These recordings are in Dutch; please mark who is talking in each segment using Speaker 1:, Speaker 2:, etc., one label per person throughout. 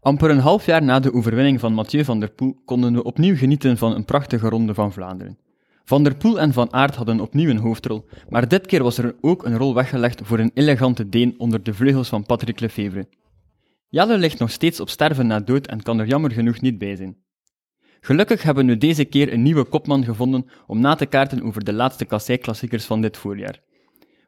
Speaker 1: Amper een half jaar na de overwinning van Mathieu van der Poel konden we opnieuw genieten van een prachtige ronde van Vlaanderen. Van der Poel en Van Aert hadden opnieuw een hoofdrol, maar dit keer was er ook een rol weggelegd voor een elegante Deen onder de vleugels van Patrick Lefevre. Jelle ligt nog steeds op sterven na dood en kan er jammer genoeg niet bij zijn. Gelukkig hebben we deze keer een nieuwe kopman gevonden om na te kaarten over de laatste kassei-klassiekers van dit voorjaar.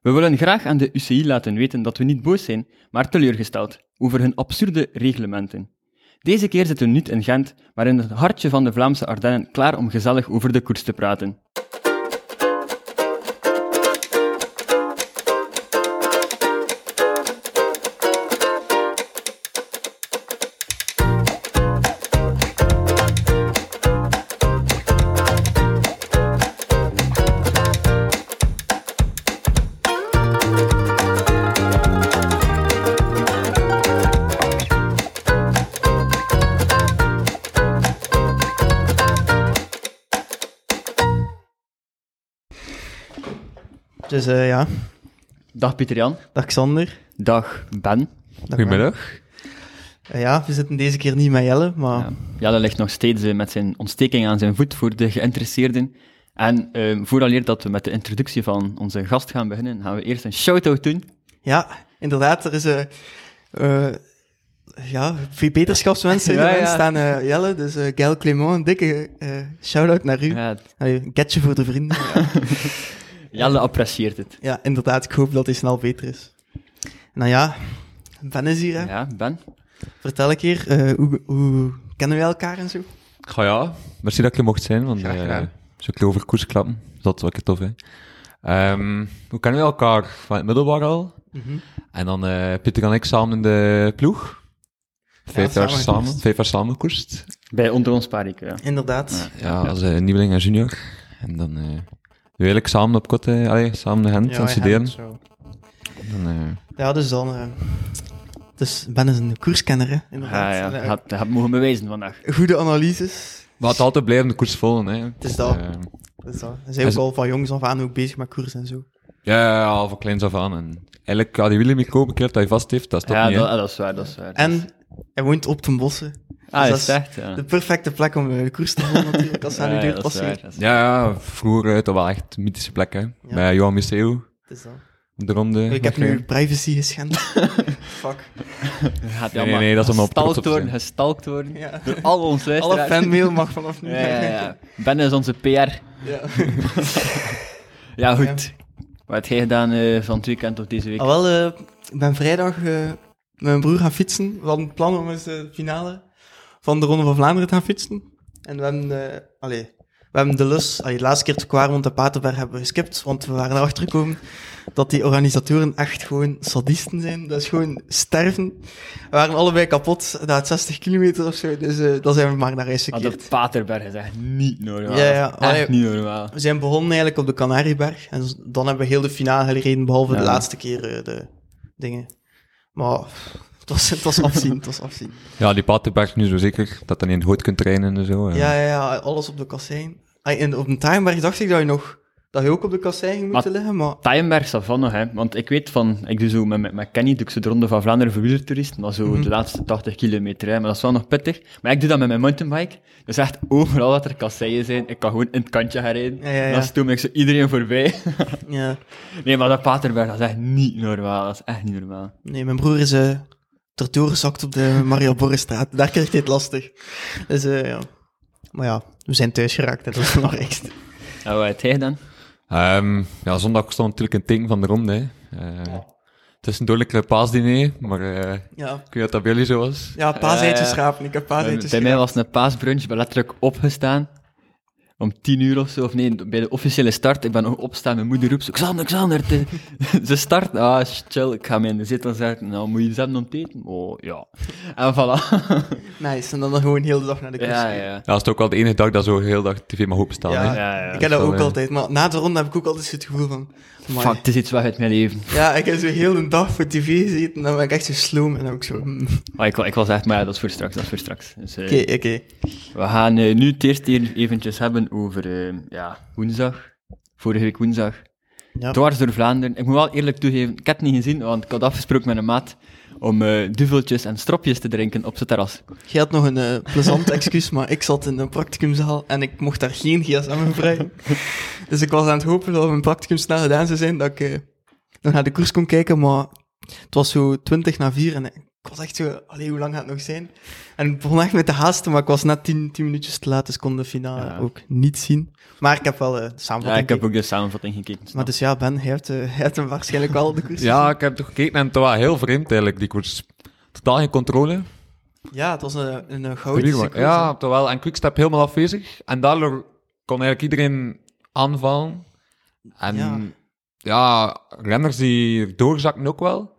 Speaker 1: We willen graag aan de UCI laten weten dat we niet boos zijn, maar teleurgesteld over hun absurde reglementen. Deze keer zitten we niet in Gent, maar in het hartje van de Vlaamse Ardennen klaar om gezellig over de koers te praten.
Speaker 2: Dus eh, ja,
Speaker 1: Dag Pieter-Jan.
Speaker 2: dag Xander.
Speaker 1: Dag Ben.
Speaker 2: Dag
Speaker 3: Goedemiddag.
Speaker 2: Mark. Eh, ja, we zitten deze keer niet met Jelle, maar
Speaker 1: Ja. Jelle ligt nog steeds eh, met zijn ontsteking aan zijn voet voor de geïnteresseerden. En eh, vooraleer dat we met de introductie van onze gast gaan beginnen, gaan we eerst een shout-out doen.
Speaker 2: ja, inderdaad, er is eh eh, ja, veel beterschapswensen
Speaker 1: Ja,
Speaker 2: ja,
Speaker 1: ja.
Speaker 2: staan eh, Jelle. Dus eh Gail Clément, een dikke eh, shout-out naar u.
Speaker 1: Ja,
Speaker 2: Allee, een catje voor de vrienden. ja.
Speaker 1: Jelle apprecieert het.
Speaker 2: ja, inderdaad, ik hoop dat hij snel beter is. Nou ja, Ben is hier. Hè.
Speaker 1: Ja, Ben.
Speaker 2: Vertel ik hier, eh, hoe, hoe kennen wij elkaar en zo?
Speaker 3: Ga ja, merci dat ik je mocht zijn, want
Speaker 2: Graag gedaan.
Speaker 3: eh, zo'n kloverkoers klappen, dat was tof, hè. Ehm, hoe kennen we elkaar? Van het middelbaar al.
Speaker 1: Mhm.
Speaker 3: En dan eh Pieter en ik samen in de ploeg. Vijf
Speaker 2: samen
Speaker 3: jaar samen,
Speaker 2: gekoerst.
Speaker 3: vijf jaar samen gekoerst.
Speaker 1: Bij Onder ons Parik, ja.
Speaker 2: Inderdaad.
Speaker 3: Ja, als eh, nieuweling en junior. En dan eh nu eigenlijk samen op kot, eh, allee, samen de hand
Speaker 2: Ja,
Speaker 3: aan het
Speaker 2: hij
Speaker 3: studeren.
Speaker 2: had zo.
Speaker 3: En dan, eh,
Speaker 2: Ja, dus dan... eh, dus Ben is een koerskenner, hè, inderdaad.
Speaker 1: Ja, Ah, ja.
Speaker 2: En, eh,
Speaker 1: Had, had mogen bewijzen vandaag.
Speaker 2: goede analyses.
Speaker 3: we hadden altijd blijven de koers volgen, hè. Ehm, Het
Speaker 2: is dat. Dat is dat. Ze zijn ook
Speaker 3: Is-
Speaker 2: al van jongs af aan ook bezig met koers en zo.
Speaker 3: ja, ja, al van kleins af aan. En eigenlijk, ja, die Willem ik koop, ik dat hij vast heeft, dat is toch
Speaker 1: Ja,
Speaker 3: niet, hè.
Speaker 1: dat, ah, dat is waar, dat is waar.
Speaker 2: En hij woont op ten bossen.
Speaker 1: ah,
Speaker 2: dat
Speaker 1: is
Speaker 2: is-
Speaker 1: echt, ja.
Speaker 2: De perfecte plek om eh, de koers te volgen natuurlijk, als hij
Speaker 1: Ja,
Speaker 2: nu
Speaker 1: ja,
Speaker 2: duurt
Speaker 1: dat is waar,
Speaker 2: passeert.
Speaker 1: dat is waar.
Speaker 3: Ja, ja, vroeger uit, dat was echt een mythische plek, hè. Bij Johan Museeuw,
Speaker 2: Het is dat.
Speaker 3: de ronde.
Speaker 2: Ik heb nu
Speaker 3: waarschijnlijk.
Speaker 2: privacy geschend. Fuck.
Speaker 1: Gaat
Speaker 3: Nee, nee, nee, dat is om op trots
Speaker 1: gestalkt
Speaker 3: op te
Speaker 1: worden,
Speaker 3: zijn.
Speaker 1: gestalkt worden.
Speaker 2: Ja.
Speaker 1: Door al ons
Speaker 2: Alle
Speaker 1: luisteraars.
Speaker 2: fanmail mag vanaf nu.
Speaker 1: Ja, ja, ja. Ben is onze PR.
Speaker 2: Ja.
Speaker 1: Ja, goed. Wat heb jij gedaan eh, van het weekend tot deze week?
Speaker 2: Ah, wel, eh, ik ben vrijdag eh, met mijn broer gaan fietsen. We hadden het plan om eens de finale van de Ronde van Vlaanderen te gaan fietsen. En we hebben, eh, allee, we hebben de lus, allee, de laatste keer te kwamen rond de Paterberg hebben we geskipt, want we waren erachter gekomen dat die organisatoren echt gewoon sadisten zijn. Dat is gewoon sterven. We waren allebei kapot, na het 60 kilometer of zo, dus eh dan zijn we maar naar huis
Speaker 1: Ah,
Speaker 2: gekeerd.
Speaker 1: dat Paterberg is echt niet normaal.
Speaker 2: Ja, ja,
Speaker 1: Echt
Speaker 2: allee-
Speaker 1: niet normaal.
Speaker 2: We zijn begonnen eigenlijk op de Canarieberg. En z- dan hebben we heel de finale gereden, behalve
Speaker 1: Ja.
Speaker 2: de laatste keer eh, de dingen. Maar pff, het was, het was afzien, het was afzien.
Speaker 3: Ja, die Paterberg nu zo zeker, dat dan in het hout kunt trainen en zo. eh.
Speaker 2: Ja, ja, ja, alles op de kassein. Ah, En op de Taaienberg dacht ik dat je nog... Dat je ook op de kassein ging moeten liggen, maar...
Speaker 1: Tijenberg staat van nog, hè. Want ik weet van... Ik doe zo met, met, met Kenny, doe ik zo de Ronde van Vlaanderen voor wielertoeristen, maar
Speaker 2: Mhm.
Speaker 1: zo de laatste 80 kilometer, hè. Maar dat is wel nog pittig. Maar ik doe dat met mijn mountainbike. Dus echt overal dat er kasseien zijn, ik kan gewoon in het kantje gaan rijden.
Speaker 2: Ja, ja, ja.
Speaker 1: Dan stoom ik zo iedereen voorbij.
Speaker 2: Ja.
Speaker 1: nee, maar dat Paterberg, dat is echt niet normaal. Dat is echt niet normaal.
Speaker 2: Nee, mijn broer is eh erdoor gezakt op de Maria Borrestraat. Daar kreeg hij het lastig. Dus eh, ja. Maar ja, we zijn thuis geraakt, hè, dat is het belangrijkste.
Speaker 1: En wat heb jij gedaan?
Speaker 3: Ehm, ja, zondag stond natuurlijk een teken van de ronde, hè. Eh, Het is een dodelijk paasdiner, maar eh,
Speaker 2: Ja,
Speaker 3: ik weet dat dat bij jullie zo was.
Speaker 2: ja paaseitjes
Speaker 1: Eh,
Speaker 2: schapen. Ik heb paaseitjes
Speaker 1: Bij mij
Speaker 2: schapen.
Speaker 1: was het een paasbrunch, ik ben letterlijk opgestaan. Om tien uur of zo, of nee, bij de officiële start. Ik ben nog opstaan, mijn moeder roept zo, Xander, Xander, het is- ze start. Ah, chill, ik ga mij in de zetel zetten. Nou, moet je iets hebben om te eten? Oh, ja. En voilà. Dus-
Speaker 2: Nice, en dan gewoon heel de dag naar de koers.
Speaker 1: Ja, ja.
Speaker 3: Ja, dat is ook wel de enige dag dat zo heel dag tv mag openstaan,
Speaker 2: Ja,
Speaker 3: hè.
Speaker 1: ja, ja.
Speaker 2: Ah, ik heb dat
Speaker 3: Zo,
Speaker 2: ook
Speaker 3: eh.
Speaker 2: altijd. Maar na de ronde heb ik ook altijd het gevoel van... amai.
Speaker 1: Fuck, het is iets weg uit mijn leven.
Speaker 2: Ja, ik heb zo heel de dag voor tv gezeten en dan ben ik echt zo sloom. En dan ook zo... mm, Oké,
Speaker 1: Maar ik, wa- ik was echt, maar ja, dat is voor straks, dat is voor straks. Dus, eh,
Speaker 2: oké.
Speaker 1: We gaan eh, nu het eerst hier eventjes hebben over eh, ja, woensdag. Vorige week woensdag.
Speaker 2: Ja.
Speaker 1: Ah. Dwars door Vlaanderen. Ik moet wel eerlijk toegeven, ik heb het niet gezien, want ik had afgesproken met een maat om eh, duveltjes en stropjes te drinken op zijn terras.
Speaker 2: Jij had nog een eh, plezant excuus, maar ik zat in een practicumzaal en ik mocht daar geen gsm in vrij. Dus ik was aan het hopen dat mijn practicum snel gedaan zou zijn, dat ik eh, nog naar de koers kon kijken, maar het was zo 20 na 4 en ik was echt zo, allee, hoe lang gaat het nog zijn? En ik begon echt met te haasten, maar ik was net 10, 10 minuutjes te laat, dus kon de finale
Speaker 1: Ja.
Speaker 2: ook niet zien. Maar ik heb wel eh, de
Speaker 1: Ja,
Speaker 2: samenvatting
Speaker 1: ik heb
Speaker 2: gekeken.
Speaker 1: ook de samenvatting gekeken.
Speaker 2: Maar
Speaker 1: snap.
Speaker 2: dus ja, Ben, hij heeft, eh, hij heeft hem waarschijnlijk al de koers
Speaker 3: Ja, ik heb toch gekeken en het was heel vreemd eigenlijk, die koers. Totaal geen controle.
Speaker 2: gezien. ja, het was een, een, een gouden
Speaker 3: Publiek, maar-
Speaker 2: koers, hè.
Speaker 3: ja, terwijl en Quickstep helemaal afwezig. En daardoor kon eigenlijk iedereen aanvallen. En
Speaker 2: Ja.
Speaker 3: ja, renners die doorzakten ook wel.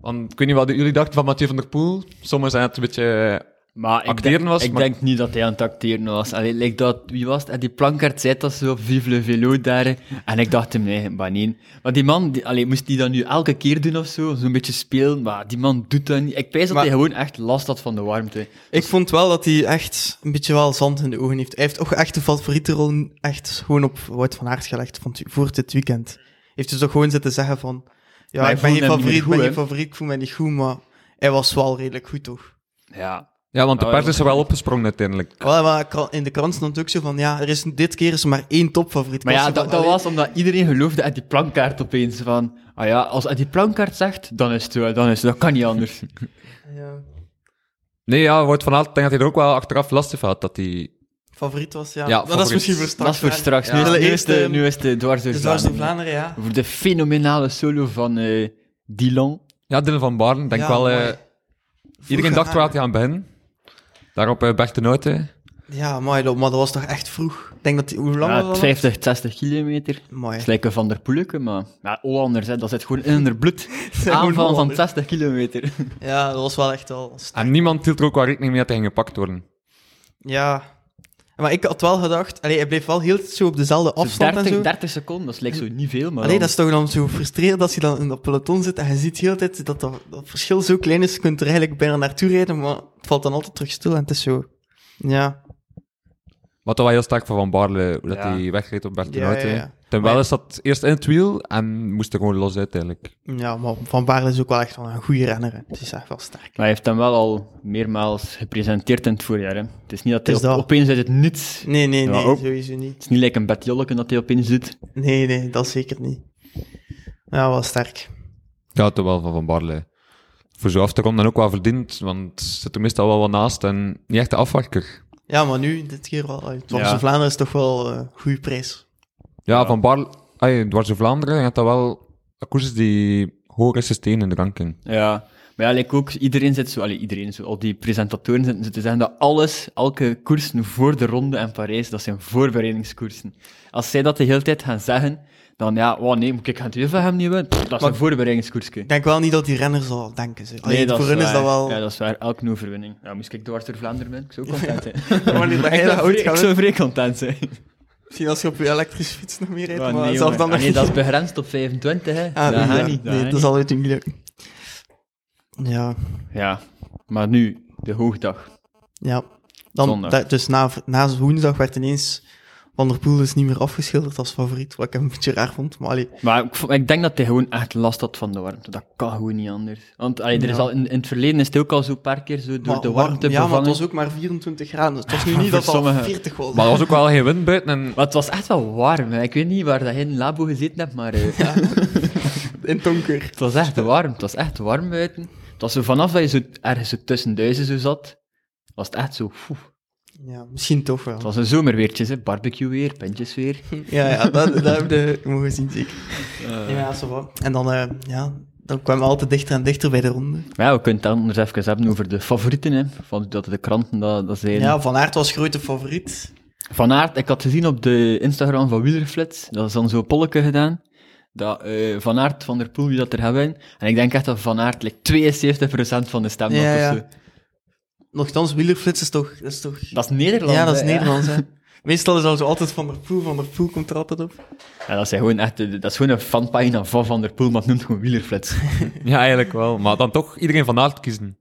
Speaker 3: Want ik weet niet wat jullie dachten van Mathieu van der Poel. Sommigen zijn het een beetje...
Speaker 1: Maar ik,
Speaker 3: Acteren
Speaker 1: denk,
Speaker 3: was,
Speaker 1: ik
Speaker 3: maar-
Speaker 1: denk niet dat hij aan het acteren was. Allee, like dat, wie was het? En die plankaart zei dat zo, vive le vélo daar. En ik dacht hem, nee, maar nee. Maar die man, die, allee, moest die dat nu elke keer doen of zo? Zo'n beetje spelen? Maar die man doet dat niet. Ik pijs dat
Speaker 2: Maar-
Speaker 1: hij gewoon echt last had van de warmte.
Speaker 2: Ik vond wel dat hij echt een beetje wel zand in de ogen heeft. Hij heeft ook echt de favoriete rol echt gewoon op Wout van Aert gelegd van, voor dit weekend. Heeft dus ook gewoon zitten zeggen van, ja,
Speaker 1: Maar
Speaker 2: ik
Speaker 1: ik
Speaker 2: ben
Speaker 1: voel
Speaker 2: geen
Speaker 1: hem niet
Speaker 2: favoriet, ik
Speaker 1: goed,
Speaker 2: ben
Speaker 1: hè?
Speaker 2: geen favoriet, ik voel mij niet goed, maar hij was wel redelijk goed, toch?
Speaker 1: Ja.
Speaker 3: Ja, want de
Speaker 1: Oh,
Speaker 3: pers
Speaker 1: ja.
Speaker 3: is er wel opgesprongen uiteindelijk.
Speaker 2: Wel, maar kra- in de krant stond ook zo van, ja, er is, dit keer is er maar één topfavoriet.
Speaker 1: Maar
Speaker 2: Ik
Speaker 1: ja,
Speaker 2: zo van,
Speaker 1: dat, dat
Speaker 2: allee,
Speaker 1: was omdat iedereen geloofde aan die plankaart opeens. Van, ah ja, als hij die plankaart zegt, dan is het zo, dan is het, dat kan niet anders.
Speaker 2: ja,
Speaker 3: Nee, ja, wordt van Aert, ik denk dat hij er ook wel achteraf last van had. Dat hij...
Speaker 2: favoriet was, ja. Maar
Speaker 3: Ja,
Speaker 2: dat is
Speaker 3: favoriet.
Speaker 2: misschien voor
Speaker 1: dat
Speaker 2: straks.
Speaker 1: is voor
Speaker 2: hè.
Speaker 1: straks.
Speaker 2: Ja.
Speaker 1: Nu, is,
Speaker 2: Zullen
Speaker 1: nu, is
Speaker 2: eerst,
Speaker 1: de,
Speaker 2: ehm,
Speaker 1: nu is de dwars door
Speaker 2: Dus dwars door
Speaker 1: Vlaanderen.
Speaker 2: Vlaanderen, ja.
Speaker 1: Voor de fenomenale solo van eh Dylan.
Speaker 3: Ja, Dylan van Baarden, denk
Speaker 2: Ja,
Speaker 3: wel... eh,
Speaker 2: mooi.
Speaker 3: iedereen
Speaker 2: Vroeg
Speaker 3: dacht waar
Speaker 2: aan.
Speaker 3: hij aan beginnen. Daarop eh, Bert de Noten.
Speaker 2: Ja, mooi, dat- maar dat was toch echt vroeg. Ik denk dat, die- hoe lang
Speaker 1: Ja,
Speaker 2: was dat?
Speaker 1: 50, 60 Ah, kilometer.
Speaker 2: Mooi.
Speaker 1: Het lijkt een Van der Poeleke, maar... Ja, Hollanders, hè, dat zit gewoon in hun bloed.
Speaker 2: gewoon
Speaker 1: Aanval van
Speaker 2: Hollanders.
Speaker 1: 60 kilometer.
Speaker 2: Ja, dat was wel echt wel sterk.
Speaker 3: En niemand hield er ook wel rekening mee dat hij ging gepakt worden.
Speaker 2: Ja. Maar ik had wel gedacht... Allee, hij bleef wel heel zo op dezelfde
Speaker 1: Dus
Speaker 2: afstand
Speaker 1: 30,
Speaker 2: en zo.
Speaker 1: 30 seconden, dat lijkt zo niet veel, maar...
Speaker 2: Allee,
Speaker 1: dan-
Speaker 2: dat is toch dan zo frustrerend als je dan in dat peloton zit en je ziet heel de tijd dat dat, dat verschil zo klein is. Je kunt er eigenlijk bijna naartoe rijden, maar het valt dan altijd terug stil en het is zo... Ja.
Speaker 3: Wat wel heel sterk van Van Baarle, hoe dat
Speaker 1: Ja.
Speaker 3: hij wegreed op Bert de
Speaker 2: Ja,
Speaker 3: Noten.
Speaker 2: ja, ja.
Speaker 3: Terwijl
Speaker 2: Maar-
Speaker 3: is dat eerst in het wiel en moest er gewoon los uit eigenlijk.
Speaker 2: Ja, maar Van Baarle is ook wel echt wel een goede renner. hè. Het is echt wel sterk.
Speaker 1: Maar hij heeft hem wel al meermaals gepresenteerd in het voorjaar. Hè. Het is niet dat hij
Speaker 2: Het is
Speaker 1: op-
Speaker 2: dat.
Speaker 1: opeens uit het niets... Het
Speaker 2: Nee, nee,
Speaker 1: Ja,
Speaker 2: nee,
Speaker 1: ook.
Speaker 2: sowieso niet.
Speaker 1: is niet like een bedjolleke dat hij opeens doet.
Speaker 2: Nee, nee, dat zeker niet. Ja, wel sterk.
Speaker 3: Ja, terwijl van Van Baarle. Voor zo af te komen dan ook wel verdiend, want zit er meestal wel wat naast en niet echt de afwakker.
Speaker 2: Ja, maar nu, dit keer wel. Het
Speaker 1: Ja.
Speaker 2: van Vlaanderen is toch wel een goede prijs.
Speaker 3: Ja,
Speaker 1: Ja.
Speaker 3: Van Baarle, ay, dwars door Vlaanderen, had dat wel een koers is die hoger is gesteen in de ranking.
Speaker 1: Ja. Maar ja, like ook, iedereen zit zo... Allee, iedereen, zo, al die presentatoren zitten zo te zeggen dat alles, elke koersen voor de Ronde en Parijs, dat zijn voorbereidingskoersen. Als zij dat de hele tijd gaan zeggen, dan ja, oh nee, moet ik gaan twee van hem niet winnen? Pff, Dat is een voorbereidingskoersje.
Speaker 2: Ik denk wel niet dat die renners al denken. Ze. Allee, voor hun is dat
Speaker 1: waar.
Speaker 2: wel...
Speaker 1: Ja, dat is waar. Elke overwinning. Ja, moest ik dwars door Vlaanderen ben, ik zou content zijn.
Speaker 2: Wanneer dat
Speaker 1: ik,
Speaker 2: jij dat
Speaker 1: zou
Speaker 2: ooit
Speaker 1: vrij, ik
Speaker 2: gaat
Speaker 1: zou vrij content zijn.
Speaker 2: Misschien als je op je elektrische fiets nog meer rijdt,
Speaker 1: Maar
Speaker 2: maar
Speaker 1: nee,
Speaker 2: zelf
Speaker 1: jongen.
Speaker 2: dan
Speaker 1: Ah,
Speaker 2: nog
Speaker 1: nee, dat is
Speaker 2: niet.
Speaker 1: begrensd op 25, hè.
Speaker 2: Ah,
Speaker 1: dat
Speaker 2: oei,
Speaker 1: gaat
Speaker 2: ja.
Speaker 1: niet. Dat
Speaker 2: Nee,
Speaker 1: gaat
Speaker 2: dat
Speaker 1: niet.
Speaker 2: zal ooit niet lukken. Ja,
Speaker 1: Ja, maar nu, de hoogdag.
Speaker 2: ja. Dan,
Speaker 1: Zondag.
Speaker 2: da- dus na, na woensdag werd ineens Van der Poel dus niet meer afgeschilderd als favoriet, wat ik een beetje raar vond. Maar allee,
Speaker 1: Maar ik, vo- ik denk dat hij gewoon echt last had van de warmte. Dat kan gewoon niet anders. Want allee, er is
Speaker 2: Ja.
Speaker 1: al, in, in het verleden is het ook al zo'n paar keer zo door
Speaker 2: maar
Speaker 1: de
Speaker 2: warm-
Speaker 1: warmte
Speaker 2: Ja, maar het
Speaker 1: bevangen.
Speaker 2: was ook maar 24 graden, dus het was nu
Speaker 1: Maar
Speaker 2: niet dat
Speaker 1: voor
Speaker 2: het al
Speaker 1: sommigen-
Speaker 2: 40 was.
Speaker 3: Maar er was ook wel geen wind buiten en
Speaker 1: Maar het was echt wel warm. Hè. Ik weet niet waar dat jij in het labo gezeten hebt, maar... eh,
Speaker 2: In donker.
Speaker 1: Het was echt warm, het was echt warm buiten. Het was zo vanaf dat je zo ergens zo tussen duizen zo zat, was het echt zo... foeh.
Speaker 2: Ja, misschien toch wel.
Speaker 1: Het was een zomerweertje, hè. barbecue weer, pintjes weer.
Speaker 2: Ja, ja, dat, dat heb je mogen zien, zeker. Ja, zo wat. En dan, eh, ja, dan kwamen we altijd dichter en dichter bij de ronde.
Speaker 1: Maar ja, we kunnen het dan nog eens even hebben over de favorieten, hè. Van, dat de kranten dat, dat zijn.
Speaker 2: Ja, Van Aert was grote favoriet.
Speaker 1: Van Aert, ik had gezien op de Instagram van Wielerflits, dat is dan zo'n polleke gedaan, dat eh, Van Aert, Van der Poel, wie dat er gaat winnen. En ik denk echt dat Van Aert like, 72% van de stem had
Speaker 2: Ja,
Speaker 1: of
Speaker 2: ja.
Speaker 1: zo.
Speaker 2: Nochtans, wielerflits is toch... Dat is toch...
Speaker 1: Dat is Nederland,
Speaker 2: ja, dat is
Speaker 1: hè,
Speaker 2: Nederlands, hè. Meestal is dat zo altijd Van der Poel, Van der Poel komt er altijd op.
Speaker 1: Ja, dat, zijn gewoon echt, eh, dat is gewoon een fanpagina van Van der Poel, maar het noemt gewoon Wielerflits.
Speaker 3: ja, eigenlijk wel. Maar dan toch iedereen van Aert kiezen.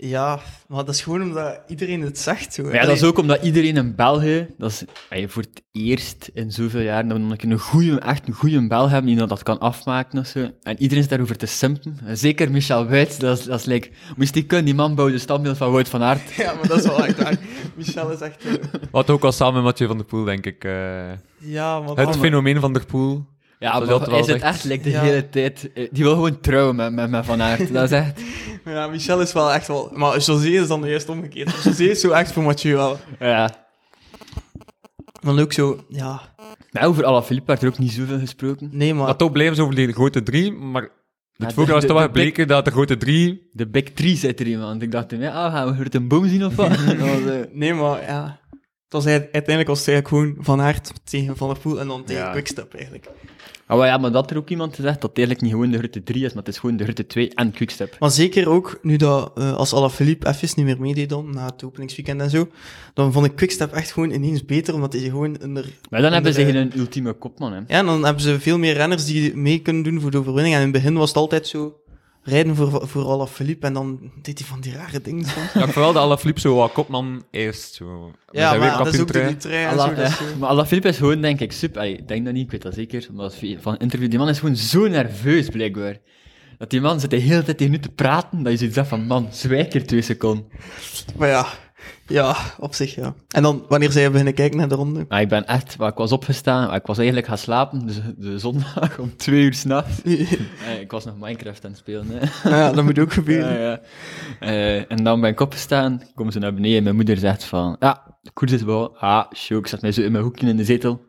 Speaker 2: Ja, maar dat is gewoon omdat iedereen het zegt. Zo.
Speaker 1: Maar ja, dat is ook omdat iedereen in België, dat is ey, voor het eerst in zoveel jaar, dat we dan een keer een goeie, echt een goede Bel hebben die dat, dat kan afmaken of zo. En iedereen is daarover te simpen. En Zeker Michel Wuits, dat is, dat is like, moest die kunnen, die man bouwde een standbeeld van Wout van Aert.
Speaker 2: Ja, maar dat is wel echt waar. Michel is echt... eh,
Speaker 3: Wat ook al samen met Mathieu van der Poel, denk ik. eh,
Speaker 2: ja, maar...
Speaker 3: het fenomeen van der Poel.
Speaker 1: Ja,
Speaker 3: Dat
Speaker 1: maar
Speaker 3: dat wel
Speaker 1: hij zit
Speaker 3: echt-
Speaker 1: echt like, de
Speaker 2: Ja.
Speaker 1: hele tijd... eh, Die wil gewoon trouwen met, met, met Van Aert. Dat is echt...
Speaker 2: Ja, Michel is wel echt wel... Maar José is dan juist omgekeerd. José is zo echt voor Mathieu wel.
Speaker 1: Ja.
Speaker 2: Dan ook zo... Ja,
Speaker 1: Maar over Alaphilippe werd er ook niet zoveel gesproken.
Speaker 2: nee, maar...
Speaker 3: Maar toch blijven ze over die grote drie, maar het
Speaker 1: de-
Speaker 3: voorjaar is
Speaker 1: de-
Speaker 3: toch wel
Speaker 1: de big-
Speaker 3: gebleken dat de grote drie...
Speaker 1: De Big Three zit er iemand. Ik dacht, ja, ah, gaan we het een boom zien of wat? Dat was, eh,
Speaker 2: Mm. Nee, maar ja... Het was eigenlijk- uiteindelijk was het eigenlijk gewoon Van Aert tegen Van der Poel en dan tegen
Speaker 1: Ja.
Speaker 2: Quickstep eigenlijk.
Speaker 1: Ah, maar ja, maar dat er ook iemand zegt dat het eigenlijk niet gewoon de Rutte 3 is, maar het is gewoon de Rutte 2 en Quickstep.
Speaker 2: Maar zeker ook nu dat eh, als Alaphilippe even niet meer meedeed dan, na het openingsweekend en zo, dan vond ik Quickstep echt gewoon ineens beter, omdat hij gewoon onder...
Speaker 1: Maar dan hebben ze
Speaker 2: onder, eh,
Speaker 1: geen ultieme kopman, hè.
Speaker 2: Ja, en dan hebben ze veel meer renners die mee kunnen doen voor de overwinning. En in het begin was het altijd zo, rijden voor, voor Alaphilippe en dan deed hij van die rare dingen soms.
Speaker 3: Ja, vooral de Alaphilippe zo wat kopman eerst. Zo. Met
Speaker 2: Ja,
Speaker 3: zijn
Speaker 2: maar dat is ook door
Speaker 3: wereldkampioentrui.
Speaker 2: die trein en
Speaker 1: Ala,
Speaker 2: zo. dat is
Speaker 1: ja.
Speaker 2: zo. dus, eh.
Speaker 1: Maar Alaphilippe is gewoon, denk ik, super... Allee, Ik denk dat niet, ik weet dat zeker. Maar dat is via- van een interview, die man is gewoon zo nerveus, blijkbaar. Dat die man zit de hele tijd tegen nu te praten, dat je zoiets zegt van, man, zwijg er twee seconden.
Speaker 2: Maar ja, ja, op zich ja. En dan, wanneer zij beginnen kijken naar de ronde...
Speaker 1: Maar ik ben echt... maar ik was opgestaan, maar ik was eigenlijk gaan slapen, dus de zondag om twee uur s'nachts. Eh, Ik was nog Minecraft aan het spelen, hè.
Speaker 2: ja, dat moet ook gebeuren.
Speaker 1: Ja, ja. Eh, en dan ben ik opgestaan, komen ze naar beneden en mijn moeder zegt van, ja, de koers is wel, ah, show, ik zat mij zo in mijn hoekje in de zetel.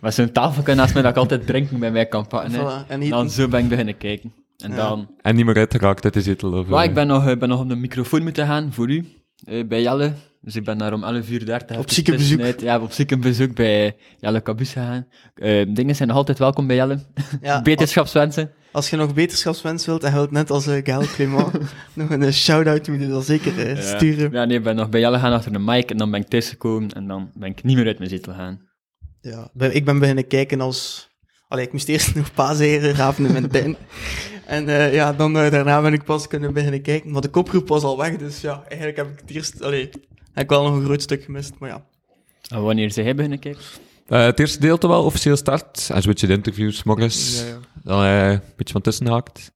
Speaker 1: Met zo'n tafeltje naast mij dat ik altijd drinken bij mij kan pakken. hè.
Speaker 2: Voilà, en
Speaker 1: En
Speaker 2: hier,
Speaker 1: dan zo ben ik beginnen kijken. En
Speaker 2: Ja.
Speaker 1: dan,
Speaker 3: En niet meer uitgeraakt uit de zetel. Of,
Speaker 1: maar
Speaker 3: eh,
Speaker 1: ik ben nog, eh, ben nog op de microfoon moeten gaan voor u, eh, bij Jelle. Dus ik ben daar om 11 uur 30.
Speaker 2: Op ziekenbezoek.
Speaker 1: Ja, op ziekenbezoek bij Jelle Cabus gegaan. Eh, dingen zijn nog altijd welkom bij Jelle.
Speaker 2: ja,
Speaker 1: Beterschapswensen.
Speaker 2: Als je nog beterschapswens wilt, en je wilt net als uh, Gael Clément nog een eh, shout-out moeten, dan zeker eh,
Speaker 1: Ja.
Speaker 2: sturen.
Speaker 1: Ja, nee, ik ben nog bij Jelle gaan achter de mic en dan ben ik thuisgekomen en dan ben ik niet meer uit mijn zetel gaan.
Speaker 2: Ja. ben- Ik ben beginnen kijken als... Allee, ik moest eerst nog paaseren, raven in mijn tuin. En eh, ja, dan eh, daarna ben ik pas kunnen beginnen kijken. Maar de kopgroep was al weg, dus ja, eigenlijk heb ik het eerst... Allee, heb ik wel nog een groot stuk gemist, maar ja.
Speaker 1: En wanneer ze hebben beginnen kijken?
Speaker 3: eh, het eerste deel toch wel officieel start. En zo beetje de interviews, morgens.
Speaker 2: Ja, ja.
Speaker 3: Dan eh, een beetje van tussen haakt.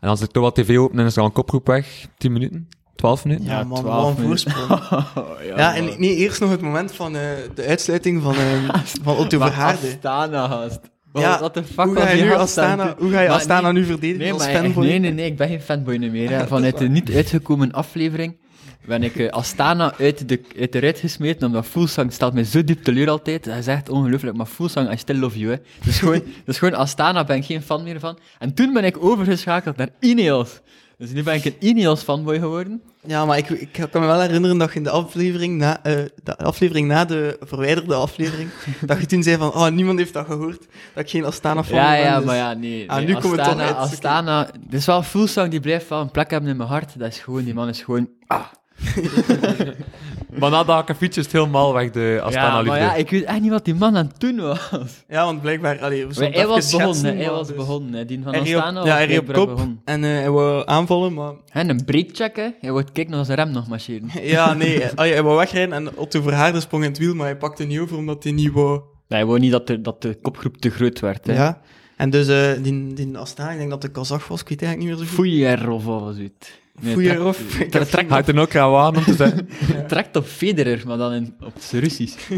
Speaker 3: En als ik toch wat tv open en is er al een koproep weg. 10 minuten, 12 minuten.
Speaker 2: Ja, man,
Speaker 1: twaalf
Speaker 2: wat een
Speaker 1: minuten.
Speaker 2: voorsprong.
Speaker 1: ja,
Speaker 2: Oh, Ja, en nee, eerst nog het moment van eh, de uitsluiting van, eh, van Otto Verhaarde.
Speaker 1: Astana haast.
Speaker 2: Ja,
Speaker 1: wat de fuck
Speaker 2: Hoe
Speaker 1: was
Speaker 2: ga je
Speaker 1: die
Speaker 2: nu
Speaker 1: gast aan
Speaker 2: Astana,
Speaker 1: het doen?
Speaker 2: hoe ga je
Speaker 1: Maar
Speaker 2: Astana
Speaker 1: nee,
Speaker 2: nu verdedigen
Speaker 1: Nee,
Speaker 2: als
Speaker 1: maar echt-
Speaker 2: fanboy?
Speaker 1: nee, nee, nee, ik ben geen fanboy nu meer. hè.
Speaker 2: dat is
Speaker 1: Vanuit de
Speaker 2: waar.
Speaker 1: niet uitgekomen aflevering ben ik eh, Astana uit de, uit de ruit gesmeten, omdat Fullsang stelt mij zo diep teleur altijd. Hij zegt ongelooflijk, maar Fullsang, I still love you. Hè. Dus, gewoon, dus gewoon Astana ben ik geen fan meer van. En toen ben ik overgeschakeld naar Ineos. Dus nu ben ik een Ineos fanboy geworden.
Speaker 2: Ja, maar ik, ik kan me wel herinneren dat je in de aflevering na, eh, de aflevering na de verwijderde aflevering, dat je toen zei van, oh, niemand heeft dat gehoord, dat ik geen Astana fan
Speaker 1: Ja,
Speaker 2: ben.
Speaker 1: ja,
Speaker 2: dus-
Speaker 1: maar ja, nee.
Speaker 2: Ah,
Speaker 1: nee,
Speaker 2: nu komen we
Speaker 1: Astana,
Speaker 2: toch uit, oké.
Speaker 1: Astana, het is wel Fullsang, die blijft wel een plek hebben in mijn hart. Dat is gewoon, die man is gewoon...
Speaker 3: Maar na de hakenfiets is het helemaal weg, de
Speaker 1: ja,
Speaker 3: Astana-liefde.
Speaker 1: maar ja, ik weet echt niet wat die man aan het doen was.
Speaker 2: Ja, want blijkbaar, allee, we
Speaker 1: Maar
Speaker 2: zouden
Speaker 1: hij
Speaker 2: het
Speaker 1: was
Speaker 2: Dus even
Speaker 1: begonnen,
Speaker 2: schetsen,
Speaker 1: hè, hij
Speaker 2: maar
Speaker 1: was
Speaker 2: dus-
Speaker 1: begonnen. hè. Die van
Speaker 2: Hij reed op-
Speaker 1: Astana
Speaker 2: ja,
Speaker 1: was
Speaker 2: hij reed op
Speaker 1: blijkbaar
Speaker 2: kop
Speaker 1: begonnen.
Speaker 2: en eh, hij wou aanvallen, maar...
Speaker 1: En een breakchecken, hij wordt kijken naar zijn rem nog marcheren.
Speaker 2: Ja, nee, eh, allee, hij wou wegrijden en Otto Verhaarde sprong in het wiel, maar hij pakte niet over omdat hij niet wou...
Speaker 1: Nee, hij wou niet dat de, dat de kopgroep te groot werd. Hè.
Speaker 2: Ja. En dus eh, die, die Astana, ik denk dat de Kazach was, ik weet eigenlijk niet meer zo goed.
Speaker 1: Foeier of wat was het? Nee,
Speaker 2: Foeier of...
Speaker 1: trekt-
Speaker 2: Ik heb-
Speaker 1: trekt-
Speaker 3: Hij had er ook aan waan om te zeggen.
Speaker 1: trekt- Trekt op Federer, maar dan in, op zijn Russisch.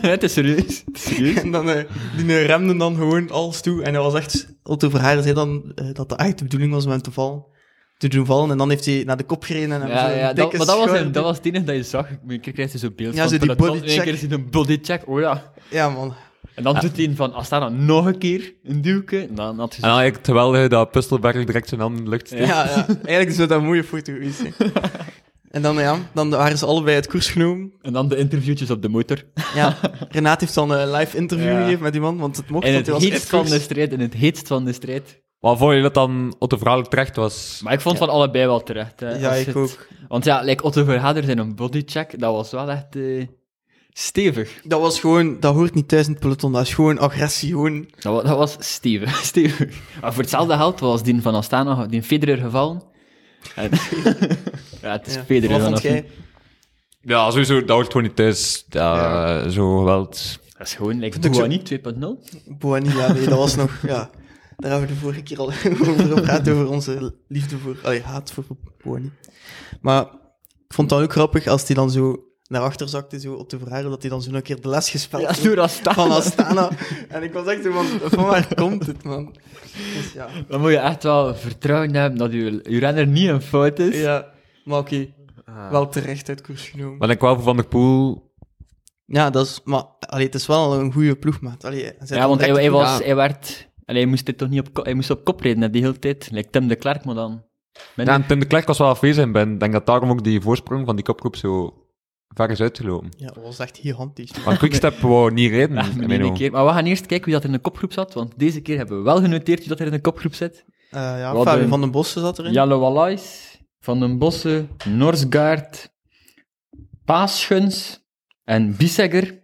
Speaker 1: het is serieus. Het is serieus.
Speaker 2: En dan, eh, die eh, remde dan gewoon alles toe. En hij was echt, Otto Verhaar zei dan eh, dat de echt de bedoeling was om hem te vallen. Te doen vallen. En dan heeft hij naar de kop gereden en hem
Speaker 1: Ja,
Speaker 2: zo'n
Speaker 1: ja, dat,
Speaker 2: dikke
Speaker 1: maar dat was,
Speaker 2: schouder-
Speaker 1: een, dat was het enige dat je zag. Ik kreeg je zo'n beeld
Speaker 2: Ja,
Speaker 1: van
Speaker 2: zo die
Speaker 1: peloton.
Speaker 2: bodycheck.
Speaker 1: En één keer zie je een bodycheck, oh ja.
Speaker 2: Ja, man.
Speaker 1: En dan doet hij een van Astana nog een keer een duwke. En dan had je
Speaker 3: En dan eigenlijk het geweldige dat Pustelberg direct zijn handen in de lucht steekt.
Speaker 2: Ja. ja. Eigenlijk is dat een mooie foto geweest. hè. en dan, ja, dan waren ze allebei het koers genomen.
Speaker 1: En dan de interviewtjes op de motor.
Speaker 2: Ja, Renaat heeft dan een live interview
Speaker 1: Ja.
Speaker 2: gegeven met die man, want het mocht.
Speaker 1: In
Speaker 2: want
Speaker 1: het
Speaker 2: hij was
Speaker 1: heetst van de
Speaker 2: uitkoers.
Speaker 1: strijd, in het heetst van de strijd.
Speaker 3: Maar voor je dat dan Otto Verhaal terecht was...
Speaker 1: Maar ik vond van allebei wel terecht. Hè.
Speaker 2: Ja,
Speaker 1: Als
Speaker 2: ik
Speaker 1: het-
Speaker 2: ook.
Speaker 1: Want ja, like Otto Verhader zijn een bodycheck, dat was wel echt eh, stevig.
Speaker 2: Dat was gewoon, dat hoort niet thuis in het peloton, dat is gewoon agressie, gewoon
Speaker 1: Dat was, dat was stevig, stevig. Maar voor hetzelfde geld was die van Astana, die Federer gevallen. En, Ja, het is
Speaker 2: Ja.
Speaker 1: Federer.
Speaker 2: Wat
Speaker 1: dan
Speaker 2: vond
Speaker 1: of
Speaker 2: jij?
Speaker 1: niet.
Speaker 3: Ja, sowieso, dat wordt gewoon niet thuis. Ja, Zo geweld.
Speaker 1: Dat is gewoon, like,
Speaker 2: ook zo-
Speaker 1: Buani 2.0.
Speaker 2: Boani, ja, nee, dat was nog... Ja, daar hebben we de vorige keer al over gepraat, over onze liefde voor... Allee, haat voor Boani. Maar ik vond het dan ook grappig als die dan zo naar achter zakte, zo op de verharen, dat hij dan zo een keer de les gespeeld
Speaker 1: Ja,
Speaker 2: had
Speaker 1: door Astana.
Speaker 2: van Astana. en ik was echt zo van, van waar komt het, man? Dus ja...
Speaker 1: Dan moet je echt wel vertrouwen hebben dat je, je renner niet een fout is.
Speaker 2: Ja, maar oké.
Speaker 1: Ah.
Speaker 2: Wel terecht uit koers genomen.
Speaker 3: Maar ik wel voor Van der Poel.
Speaker 2: Ja, dat is, maar allee, het is wel een goede ploegmaat. Allee, hij zit
Speaker 1: Ja, want hij,
Speaker 2: direct
Speaker 1: hij
Speaker 2: goed
Speaker 1: was,
Speaker 2: aan.
Speaker 1: hij werd... en hij moest dit toch niet op, ko- hij moest op kop reden, hè, die hele tijd. Like Tim de Klerk, maar dan...
Speaker 3: Ja, en Tim de Klerk was wel afwezig. Ik ben- denk dat daarom ook die voorsprong van die kopgroep zo ver is uitgelopen.
Speaker 2: Ja, dat was echt gigantisch.
Speaker 3: Want Quickstep wou niet reden.
Speaker 1: Ja,
Speaker 3: in
Speaker 1: maar,
Speaker 3: mijn
Speaker 1: die
Speaker 3: ogen.
Speaker 1: Ah, keer. maar we gaan eerst kijken wie dat in de kopgroep zat, want deze keer hebben we wel genoteerd wie dat er in de kopgroep zit.
Speaker 2: Eh ja,
Speaker 1: Wat
Speaker 2: Fabio
Speaker 1: een-
Speaker 2: van den Bossen zat erin.
Speaker 1: Jelle Wallais, Van den Bossen, Norsgaard, Paasguns en Bissegger.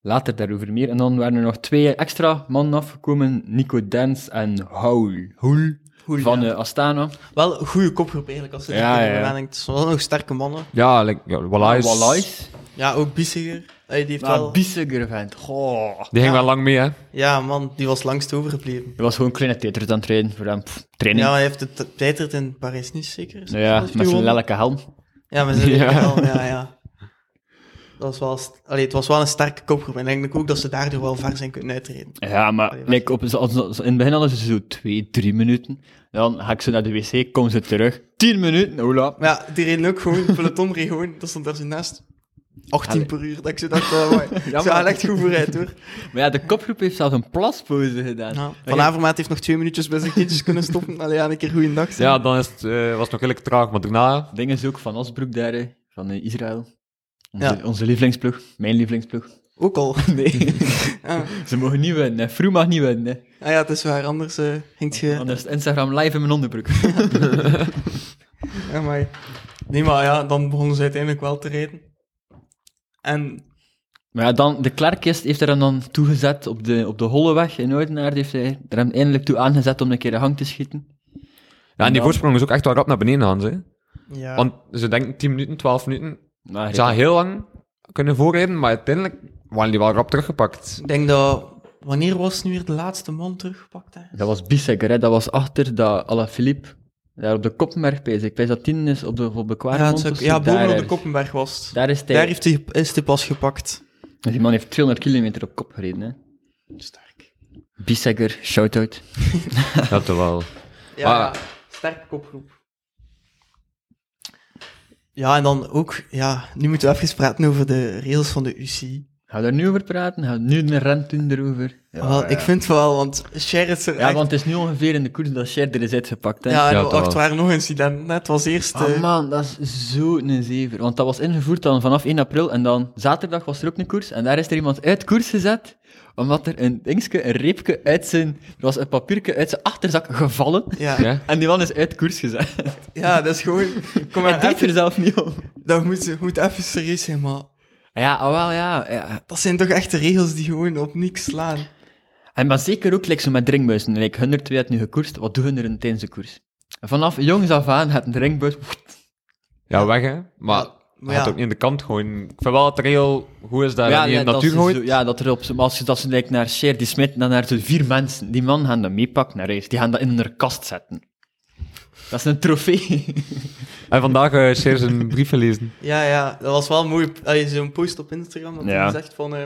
Speaker 1: Later daarover meer. En dan waren er nog twee extra mannen afgekomen, Nico Dens en Houl. Houl
Speaker 2: Goeie-
Speaker 1: van eh, Astana.
Speaker 2: Wel een goede kopgroep eigenlijk, als je
Speaker 1: Ja,
Speaker 2: ja,
Speaker 1: ja.
Speaker 2: ja. denkt. Het zijn wel nog sterke mannen.
Speaker 3: Ja, like, ja Wallace.
Speaker 1: Wallais.
Speaker 2: Ja, ook Bissiger. Allee, die heeft
Speaker 1: Maar
Speaker 2: wel...
Speaker 1: Bissegger, vent. Goh.
Speaker 3: Die ging
Speaker 2: Ja.
Speaker 3: wel lang mee, hè.
Speaker 2: Ja, man, die was langst overgebleven.
Speaker 1: Hij was gewoon kleine teters aan het rijden voor hem. Pff, training.
Speaker 2: Ja,
Speaker 1: Ja,
Speaker 2: hij heeft het beter in Parijs niet zeker. Heeft hij
Speaker 1: met zijn
Speaker 2: gewonnen?
Speaker 1: lelijke helm.
Speaker 2: Ja, maar ze
Speaker 3: Ja.
Speaker 2: ja. wel, ja, ja. Dat was wel, st- allee, het was wel een sterke kopgroep. En ik denk ook dat ze daardoor wel ver zijn kunnen uitreden.
Speaker 1: Ja, maar
Speaker 2: Allee,
Speaker 1: like, op, als- als- in het begin hadden ze zo twee, drie minuten. Dan ga ik ze naar de wc, kom ze terug. Tien minuten, nou, hola.
Speaker 2: Maar ja, die reden ook gewoon, peloton reed gewoon, dat stond daar zo naast. 18
Speaker 1: Allee.
Speaker 2: per uur, dat ik zo dacht, oh, mooi.
Speaker 1: Ja,
Speaker 2: ze
Speaker 1: maar-
Speaker 2: gaan echt goed vooruit hoor.
Speaker 1: Maar ja, de kopgroep heeft zelfs een plaspauze gedaan.
Speaker 2: Ja. Van Avermaat heeft nog twee minuutjes bij zijn kindjes kunnen stoppen. Allee, ja, een keer goeiedag dag.
Speaker 3: Ja, dan is het, eh, was het nog redelijk traag. Maar daarna...
Speaker 1: Ding is ook van Osbroek daar, hè, van eh, Israël. Onze,
Speaker 2: Ja.
Speaker 1: onze lievelingsploeg, mijn lievelingsploeg.
Speaker 2: Ook al.
Speaker 1: Nee,
Speaker 2: Ja.
Speaker 1: ze mogen niet winnen. hè. Froome mag niet winnen. hè.
Speaker 2: Ah ja, het is waar, anders eh hangt je...
Speaker 1: Anders is Instagram live in mijn onderbroek.
Speaker 2: Ja, maar... Nee, maar ja, dan begonnen ze uiteindelijk wel te rijden. En
Speaker 1: Maar ja, dan, de Klerk is- heeft er hem dan toegezet op de, op de Holleweg in Oudenaarde. Heeft hij er hem eindelijk toe aangezet om een keer de hang te schieten.
Speaker 3: Ja, en
Speaker 1: dan-
Speaker 3: die voorsprong is ook echt wel rap naar beneden gaan, ze.
Speaker 2: ja,
Speaker 3: Want ze denken 10 minuten, 12 minuten.
Speaker 1: Maar,
Speaker 3: Ze gaan heel lang kunnen voorrijden, maar uiteindelijk waren die wel rap teruggepakt.
Speaker 2: ik denk dat... Wanneer was nu weer de laatste man teruggepakt? Hè?
Speaker 1: Dat was Bissegger, hè. dat was achter dat Alaphilippe. Daar op de Koppenberg bezig. Ik wijs dat 10 is op de, op de
Speaker 2: Ja, het
Speaker 1: Kwaarmond.
Speaker 2: is ook-
Speaker 1: of zo.
Speaker 2: ja, boven
Speaker 1: Daar
Speaker 2: op de
Speaker 1: ergens.
Speaker 2: Koppenberg was het.
Speaker 1: Daar is hij. Dus
Speaker 2: Daar heeft hij, is hij pas gepakt.
Speaker 1: Die man heeft 200 kilometer op kop gereden. Hè.
Speaker 2: Sterk.
Speaker 1: Bissegger, shout-out.
Speaker 3: Dat toch wel.
Speaker 2: Ja,
Speaker 3: Ah.
Speaker 2: sterke kopgroep. Ja, en dan ook, ja, nu moeten we even praten over de rails van de UCI.
Speaker 1: Gaan we daar nu over praten? Gaan we nu een rent doen erover? Ja,
Speaker 2: wel, Ik vind het wel, want Cher is er echt-
Speaker 1: want het is nu ongeveer in de koers dat Sher er is uitgepakt. Hè.
Speaker 2: Ja, en
Speaker 3: Ja,
Speaker 2: ja,
Speaker 3: toch
Speaker 2: wacht,
Speaker 3: wel.
Speaker 2: er waren nog incidenten. hè. Het was eerst... eh,
Speaker 1: Oh man, dat is zo'n zever. Want dat was ingevoerd dan vanaf 1 april en dan zaterdag was er ook een koers en daar is er iemand uit koers gezet omdat er een dingske, een reepje uit zijn, er was een papierke uit zijn achterzak gevallen
Speaker 2: ja, ja.
Speaker 3: Ja?
Speaker 1: en die man is uit koers gezet.
Speaker 2: dat is gewoon... Kom maar,
Speaker 1: Hij deed
Speaker 2: even,
Speaker 1: er zelf niet om.
Speaker 2: dat moet, moet even serieus zijn, maar...
Speaker 1: Ja, ah, wel ja. ja.
Speaker 2: Dat zijn toch echte regels die gewoon op niks slaan.
Speaker 1: En maar zeker ook like, zo met drinkbuizen. Like, hun er twee had nu gekoerst, wat doen hun er in tijdens de koers? Vanaf jongs af aan had een drinkbuis...
Speaker 3: Ja, weg hè. Maar
Speaker 2: Ja,
Speaker 3: hij
Speaker 2: maar
Speaker 3: had
Speaker 2: ja.
Speaker 3: ook niet in de kant gooien. Ik vind wel dat de rail goed is dat hij niet in de
Speaker 1: dat
Speaker 3: natuur
Speaker 1: ze
Speaker 3: gooit.
Speaker 1: zo- ja, dat er op z'n- maar als je dat ze like, naar Cher, die smit dan naar zo'n vier mensen. Die man gaan dat meepakken naar huis. Die gaan dat in hun kast zetten. Dat is een trofee.
Speaker 3: En vandaag eh Seer zijn brieven lezen.
Speaker 2: Ja, ja, dat was wel mooi. Allee, Zo'n post op Instagram dat
Speaker 1: Ja.
Speaker 2: hij zegt van, eh,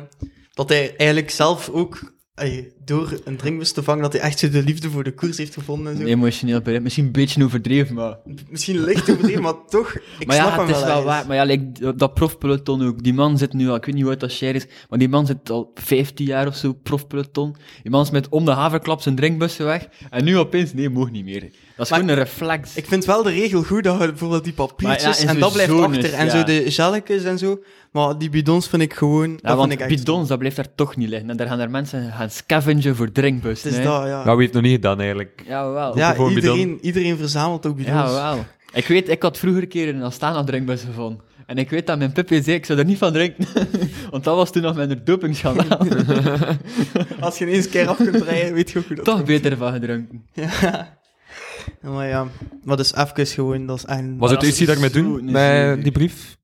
Speaker 2: dat hij eigenlijk zelf ook allee, door een drinkbus te vangen, dat hij echt zo de liefde voor de koers heeft gevonden. En zo.
Speaker 1: Een Emotioneel bereid. Misschien een beetje overdreven, maar...
Speaker 2: Misschien licht overdreven, maar toch, ik
Speaker 1: maar
Speaker 2: snap
Speaker 1: ja,
Speaker 2: hem
Speaker 1: het is wel
Speaker 2: ergens.
Speaker 1: waar. Maar ja, like, dat- dat profpeloton ook. Die man zit nu al... Ik weet niet hoe oud dat Cher is, maar die man zit al 15 jaar of zo, profpeloton. Die man is met om de haverklap zijn drinkbussen weg. En nu opeens, nee, mogen niet meer. Dat is
Speaker 2: Maar-
Speaker 1: gewoon een reflex.
Speaker 2: Ik vind wel de regel goed dat je bijvoorbeeld die
Speaker 1: Maar
Speaker 2: papiertjes,
Speaker 1: ja, en
Speaker 2: en
Speaker 1: zo
Speaker 2: dat blijft
Speaker 1: zones,
Speaker 2: achter, en
Speaker 1: ja.
Speaker 2: zo de gelletjes en zo. Maar die bidons vind ik gewoon,
Speaker 1: Ja,
Speaker 2: dat
Speaker 1: want
Speaker 2: vind ik echt...
Speaker 1: bidons, dat blijft daar toch niet liggen. En daar gaan er mensen gaan scavengen voor drinkbussen.
Speaker 2: Het is
Speaker 1: hè.
Speaker 2: dat, ja.
Speaker 3: Nou, wie heeft het nog niet gedaan eigenlijk?
Speaker 1: Jawel.
Speaker 2: ja,
Speaker 3: voor een bidon.
Speaker 2: iedereen, iedereen verzamelt ook bidons.
Speaker 1: Jawel. Ik weet, ik had vroeger een keer een Astana drinkbus gevonden. En ik weet dat mijn pipje zei, ik zou er niet van drinken. Want dat was toen nog mijn dopingschandaal.
Speaker 2: Als je ineens keer af kunt rijden, weet je ook hoe dat
Speaker 1: Toch beter van gedronken.
Speaker 2: Ja. Maar ja, maar dus even gewoon, dat is echt...
Speaker 3: Was
Speaker 1: Maar
Speaker 3: het
Speaker 1: als
Speaker 3: iets die
Speaker 1: het
Speaker 3: daarmee
Speaker 1: zo
Speaker 3: doen?
Speaker 1: niet
Speaker 3: Bij
Speaker 1: moeilijk.
Speaker 3: die brief?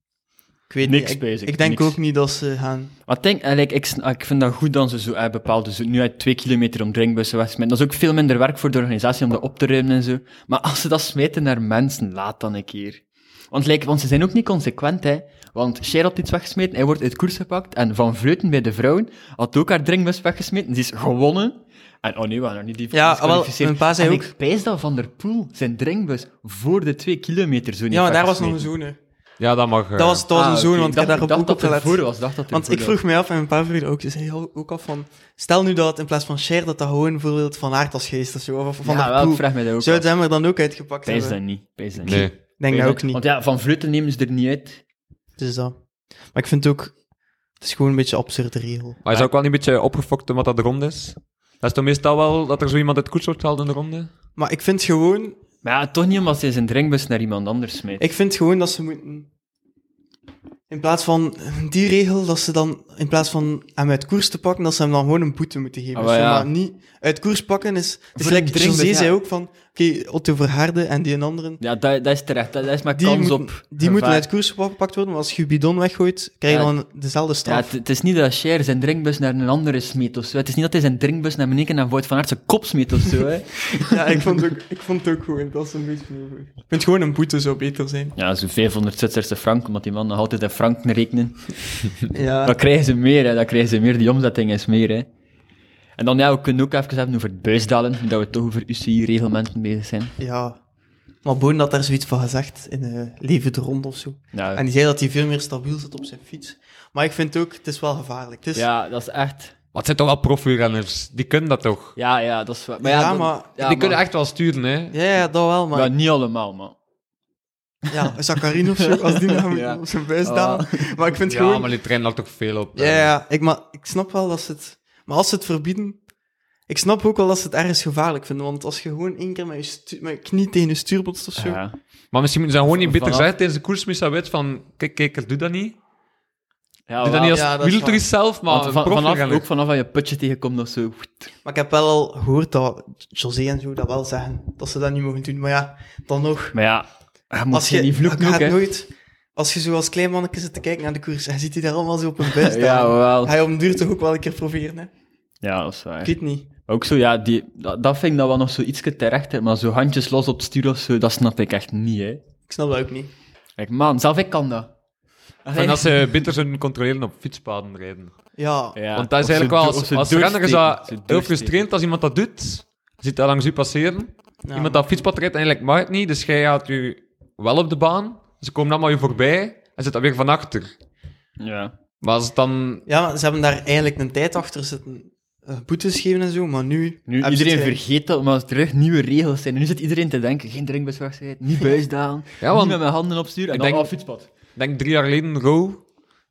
Speaker 2: ik weet
Speaker 1: niks
Speaker 2: niet, ik,
Speaker 1: bezig,
Speaker 2: ik denk
Speaker 1: niks.
Speaker 2: ook niet dat ze gaan...
Speaker 1: Maar ik denk, eigenlijk, ik, sn- ik vind dat goed dat ze zo eh, bepaald dus nu uit twee kilometer om drinkbussen wegsmijten. Dat is ook veel minder werk voor de organisatie om dat op te ruimen en zo. Maar als ze dat smijten naar mensen, laat dan een keer. Want, like, want ze zijn ook niet consequent, hè. Want Cher had iets weggesmeten, hij wordt uit koers gepakt. En Van Vleuten bij de vrouwen had ook haar drinkbus weggesmeten. Ze is gewonnen. En, oh nee, we gaan er niet die
Speaker 2: Ja,
Speaker 1: disqualificeerd.
Speaker 2: wel, een paar zei
Speaker 1: En
Speaker 2: ook-
Speaker 1: ik pijs dat Van der Poel zijn drinkbus voor de twee kilometer zo niet
Speaker 2: Ja, maar daar was nog een
Speaker 1: weggesmeten.
Speaker 2: zone.
Speaker 3: Ja, dat mag. eh,
Speaker 2: Dat was, dat was
Speaker 1: Ah,
Speaker 2: een zone,
Speaker 1: oké.
Speaker 2: want ik heb
Speaker 1: dacht-
Speaker 2: daarop
Speaker 1: dacht
Speaker 2: ook op
Speaker 1: dat
Speaker 2: gelet.
Speaker 1: ervoor was, dacht dat
Speaker 2: Want ik
Speaker 1: ervoor was.
Speaker 2: vroeg mij af, en een paar vrienden ook, ze zeiden al- ook af van... Stel nu dat het in plaats van share, dat dat gewoon bijvoorbeeld Van Aert als geest of zo, of Van
Speaker 1: ja,
Speaker 2: der
Speaker 1: wel,
Speaker 2: Poel.
Speaker 1: ik vraag mij dat ook
Speaker 2: Zou
Speaker 1: af.
Speaker 2: het hem er dan ook uitgepakt
Speaker 1: Pijs dat
Speaker 2: hebben?
Speaker 1: niet. Pijs dat niet.
Speaker 3: Nee.
Speaker 2: Ik denk dat
Speaker 1: Pijs
Speaker 2: ook niet.
Speaker 1: Want ja, Van Vleuten nemen ze er niet uit.
Speaker 2: Dus dat. Maar ik vind het ook... Het is gewoon een beetje een absurde regel.
Speaker 3: Maar is dat ook wel niet een beetje opgefokt omdat dat de ronde is? Dat is toch meestal wel dat er zo iemand uit koets wordt gehaald in de ronde?
Speaker 2: Maar ik vind gewoon...
Speaker 1: Maar ja, toch niet omdat ze zijn drinkbus naar iemand anders smijt.
Speaker 2: Ik vind gewoon dat ze moeten... In plaats van die regel, dat ze dan... In plaats van hem uit koers te pakken, dat ze hem dan gewoon een boete moeten geven.
Speaker 1: Ah,
Speaker 2: of
Speaker 1: wel,
Speaker 2: zo,
Speaker 1: ja.
Speaker 2: maar niet... Uit koers pakken is... Het is
Speaker 1: Voor
Speaker 2: like
Speaker 1: een drinkbus,
Speaker 2: José zei
Speaker 1: ja.
Speaker 2: ook van... Oké, Otto Verhaarde en die en anderen...
Speaker 1: Ja, dat, dat is terecht. Dat, dat is maar
Speaker 2: Die,
Speaker 1: kans
Speaker 2: moeten,
Speaker 1: op
Speaker 2: die moeten
Speaker 1: gevaar.
Speaker 2: uit koers gepakt worden, maar als je je bidon weggooit, krijg je
Speaker 1: Ja.
Speaker 2: dan dezelfde
Speaker 1: Ja,
Speaker 2: straf.
Speaker 1: het, het is niet dat Cher zijn drinkbus naar een andere smeet of zo. Het is niet dat hij zijn drinkbus naar meneer en Voigt van Aert zijn kop smeet of zo. Hè.
Speaker 2: Ja, ik, vond het ook, ik vond het ook gewoon, dat is een beetje... Ik vind gewoon een boete zou beter zijn.
Speaker 1: ja, zo'n 500 Zwitserse frank, omdat die man nog altijd in franken rekenen.
Speaker 2: Ja.
Speaker 1: Dan krijgen ze meer, hè. Dan krijgen ze meer. Die omzetting is meer, hè. En dan, ja, we kunnen ook even hebben over het buisdalen, nu dat we toch over UCI-reglementen bezig zijn.
Speaker 2: Ja. Maar Boon had daar zoiets van gezegd in eh Leven de Rond of zo.
Speaker 1: Ja,
Speaker 2: En die zei dat hij veel meer stabiel zit op zijn fiets. Maar ik vind ook, het is wel gevaarlijk. Het is,
Speaker 1: ja dat is echt...
Speaker 3: Wat zijn toch wel profrenners? Die kunnen dat toch?
Speaker 1: Ja, ja, dat is wel... Maar
Speaker 2: Ja,
Speaker 1: ja, dat-
Speaker 2: maar-
Speaker 1: ja,
Speaker 3: die kunnen echt wel sturen, hè?
Speaker 2: ja, ja, dat wel, maar...
Speaker 1: Maar niet allemaal, man.
Speaker 2: Ja, Zakarin of zo, als die nou
Speaker 1: Ja.
Speaker 2: op zijn buis
Speaker 1: Ah.
Speaker 2: dalen. Maar ik vind
Speaker 3: Ja,
Speaker 2: gewoon...
Speaker 3: maar die trainen daar toch veel op.
Speaker 2: Ja,
Speaker 3: eh.
Speaker 2: ja, ik, maar, ik snap wel dat ze het... Maar als ze het verbieden... Ik snap ook wel dat ze het ergens gevaarlijk vinden. Want als je gewoon één keer met je, stu- met je knie tegen je stuur botst of zo...
Speaker 1: Ja.
Speaker 3: Maar misschien moeten ze gewoon niet beter
Speaker 1: Vanaf-
Speaker 3: zeggen tijdens de koers, misschien weet van, kijk, kijk, doe dat niet.
Speaker 1: Ja,
Speaker 3: Doe dat
Speaker 1: wel.
Speaker 3: niet als
Speaker 2: ja, dat is
Speaker 3: wielter
Speaker 2: waar.
Speaker 3: zelf, maar
Speaker 1: Want
Speaker 3: een
Speaker 1: van, vanaf,
Speaker 3: profrenner.
Speaker 1: ook vanaf dat je putje tegenkomt of zo.
Speaker 2: Maar ik heb wel al gehoord dat José en zo dat wel zeggen. Dat ze dat niet mogen doen. Maar ja, dan nog...
Speaker 1: Maar ja, je Ah, moet
Speaker 2: Als je,
Speaker 1: je niet vloeken
Speaker 2: je
Speaker 1: ook,
Speaker 2: gaat
Speaker 1: hè.
Speaker 2: nooit... Als je zo als klein mannetje zit te kijken naar de koers, en ziet hij daar allemaal zo op een buis
Speaker 1: Ja,
Speaker 2: staan.
Speaker 1: wel.
Speaker 2: Hij om duur toch ook wel een keer proberen, hè?
Speaker 1: Ja, dat is
Speaker 2: Ik
Speaker 1: waar.
Speaker 2: weet niet.
Speaker 1: Ook zo, ja, die, dat, dat vind ik dan wel nog zo ietsje terecht, hè, maar zo handjes los op het stuur of zo, dat snap ik echt niet, hè.
Speaker 2: Ik snap dat ook niet.
Speaker 1: Kijk, man, zelf ik kan dat.
Speaker 3: En dat ze beter zouden controleren op fietspaden rijden.
Speaker 2: Ja.
Speaker 1: Ja,
Speaker 3: Want dat is
Speaker 1: of ze
Speaker 3: eigenlijk wel,
Speaker 1: do- of
Speaker 3: als,
Speaker 1: ze
Speaker 3: als renner is dat
Speaker 1: doorsteken, ze
Speaker 3: heel
Speaker 1: doorsteken.
Speaker 3: frustrerend als iemand dat doet. Je ziet dat langs u passeren.
Speaker 2: Ja,
Speaker 3: iemand dat fietspad rijdt en eigenlijk mag het niet, dus jij gaat u wel op de baan. Ze komen allemaal je voorbij en zit dan weer van achter.
Speaker 1: Ja.
Speaker 3: Maar als het dan...
Speaker 2: Ja, maar ze hebben daar eigenlijk een tijd achter zitten. eh, boetes geven en zo, maar nu...
Speaker 1: Nu,
Speaker 2: hebben ze
Speaker 1: iedereen
Speaker 2: het eigenlijk-
Speaker 1: vergeet dat, maar als er terug nieuwe regels zijn. En nu zit iedereen te denken, geen drinkbeswachtigheid, niet buisdalen,
Speaker 3: Ja, want
Speaker 1: niet met mijn handen op stuur en
Speaker 3: ik
Speaker 1: dan
Speaker 3: denk-
Speaker 1: oh, fietspad.
Speaker 3: ik denk drie jaar geleden Ro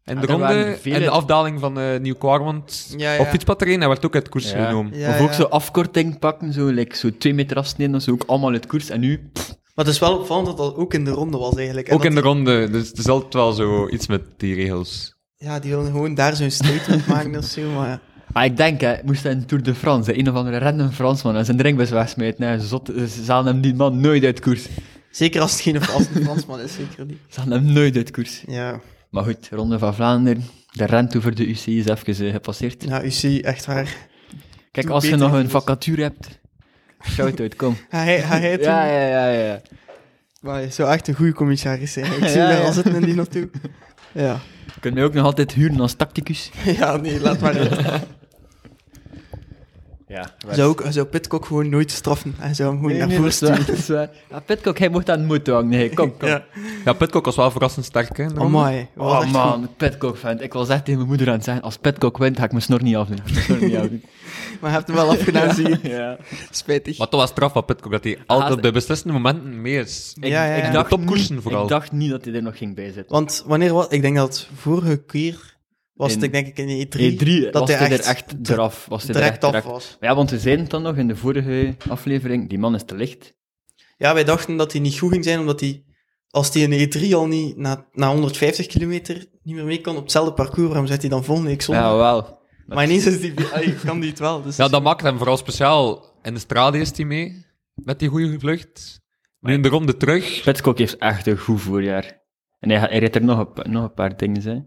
Speaker 3: en de
Speaker 1: daar
Speaker 3: ronde
Speaker 1: waren veel
Speaker 3: en de
Speaker 1: uit-
Speaker 3: afdaling van eh Nieuw-Kwarmond
Speaker 2: Ja, ja.
Speaker 3: op fietspad rijden, hij werd ook uit koers
Speaker 1: Ja.
Speaker 3: genomen.
Speaker 2: Ja,
Speaker 1: of ook
Speaker 2: ja.
Speaker 1: zo afkorting pakken, zo, like, zo twee meter afsnijden, dat is ook allemaal uit koers. En nu,
Speaker 2: Maar het is wel opvallend dat dat ook in de ronde was, eigenlijk. En
Speaker 3: Ook
Speaker 2: dat
Speaker 3: in de ronde, dus het is altijd wel zo iets met die regels.
Speaker 2: die- Ja, die willen gewoon daar zo'n statement maken of zo, maar... ja.
Speaker 1: Maar ah, ik denk, hè, moest hij in Tour de France, hè, een of andere random Fransman, en zijn drinkbus wegsmijten, hè, zot, ze halen hem die man nooit uit koers.
Speaker 2: Zeker als het geen als het een Fransman is, zeker niet.
Speaker 1: Ze halen hem nooit uit koers.
Speaker 2: Ja,
Speaker 1: Maar goed, Ronde van Vlaanderen, de rente voor de UCI is even eh, gepasseerd.
Speaker 2: ja UC, echt waar.
Speaker 1: Kijk,
Speaker 2: Doe
Speaker 1: als je
Speaker 2: beter,
Speaker 1: nog een
Speaker 2: jongens.
Speaker 1: vacature hebt, shout-out, kom.
Speaker 2: Ga hij, ga hij het doen?
Speaker 1: Ja, ja, ja, ja.
Speaker 2: Maar hij zou echt een goede commissaris zijn. Ik zie
Speaker 1: Ja,
Speaker 2: hem
Speaker 1: ja.
Speaker 2: al zitten in die naartoe. Ja.
Speaker 1: Je kunt mij ook nog altijd huren als tacticus.
Speaker 2: ja, nee, laat maar. Hij
Speaker 1: Ja,
Speaker 2: zou, ook, hij zou Pitcock gewoon nooit straffen. Hij zou hem gewoon
Speaker 1: Nee,
Speaker 2: naar
Speaker 1: nee,
Speaker 2: voren
Speaker 1: dat is
Speaker 2: sturen.
Speaker 1: waar, dat is waar. Ja, Pitcock, hij mocht aan de motor hangen. Nee, kom, kom.
Speaker 2: Ja.
Speaker 3: Ja, Pitcock was wel verrassend sterk, hè. in de ronde.
Speaker 2: Amai. dat was
Speaker 1: Oh
Speaker 2: echt
Speaker 1: man, Pitcock vent. Ik was echt tegen mijn moeder aan het zeggen, als Pitcock wint, ga ik mijn snor niet afdoen. Ga ik mijn snor niet afdoen.
Speaker 2: goed. Maar hij heeft hem wel afgedaan, zie je.
Speaker 1: ja.
Speaker 2: Spijtig.
Speaker 3: Maar toch was straf van Pitcock, dat hij altijd
Speaker 1: Haast-
Speaker 3: op de beslissende momenten mee is.
Speaker 1: Ik,
Speaker 2: Ja, ja, ja. Oh,
Speaker 1: ik dacht
Speaker 3: De topkoersen
Speaker 1: niet-
Speaker 3: vooral.
Speaker 1: Ik dacht niet dat hij er nog ging bij zitten.
Speaker 2: Want wanneer was... Ik denk dat het vorige keer was het,
Speaker 1: In-
Speaker 2: ik denk ik, in die E3.
Speaker 1: E3
Speaker 2: dat
Speaker 1: was hij er
Speaker 2: d-
Speaker 1: echt eraf. Was hij er
Speaker 2: direct
Speaker 1: echt
Speaker 2: af
Speaker 1: eraf.
Speaker 2: was.
Speaker 1: Maar ja, want we zeiden het dan nog in de vorige aflevering, die man is te licht.
Speaker 2: Ja, wij dachten dat hij niet goed ging zijn, omdat hij... Als hij in de E3 al niet na, na 150 kilometer niet meer mee kan op hetzelfde parcours, waarom zet hij dan volgende week zondag?
Speaker 1: Ja, wel.
Speaker 2: maar ineens is die, allee, kan die het wel. Dus
Speaker 3: Ja, dat maakt hem vooral speciaal. In de strade is hij mee. met die goede vlucht. Nu in de ronde terug.
Speaker 1: Pitcock heeft echt een goed voorjaar. En hij, hij reed er nog een, pa- nog een paar dingen, hè.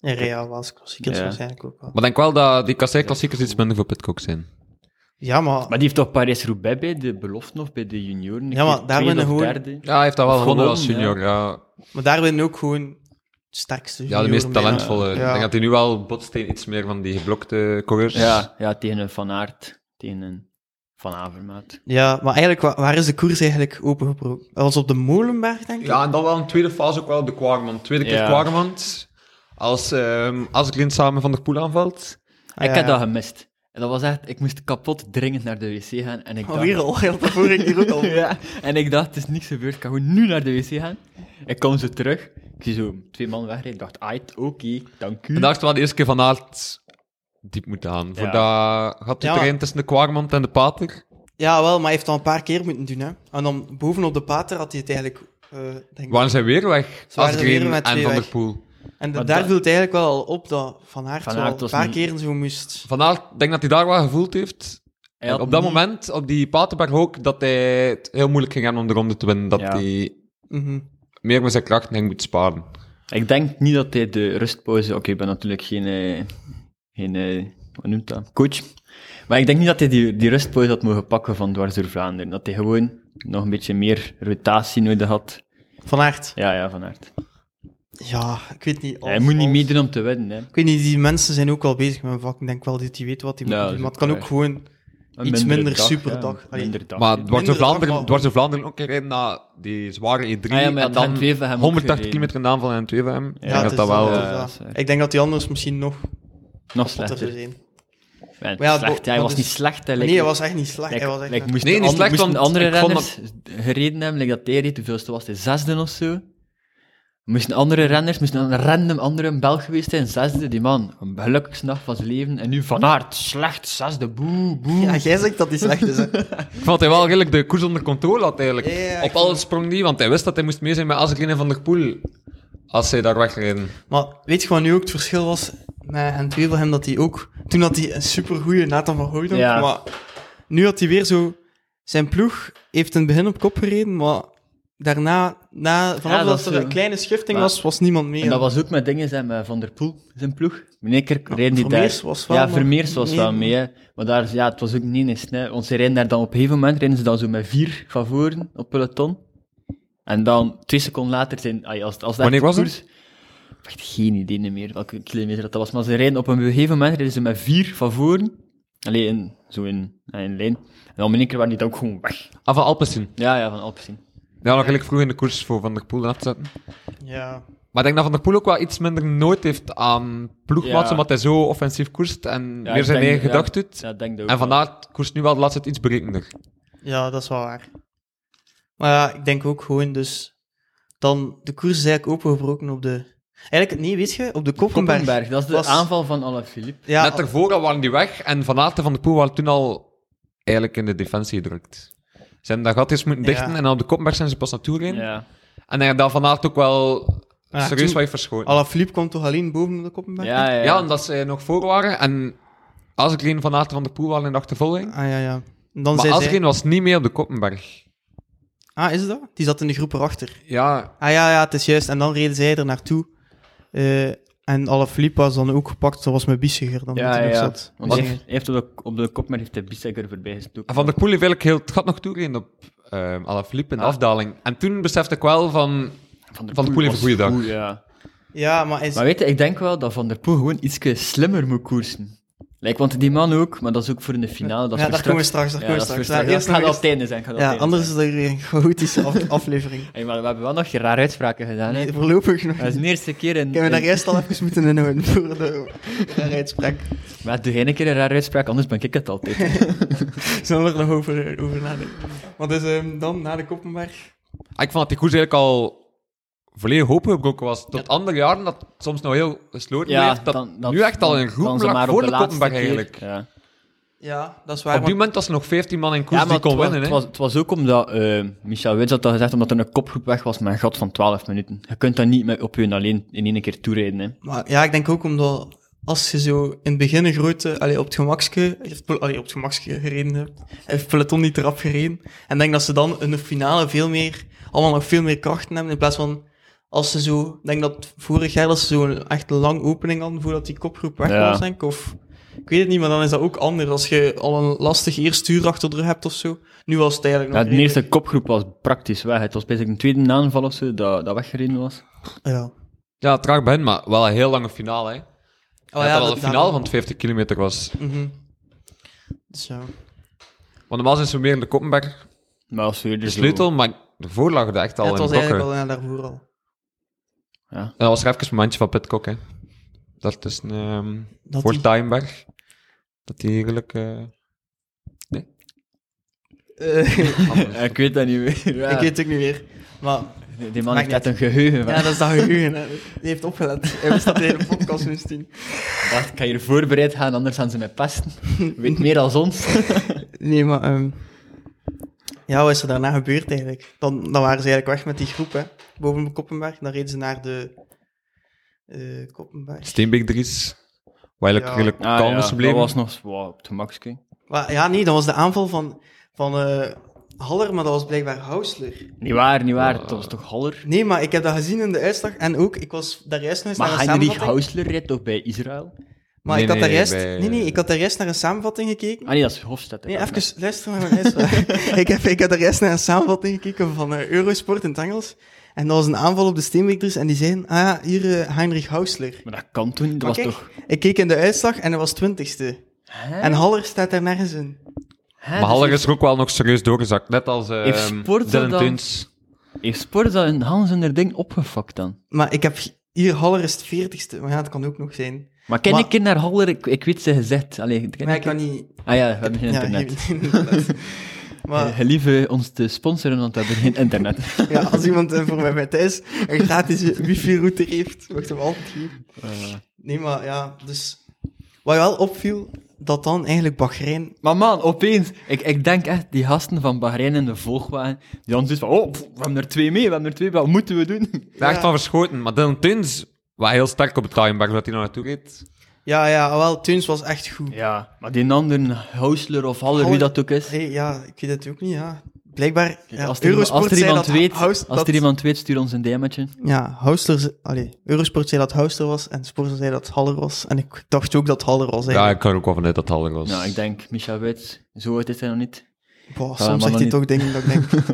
Speaker 2: En Real was klassiekers
Speaker 1: Ja.
Speaker 2: waarschijnlijk ook wel.
Speaker 3: Maar denk wel dat die kassei klassiekers iets minder voor Pitcock zijn.
Speaker 2: Ja, maar,
Speaker 1: Maar die heeft toch Parijs-Roubaix bij de belofte nog, bij de junioren?
Speaker 2: Ja, maar daar ben
Speaker 1: ben
Speaker 2: je gewoon-
Speaker 1: derde.
Speaker 3: Ja, hij heeft dat wel
Speaker 1: Of
Speaker 3: gewonnen als
Speaker 1: gewonnen,
Speaker 3: junior. Ja,
Speaker 2: maar daar ben je ook gewoon het sterkste.
Speaker 3: ja de meest
Speaker 2: junior mee.
Speaker 3: talentvolle. Ik
Speaker 2: Ja.
Speaker 3: denk dat hij nu wel botst tegen iets meer van die geblokte coureurs.
Speaker 1: Ja, ja, tegen een Van Aert, tegen een Van Avermaat.
Speaker 2: Ja, maar eigenlijk, wa- waar, is de koers eigenlijk opengebroken? Dat was op de Molenberg, denk ik.
Speaker 3: Ja, en dan wel een tweede fase ook wel de Kwarmand. Tweede keer
Speaker 1: Ja.
Speaker 3: Kwarmand. Als ehm Asgreen samen van der Poel aanvalt.
Speaker 2: Ah,
Speaker 1: ik
Speaker 2: ja,
Speaker 1: heb
Speaker 2: ja.
Speaker 1: dat gemist. En dat was echt, ik moest kapot dringend naar de wc gaan. En ik
Speaker 2: Oh,
Speaker 1: dacht-
Speaker 2: weer al, heel de vorige keer ook al.
Speaker 1: ja, en ik dacht, het is niks gebeurd, ik kan gewoon nu naar de wc gaan. Ik kom zo terug, ik zie zo twee man wegrijden. Ik dacht, aight, oké, dank u.
Speaker 3: En daar is wel de eerste keer van Aert diep moeten gaan. Voor dat gaat
Speaker 2: Ja,
Speaker 3: de
Speaker 2: maar-
Speaker 3: terrein tussen de Kwarmand en de Pater.
Speaker 2: Ja, wel, maar hij heeft dat een paar keer moeten doen. Hè. En dan bovenop de pater had hij het eigenlijk... eh, denk ik.
Speaker 3: Waren zij weer weg?
Speaker 2: Ze waren
Speaker 3: Asgreen
Speaker 2: weer
Speaker 3: en
Speaker 2: met twee
Speaker 3: Van der
Speaker 2: weg.
Speaker 3: Poel.
Speaker 2: En
Speaker 1: Maar
Speaker 2: daar
Speaker 1: dat-
Speaker 2: viel het eigenlijk wel al op dat Van Aert,
Speaker 1: Van
Speaker 2: wel
Speaker 1: Aert
Speaker 2: een
Speaker 1: was
Speaker 2: paar
Speaker 1: niet-
Speaker 2: keer zo moest...
Speaker 3: Van Aert, ik denk dat hij daar wel gevoeld heeft.
Speaker 1: Hij
Speaker 3: En
Speaker 1: had
Speaker 3: op dat
Speaker 1: niet-
Speaker 3: moment, op die Paterberg ook, dat hij het heel moeilijk ging hebben om de ronde te winnen. Dat
Speaker 1: Ja.
Speaker 3: hij
Speaker 2: Mhm.
Speaker 3: meer met zijn krachten ging moeten sparen.
Speaker 1: Ik denk niet dat hij de rustpauze... Oké, ik ben natuurlijk geen... eh, geen eh, hoe noemt dat? Coach. Maar ik denk niet dat hij die, die rustpauze had mogen pakken van dwars door Vlaanderen. Dat hij gewoon nog een beetje meer rotatie nodig had.
Speaker 2: Van Aert.
Speaker 1: Ja, ja, van harte.
Speaker 2: Ja, ik weet niet.
Speaker 1: Hij
Speaker 2: als-
Speaker 1: moet niet
Speaker 2: als-
Speaker 1: meedoen om te winnen, hè.
Speaker 2: Ik weet niet, die mensen zijn ook wel bezig met hun vak. Ik denk wel dat die weten wat die
Speaker 1: Ja,
Speaker 2: moeten
Speaker 1: dat
Speaker 2: doen.
Speaker 1: is
Speaker 2: Maar het
Speaker 1: ook
Speaker 2: kan ook
Speaker 1: waar.
Speaker 2: gewoon...
Speaker 1: Een
Speaker 2: Iets
Speaker 1: mindere
Speaker 2: minder superdag.
Speaker 1: ja,
Speaker 2: Allee.
Speaker 1: minder dag.
Speaker 3: Maar dwars
Speaker 2: Minder
Speaker 3: door
Speaker 2: dan
Speaker 3: Vlaanderen,
Speaker 2: maar-
Speaker 3: dwars door Vlaanderen ook een keer rijden naar die zware E3.
Speaker 1: Ah ja, maar
Speaker 3: en
Speaker 1: het
Speaker 3: dan
Speaker 1: Gent Weven hem ook
Speaker 3: 180
Speaker 1: gereden.
Speaker 3: kilometer in de aanval en 2 van hem.
Speaker 1: Ja,
Speaker 3: Ik denk
Speaker 2: het
Speaker 3: dat
Speaker 2: is
Speaker 3: dat wel...
Speaker 2: dat,
Speaker 1: eh,
Speaker 2: het is
Speaker 1: dat
Speaker 2: dat.
Speaker 1: is waar.
Speaker 2: Dus Ik denk dat die anders misschien nog
Speaker 1: nog
Speaker 2: potter
Speaker 1: slechter.
Speaker 2: zou zijn.
Speaker 1: Ja,
Speaker 2: Maar ja,
Speaker 1: slecht.
Speaker 2: bo-
Speaker 1: Hij
Speaker 2: maar
Speaker 1: was
Speaker 2: dus-
Speaker 1: niet slecht, hè.
Speaker 2: Nee,
Speaker 1: like-
Speaker 2: hij was echt niet slecht.
Speaker 1: like-
Speaker 2: hij was echt
Speaker 1: like,
Speaker 2: net-
Speaker 1: moest
Speaker 3: Nee,
Speaker 1: de
Speaker 3: niet
Speaker 1: an-
Speaker 3: slecht,
Speaker 1: moesten
Speaker 3: want
Speaker 1: andere
Speaker 3: ik vond
Speaker 1: renners gereden hebben, like dat hij reed, hoeveelste was hij? Zesde of zo? Moesten andere renners, moesten een random andere een Belg geweest zijn, zesde, die man, een gelukkigste nacht van zijn leven, en nu Van Aert, slecht, zesde, boe, boe.
Speaker 2: Ja, jij zegt dat hij slecht is. hè.
Speaker 3: Ik vond dat hij wel redelijk de koers onder controle had, eigenlijk.
Speaker 2: Ja, ja, ja, ik
Speaker 3: Op alles sprong die, want hij wist dat hij moest mee zijn met Asgreen en Van der Poel. Als zij daar wegreden.
Speaker 2: maar weet je wat nu ook het verschil was met hen hem dat hij ook... Toen had hij een supergoeie Nathan van Hooydonk,
Speaker 1: Ja.
Speaker 2: maar nu had hij weer zo... Zijn ploeg heeft in het begin op kop gereden, maar daarna, na, vanaf
Speaker 1: Ja, dat
Speaker 2: dat,
Speaker 1: is
Speaker 2: er
Speaker 1: zo.
Speaker 2: een kleine schifting
Speaker 1: Maar-
Speaker 2: was, was niemand meer.
Speaker 1: En dat was ook met dingen zijn met Van der Poel, zijn ploeg. Meneer Kerk reed die
Speaker 2: Vermeers
Speaker 1: daar.
Speaker 2: was wel
Speaker 1: ja,
Speaker 2: nog-
Speaker 1: Vermeers was
Speaker 2: nee.
Speaker 1: wel mee. hè. Maar daar, ja, het was ook niet eens. Hè. Want ze rijden daar dan op een gegeven moment rijden ze dan zo met vier van voren op peloton. En dan twee seconden later zijn. ai, Als, als dat
Speaker 3: Wanneer
Speaker 1: echt
Speaker 3: was
Speaker 1: koers- Ik heb echt geen idee meer welke kilometer dat was. Maar ze rijden op een gegeven moment rijden ze met vier van voren. Alleen in, zo in, in een lijn. En dan in één keer waren die dan ook gewoon weg.
Speaker 3: Ah, van Alpecin.
Speaker 1: Ja, ja, van Alpecin.
Speaker 3: Ja, nog redelijk vroeg in de koers voor Van der Poel af te zetten.
Speaker 2: Ja.
Speaker 3: Maar ik denk dat Van der Poel ook wel iets minder nood heeft aan ploegmaats,
Speaker 1: Ja.
Speaker 3: omdat hij zo offensief koerst en
Speaker 1: Ja,
Speaker 3: meer
Speaker 1: ik
Speaker 3: zijn
Speaker 1: denk-
Speaker 3: eigen
Speaker 1: ja,
Speaker 3: gedacht doet.
Speaker 1: Ja, ik denk dat ook
Speaker 3: En
Speaker 1: wel.
Speaker 3: vandaar koerst nu wel de laatste tijd iets berekender.
Speaker 2: Ja, dat is wel waar. Maar ja, ik denk ook gewoon dus... Dan, de koers is eigenlijk opengebroken op de... Eigenlijk, nee, weet je, op de Koppenberg.
Speaker 1: Koppenberg, dat is de
Speaker 2: was-
Speaker 1: aanval van Alaphilippe.
Speaker 2: Ja,
Speaker 3: Net daarvoor al waren die weg en Van Aert en Van der Poel waren toen al eigenlijk in de defensie gedrukt. Ze hebben dat gat eens moeten
Speaker 2: Ja.
Speaker 3: dichten en dan op de kopberg zijn ze pas naartoe gereden.
Speaker 1: Ja.
Speaker 3: En hij had daar Van Aert ook wel
Speaker 2: Ja,
Speaker 3: serieus
Speaker 2: toen-
Speaker 3: wat heeft verschoten.
Speaker 2: Alaphilippe kwam toch alleen boven op de Koppenberg?
Speaker 1: Ja, ja,
Speaker 3: Ja, omdat ze nog voor waren en Asgreen, Van Aert en Van der Poel waren in de achtervolging.
Speaker 2: Ah, ja, ja. En dan
Speaker 3: Maar
Speaker 2: zei
Speaker 3: Asgreen
Speaker 2: zij...
Speaker 3: was niet meer op de koppenberg.
Speaker 2: Ah, is het dat? Die zat in de groep erachter.
Speaker 3: Ja,
Speaker 2: Ah, ja, ja, het is juist. En dan reden zij er naartoe. Eh, en Alaphilippe was dan ook gepakt, zoals met Bissiger dan
Speaker 1: Ja,
Speaker 2: toen
Speaker 1: ja,
Speaker 2: nog
Speaker 1: ja.
Speaker 2: zat.
Speaker 1: Want hij heeft, hij heeft op, de, op de kopmerk heeft hij Bissegger voorbij gestoken.
Speaker 3: En Van der Poel heeft eigenlijk heel het gat nog toegereden op ehm Alaphilippe in de
Speaker 1: Ah.
Speaker 3: afdaling. En toen besefte ik wel van...
Speaker 1: Van
Speaker 3: Van der Poel heeft
Speaker 1: was
Speaker 3: een goede dag.
Speaker 1: goed, ja.
Speaker 2: Ja, maar hij is...
Speaker 1: Maar weet je, ik denk wel dat Van der Poel gewoon iets slimmer moet koersen. Like, want die man ook, maar dat is ook voor in de finale. Dat is
Speaker 2: ja, daar
Speaker 1: voor
Speaker 2: komen we
Speaker 1: straks.
Speaker 2: straks, daar
Speaker 1: Ja,
Speaker 2: komen we
Speaker 1: dat is voor
Speaker 2: straks.
Speaker 1: straks.
Speaker 2: Ja, eerst
Speaker 1: Ik ga
Speaker 2: nog
Speaker 1: dat
Speaker 2: eens-
Speaker 1: op het einde zijn. ik ga dat op
Speaker 2: Ja,
Speaker 1: het einde
Speaker 2: anders is er weer een chaotische af- aflevering.
Speaker 1: zijn. Hey, maar we hebben wel nog geen rare uitspraken gedaan. Hè?
Speaker 2: Nee, voorlopig nog
Speaker 1: Dat is de eerste keer in...
Speaker 2: Ik heb me daar
Speaker 1: in-
Speaker 2: eerst al even moeten inhouden voor de uitspraak.
Speaker 1: Maar doe geen keer een rare uitspraak, anders ben ik het altijd.
Speaker 2: Zullen we er nog over, over nadenken? Want dus, ehm, dan, na de Koppenberg...
Speaker 3: Ah, Ik vond dat die koers eigenlijk al volledig opengebroken was. Tot andere jaren dat het soms nog heel gesloten bleef. Dat
Speaker 1: dan-
Speaker 3: nu echt al een
Speaker 1: dan-
Speaker 3: groep
Speaker 1: dan ze
Speaker 3: lag
Speaker 1: maar op
Speaker 3: voor
Speaker 1: de
Speaker 3: de
Speaker 1: laatste
Speaker 3: Koppenberg
Speaker 1: keer.
Speaker 3: eigenlijk.
Speaker 1: Ja.
Speaker 2: Ja, dat is waar.
Speaker 3: op die moment was er nog 15 man in koers
Speaker 1: Ja, maar
Speaker 3: die kon
Speaker 1: het, was,
Speaker 3: winnen.
Speaker 1: het, was,
Speaker 3: hè.
Speaker 1: het was ook omdat eh, Michel Wits had dat gezegd, omdat er een kopgroep weg was met een gat van 12 minuten. Je kunt dat niet met op hun alleen in één keer toerijden. Hè.
Speaker 2: Maar ja, ik denk ook omdat als je zo in het begin een grote, allee, op het gemakske, heeft Pel- allee, op het gemakske gereden hebt, heeft peloton niet eraf gereden. En denk dat ze dan in de finale veel meer, allemaal nog veel meer krachten hebben, in plaats van als ze zo, denk dat vorig jaar dat ze zo'n echt lang opening hadden voordat die kopgroep weg
Speaker 1: Ja.
Speaker 2: was, denk ik, of... Ik weet het niet, maar dan is dat ook anders als je al een lastig eerste uur achter de rug hebt of zo. Nu was het eigenlijk nog
Speaker 1: Ja, de
Speaker 2: redelijk-
Speaker 1: eerste kopgroep was praktisch weg. Het was bezig een tweede aanval of zo dat, dat weggereden was.
Speaker 2: Ja.
Speaker 3: Ja, traag ben, maar wel een heel lange finale. Hè.
Speaker 2: Oh,
Speaker 3: ja, dat wel
Speaker 2: dat-
Speaker 3: een finale van 50 kilometer was.
Speaker 2: Mhm. Dus ja.
Speaker 3: Want normaal zijn ze meer in de Koppenberg
Speaker 1: Maar als we dus
Speaker 3: de sleutel, maar daarvoor lag het echt al
Speaker 2: Ja,
Speaker 3: in
Speaker 2: het was
Speaker 3: Brokken.
Speaker 2: eigenlijk al ja, daarvoor al.
Speaker 3: En dat was er even een momentje van Pitcock, hè. Dat is een... ehm,
Speaker 2: Dat
Speaker 3: voor
Speaker 2: die-
Speaker 3: Tuinberg. Dat die eigenlijk... eh,
Speaker 2: Eh,
Speaker 3: anders-
Speaker 1: Ik weet dat niet meer. Ja.
Speaker 2: Ik weet het ook niet meer. Maar
Speaker 1: Die- Die man
Speaker 2: Maakt
Speaker 1: heeft net een geheugen.
Speaker 2: ja, dat is dat geheugen. hè. Die heeft opgelet. Hij wist dat de hele podcast moest doen.
Speaker 1: Wacht, ik ga hier voorbereid gaan, anders gaan ze mij pesten. Weet meer dan ons.
Speaker 2: Nee, maar... ehm, ja, wat is er daarna gebeurd eigenlijk? Dan, dan waren ze eigenlijk weg met die groep, hè. Boven de Koppenberg. Dan reden ze naar de... eh Koppenberg.
Speaker 3: Steenbeek Dries. Waar eigenlijk
Speaker 2: Ja.
Speaker 3: redelijk kalm
Speaker 1: Ah,
Speaker 3: is
Speaker 1: dat
Speaker 3: gebleven.
Speaker 1: was nog wow, op het gemakske.
Speaker 2: Maar, ja, nee, dat was de aanval van, van eh, Haller, maar dat was blijkbaar Hausler.
Speaker 1: Niet waar, niet waar. Dat was toch Haller?
Speaker 2: Nee, maar ik heb dat gezien in de uitslag. En ook, ik was daar juist nog eens naar
Speaker 1: Maar
Speaker 2: een
Speaker 1: Heinrich
Speaker 2: samenvatting.
Speaker 1: Hausler reed toch bij Israël?
Speaker 2: Maar
Speaker 3: Nee,
Speaker 2: ik had
Speaker 3: nee,
Speaker 2: daar juist...
Speaker 3: bij-
Speaker 2: Nee, nee, ik had daar juist naar een samenvatting gekeken.
Speaker 1: Ah nee, dat is Hofstad. hè.
Speaker 2: Nee, even luister naar mijn uitspraak. ik, heb, ik heb er eerst naar een samenvatting gekeken van eh, Eurosport in het Engels. En dat was een aanval op de Steenwikers en die zeiden, ah ja, hier eh, Heinrich Hausler.
Speaker 1: Maar dat kan toen niet. Dat
Speaker 2: Maar
Speaker 1: was
Speaker 2: kijk,
Speaker 1: toch...
Speaker 2: Ik keek in de uitslag en hij was twintigste.
Speaker 1: Hè?
Speaker 2: En Haller staat daar nergens in.
Speaker 1: Hè,
Speaker 3: Maar
Speaker 1: dus
Speaker 3: Haller
Speaker 1: heeft-
Speaker 3: is er ook wel nog serieus doorgezakt. Net als ehm
Speaker 1: Heeft Sporza
Speaker 3: Dylan
Speaker 1: dan-
Speaker 3: Teuns.
Speaker 1: Heeft Sport dat in Hans en haar ding opgefakt dan?
Speaker 2: Maar ik heb hier, Haller is het veertigste. Maar ja, dat kan ook nog zijn.
Speaker 1: Maar ken
Speaker 2: Maar-
Speaker 1: ik keer naar Haller? Ik, ik weet ze gezegd. Allee, ken
Speaker 2: Maar
Speaker 1: ik-
Speaker 2: ik kan niet...
Speaker 1: Ah ja, we hebben geen
Speaker 2: ja,
Speaker 1: internet.
Speaker 2: geen internet. maar
Speaker 1: Eh, Lieve ons te sponsoren, want we hebben geen internet.
Speaker 2: ja, als iemand eh, voor mij bij thuis een gratis wifi-router heeft, mag ik hem altijd geven.
Speaker 1: Eh.
Speaker 2: Nee, maar ja, dus... Wat wel opviel, dat dan eigenlijk Bahrein
Speaker 1: maar man, opeens, ik, ik denk echt, die gasten van Bahrein en de Volkswagen, die ons dus van, oh, pff, we hebben er twee mee, we hebben er twee, wat moeten we doen?
Speaker 3: Daar
Speaker 2: Ja.
Speaker 3: Echt van verschoten. Maar Dylan Teuns was heel sterk op de Tuinberg, dat hij nog naartoe reed.
Speaker 2: Ja, ja, wel, Tunes was echt goed.
Speaker 1: Ja, maar die andere, Hausler of Haller, wie
Speaker 2: Haller-
Speaker 1: dat ook is,
Speaker 2: Hey, ja, ik weet het ook niet, ja. Blijkbaar, ja,
Speaker 1: als er,
Speaker 2: Eurosport
Speaker 1: als er
Speaker 2: zei
Speaker 1: iemand
Speaker 2: dat
Speaker 1: weet,
Speaker 2: Haus-
Speaker 1: als
Speaker 2: dat-
Speaker 1: er iemand weet, stuur ons een DM'tje.
Speaker 2: Ja, Hausler... ze- Allee, Eurosport zei dat Hausler was en Sporza zei dat Haller was. En ik dacht ook dat Haller was,
Speaker 3: Ja,
Speaker 2: eigenlijk.
Speaker 3: ik kan er ook wel vanuit dat Haller was.
Speaker 1: Nou, ik denk, Micha Wits, zo oud is hij nog niet.
Speaker 2: Boah,
Speaker 1: maar
Speaker 2: soms zegt
Speaker 1: dan
Speaker 2: hij
Speaker 1: niet.
Speaker 2: toch dingen dat ik denk...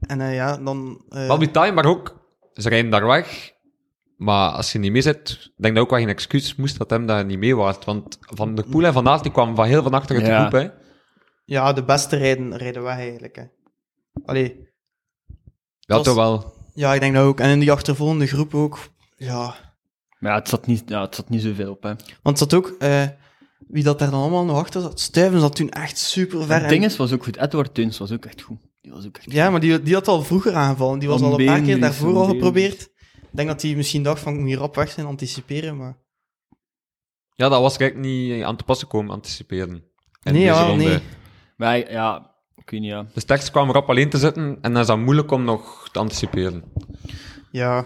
Speaker 2: en eh, ja, dan... eh,
Speaker 3: Maar op die Tuinberg ook. Ze rijden daar weg. Maar als je niet mee zit, denk dat ook wel geen excuus moest dat hem daar niet mee was. Want Van der Poel en Van Aert die kwamen van heel van achter uit
Speaker 1: Ja.
Speaker 3: de groep. Hè.
Speaker 2: ja, de beste rijden, rijden weg, eigenlijk, hè. Allee,
Speaker 3: Ja,
Speaker 2: was-
Speaker 3: toch wel.
Speaker 2: ja, ik denk dat ook. En in die achtervolgende groep ook, ja...
Speaker 1: Maar ja, het zat niet, ja, het zat niet zoveel op, hè.
Speaker 2: Want zat ook, eh, wie dat daar dan allemaal nog achter zat, Stuyven zat toen echt super ver.
Speaker 1: Het ding is, was ook goed, Edward Teuns was ook echt goed. Die was ook echt
Speaker 2: Ja, maar die, die had al vroeger aangevallen. Die was al een paar keer
Speaker 1: Been,
Speaker 2: daarvoor
Speaker 1: Dries,
Speaker 2: al
Speaker 1: Van
Speaker 2: geprobeerd. Ik denk dat hij misschien dacht van, ik moet hier rap weg zijn, anticiperen, maar...
Speaker 3: Ja, dat was eigenlijk niet aan te passen komen, anticiperen. In
Speaker 2: nee,
Speaker 3: deze
Speaker 2: ja,
Speaker 3: ronde.
Speaker 2: nee.
Speaker 1: Maar hij- ja, ik weet niet, ja.
Speaker 3: De sterkste kwamen rap alleen te zitten en dan is dat moeilijk om nog te anticiperen.
Speaker 2: Ja. Maar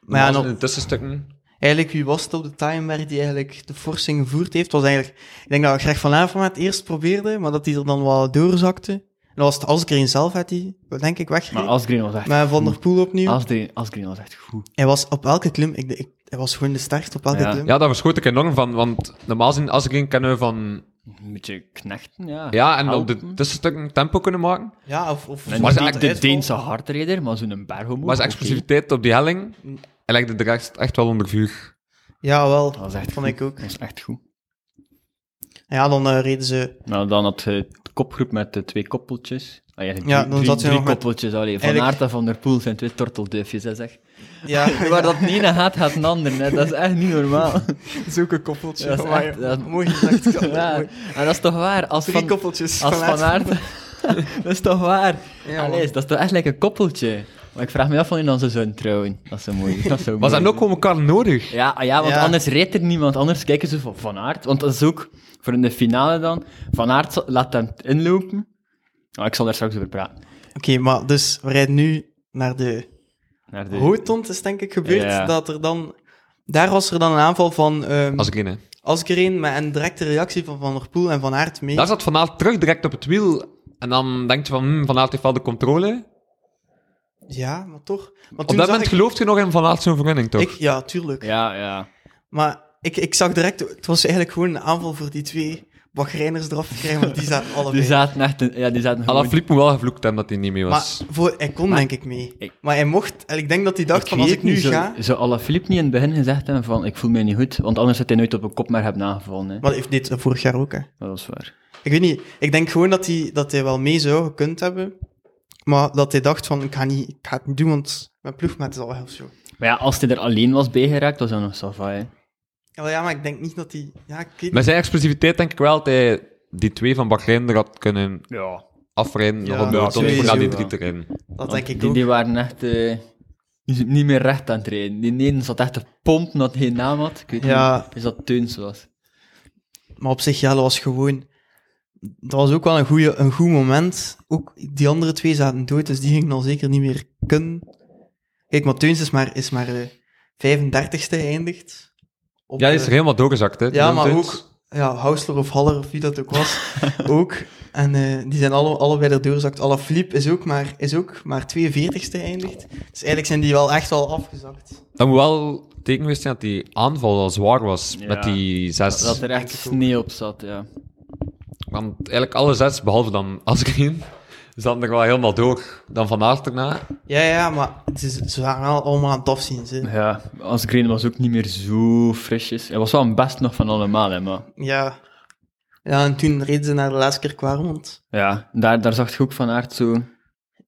Speaker 3: Maar
Speaker 2: ja,
Speaker 3: in
Speaker 2: nog,
Speaker 3: de tussenstukken.
Speaker 2: eigenlijk, wie was het op de timer die eigenlijk de forsing gevoerd heeft? was eigenlijk... Ik denk dat Greg van Avermaet het eerst probeerde, maar dat hij er dan wel doorzakte. En dat was het Asgreen zelf, had hij, denk ik,
Speaker 1: Maar
Speaker 2: weggereden. Maar,
Speaker 1: Asgreen was echt
Speaker 2: Van der Poel opnieuw.
Speaker 1: Asgreen, Asgreen was echt goed.
Speaker 2: Hij was op elke klim... Ik, ik- hij was gewoon de sterkste op elke
Speaker 1: Ja.
Speaker 2: klim.
Speaker 3: Ja, daar verschoot ik enorm van, want normaal zien als ik een kennen we van...
Speaker 1: Een beetje knechten, ja.
Speaker 3: Ja, en op de
Speaker 1: Helpen.
Speaker 3: tussenstukken tempo kunnen maken.
Speaker 2: Ja, of... of
Speaker 1: En
Speaker 3: Maar
Speaker 1: niet
Speaker 3: ze-
Speaker 1: de
Speaker 2: uitval.
Speaker 1: Deense hardrijder, maar zo'n berg omhoog.
Speaker 3: Maar zijn
Speaker 1: oké.
Speaker 3: explosiviteit op die helling, hij legde de rest echt wel onder vuur.
Speaker 2: Ja, wel.
Speaker 1: Dat was echt
Speaker 2: vond
Speaker 1: goed.
Speaker 2: ik ook.
Speaker 1: Dat was echt goed.
Speaker 2: Ja, dan eh, reden ze...
Speaker 1: Nou, dan had je de kopgroep met de twee koppeltjes. Ah, ja,
Speaker 2: Ja,
Speaker 1: drie,
Speaker 2: dan
Speaker 1: drie,
Speaker 2: zat je
Speaker 1: drie
Speaker 2: nog met-
Speaker 1: koppeltjes. Allee, van
Speaker 2: Eigenlijk-
Speaker 1: Aert en Van der Poel zijn twee tortelduifjes, hè, zeg.
Speaker 2: Ja,
Speaker 1: Waar dat de ene gaat, gaat een ander. Hè. Dat is echt niet normaal.
Speaker 2: Zulke koppeltje.
Speaker 1: Dat is
Speaker 2: Amai,
Speaker 1: echt- dat is-
Speaker 2: Mooi gezegd. Kat,
Speaker 1: ja,
Speaker 2: mooi.
Speaker 1: en dat is toch waar? Als
Speaker 2: Drie
Speaker 1: van,
Speaker 2: koppeltjes.
Speaker 1: als
Speaker 2: vanuit-
Speaker 1: van Aert... dat is toch waar?
Speaker 2: Ja,
Speaker 1: Allee,
Speaker 2: man.
Speaker 1: dat is toch echt lekker een koppeltje. Maar ik vraag me af wanneer dan ze zouden trouwen. Dat is zo moeilijk. Dat is zo
Speaker 3: Maar ze
Speaker 1: moeilijk.
Speaker 3: hebben ook gewoon elkaar nodig.
Speaker 1: Ja, ah ja want
Speaker 2: Ja.
Speaker 1: anders reed er niemand. Anders kijken ze van Van Aert. Want dat is ook voor in de finale dan. Van Aert zal- laat hem inlopen. Ah, ik zal daar straks over praten.
Speaker 2: Oké, maar dus we rijden nu naar de
Speaker 1: Naar de...
Speaker 2: Hoogtond is denk ik gebeurd.
Speaker 1: Ja.
Speaker 2: Dat er dan... Daar was er dan een aanval van ehm
Speaker 3: Als ik in, hè.
Speaker 2: Asgreen met een directe reactie van Van der Poel en Van Aert mee.
Speaker 3: Daar zat Van Aert terug direct op het wiel. En dan denk je van, hmm, Van Aert heeft wel de controle.
Speaker 2: Ja, maar toch. Maar
Speaker 3: Op
Speaker 2: toen zag
Speaker 3: dat moment
Speaker 2: ik,
Speaker 3: gelooft je nog in Van Aert zijn vergunning, toch?
Speaker 2: ik, Ja, tuurlijk.
Speaker 1: Ja, ja.
Speaker 2: Maar ik, ik zag direct, het was eigenlijk gewoon een aanval voor die twee Bahreiners eraf te krijgen, want die zaten allebei.
Speaker 1: Die zaten echt... in- Ja, die zaten gewoon...
Speaker 3: Alaphilippe moet wel gevloekt hebben dat hij niet mee was.
Speaker 2: Maar voor, hij kon denk ik mee.
Speaker 1: ik-
Speaker 2: maar hij mocht, en ik denk dat hij dacht van
Speaker 1: weet
Speaker 2: als ik
Speaker 1: het
Speaker 2: nu
Speaker 1: niet, zou-
Speaker 2: ga...
Speaker 1: Zou Alaphilippe niet in het begin gezegd hebben van ik voel mij niet goed, want anders had hij nooit op een kop maar hebben aangevallen. Hè.
Speaker 2: Maar dat heeft dit eh, vorig jaar ook, hè.
Speaker 1: Dat is waar.
Speaker 2: Ik weet niet, ik denk gewoon dat hij, dat hij wel mee zou gekund hebben. Maar dat hij dacht van, ik ga, niet, ik ga het niet doen, want mijn ploegmaat is al weg of zo.
Speaker 1: Maar ja, als hij er alleen was bijgeraakt, was dat nog Sava, hè.
Speaker 2: Ja, wel, ja, maar ik denk niet dat hij... Ja, ik weet niet.
Speaker 3: Met zijn explosiviteit denk ik wel dat hij die twee van Bahrein er had kunnen
Speaker 1: Ja.
Speaker 2: Ja,
Speaker 3: afrijden. nog een marathon
Speaker 2: sowieso
Speaker 3: voor naar die
Speaker 2: wel.
Speaker 3: drie te rijden.
Speaker 2: Dat denk ik
Speaker 1: die,
Speaker 2: ook.
Speaker 1: die waren echt... eh, niet- niet meer recht aan het rijden. Die ene zat echt te pompen dat hij geen naam had. Ik weet
Speaker 2: Ja.
Speaker 1: niet, is dat Teuns was.
Speaker 2: Maar op zich, ja, dat was gewoon... Dat was ook wel een, goeie, een goed moment. Ook die andere twee zaten dood, dus die gingen al zeker niet meer kunnen. Kijk, Mateuns is maar, is maar eh, 35ste geëindigd. Op,
Speaker 3: Ja, die is
Speaker 2: eh,
Speaker 3: er helemaal doorgezakt, hè.
Speaker 2: Ja, maar
Speaker 3: Teuns.
Speaker 2: ook ja, Hausler of Haller of wie dat ook was, ook. En eh, die zijn alle, allebei erdoor gezakt. Alaphilippe is ook maar, is ook maar 42ste geëindigd. Dus eigenlijk zijn die wel echt al afgezakt.
Speaker 3: Dat moet wel teken geweest zijn dat die aanval wel zwaar was
Speaker 1: Ja.
Speaker 3: met die zes.
Speaker 1: Dat er echt
Speaker 2: denk ik ook.
Speaker 1: sneeuw op zat, ja.
Speaker 3: Want eigenlijk alle zes, behalve dan Asgreen, zaten er wel helemaal door. Dan Van Aert erna.
Speaker 2: Ja, ja, maar het is, ze waren wel allemaal aan het afzien. Ze.
Speaker 1: Ja, als Green was ook niet meer zo frisjes. Hij was wel een best nog van allemaal, hè, maar...
Speaker 2: Ja. ja, en toen reden ze naar de laatste keer Kwaremond.
Speaker 1: Ja, daar, daar zag je ook Van Aert zo...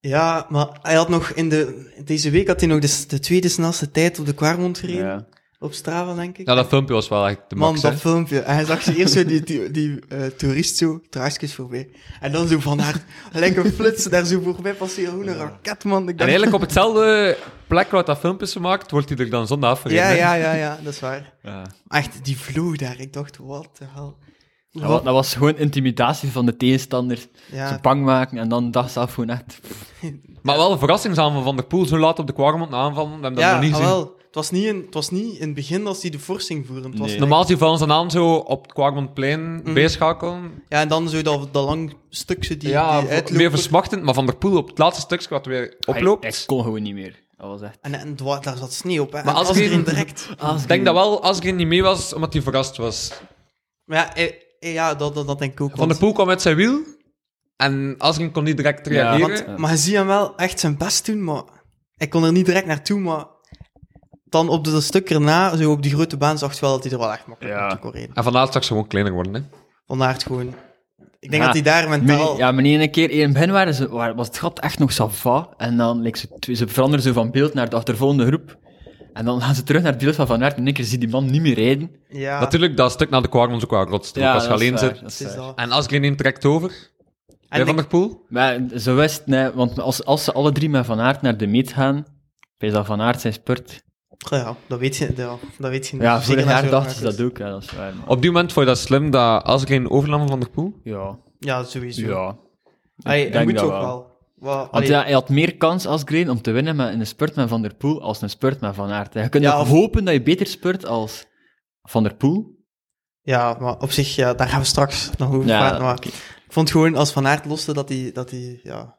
Speaker 2: Ja, maar hij had nog in de, deze week had hij nog de, s- de tweede snelste tijd op de Kwaremond gereden.
Speaker 1: Ja.
Speaker 2: Op Strava, denk ik.
Speaker 3: Ja, dat filmpje was wel echt de
Speaker 2: Man,
Speaker 3: max, hè.
Speaker 2: dat filmpje. En hij zag ze eerst zo die, die, die eh, toerist zo traagjes voorbij. En dan zo van haar, gelijk een flits, daar zo voorbij passeren. Hoe een raket, man. Ik
Speaker 3: En
Speaker 2: dacht-
Speaker 3: eigenlijk op hetzelfde plek waar dat filmpje is gemaakt, wordt hij er dan zondag afgereden.
Speaker 2: ja,
Speaker 3: hè.
Speaker 2: ja, ja, ja, dat is waar.
Speaker 3: Ja.
Speaker 2: Echt, die vloog daar. Ik dacht, wat de hel.
Speaker 1: Dat wa- dat was gewoon intimidatie van de tegenstanders. Ze
Speaker 2: Ja,
Speaker 1: bang maken en dan dacht ze af gewoon echt...
Speaker 3: Maar wel een verrassingsaanval van der Poel, zo laat op de kwarmond aanvallen. We hebben dat
Speaker 2: ja ah,
Speaker 3: nog niet gezien.
Speaker 2: wel. Het was, niet in, het was niet in het begin als die de forsing voeren. Het was
Speaker 1: Nee.
Speaker 3: Dus Normaal zien vallen ze aan zo op het Kwarmondplein bijschakelen.
Speaker 2: Ja, en dan zo dat, dat lang stukje Mhm. die,
Speaker 3: Ja,
Speaker 2: die
Speaker 3: vo-
Speaker 2: uitloper.
Speaker 3: meer versmachtend, maar Van der Poel op het laatste stukje wat weer oploopt.
Speaker 1: Hij, hij kon gewoon niet meer. Dat was echt...
Speaker 2: En, en dwa- daar zat sneeuw op. Hè.
Speaker 3: Maar
Speaker 2: En
Speaker 3: als
Speaker 2: Asgreen
Speaker 3: Asgreen-
Speaker 2: direct...
Speaker 3: Ik denk dat wel Asgreen niet mee was, omdat hij verrast was.
Speaker 2: Maar ja, eh, eh, ja dat, dat, dat denk ik ook.
Speaker 3: Van
Speaker 2: want-
Speaker 3: der Poel kwam met zijn wiel en Asgreen kon niet direct reageren.
Speaker 1: Ja.
Speaker 2: Maar je ziet hem wel echt zijn best doen, maar hij kon er niet direct naartoe, maar dan op dat stuk erna, zo op die grote baan, zag je wel dat hij er wel echt makkelijk
Speaker 1: Ja.
Speaker 2: naartoe kon reden.
Speaker 3: En Van Aert zag ze gewoon kleiner worden. Hè.
Speaker 2: Ah. Vandaar het gewoon... Ik denk
Speaker 1: Ja,
Speaker 2: dat hij daar mentaal...
Speaker 1: Nee, ja, maar niet ene keer in het begin waren ze, waar- was het gat echt nog sava. En dan like, ze, twee- ze veranderen ze van beeld naar de achtervolgende groep. En dan gaan ze terug naar het beeld van Van Aert. En in één keer zie je die man niet meer rijden.
Speaker 2: Ja,
Speaker 3: Natuurlijk, dat stuk naar de Kwarmond is ook wel rotst. ook als je
Speaker 1: dat is
Speaker 3: alleen
Speaker 1: waar,
Speaker 3: zit.
Speaker 1: dat is
Speaker 2: het is
Speaker 1: waar.
Speaker 2: dat.
Speaker 3: En Asgreen neemt direct over.
Speaker 2: En
Speaker 3: bij Van
Speaker 2: ik-
Speaker 3: der Poel.
Speaker 1: Maar ze wist, nee, want als, als ze alle drie met Van Aert naar de meet gaan, is dat Van Aert zijn spurt.
Speaker 2: ja, dat weet je, ja, dat weet je niet.
Speaker 1: Ja, vorig
Speaker 2: na
Speaker 1: jaar
Speaker 2: zo'n
Speaker 1: dachten ze
Speaker 2: raket.
Speaker 1: dat ook, ja, dat is waar. maar-
Speaker 3: Op die moment vond je dat slim dat Asgreen overnam van Van der Poel.
Speaker 1: Ja,
Speaker 2: Ja, sowieso.
Speaker 1: ja.
Speaker 2: Allee,
Speaker 1: Ik
Speaker 2: hij
Speaker 1: denk
Speaker 2: moet
Speaker 1: dat
Speaker 2: ook
Speaker 1: wel.
Speaker 2: wel. Wat-
Speaker 1: Want
Speaker 2: allee,
Speaker 1: ja, hij had meer kans als Green om te winnen met een spurt met Van der Poel als een spurt met Van Aert. Je kunt
Speaker 2: Ja,
Speaker 1: ook
Speaker 2: of-
Speaker 1: hopen dat je beter spurt als Van der Poel.
Speaker 2: ja, maar op zich, ja, daar gaan we straks nog over
Speaker 1: Ja,
Speaker 2: praten. Maar
Speaker 1: oké.
Speaker 2: ik vond gewoon, als Van Aert loste, dat hij, dat hij ja...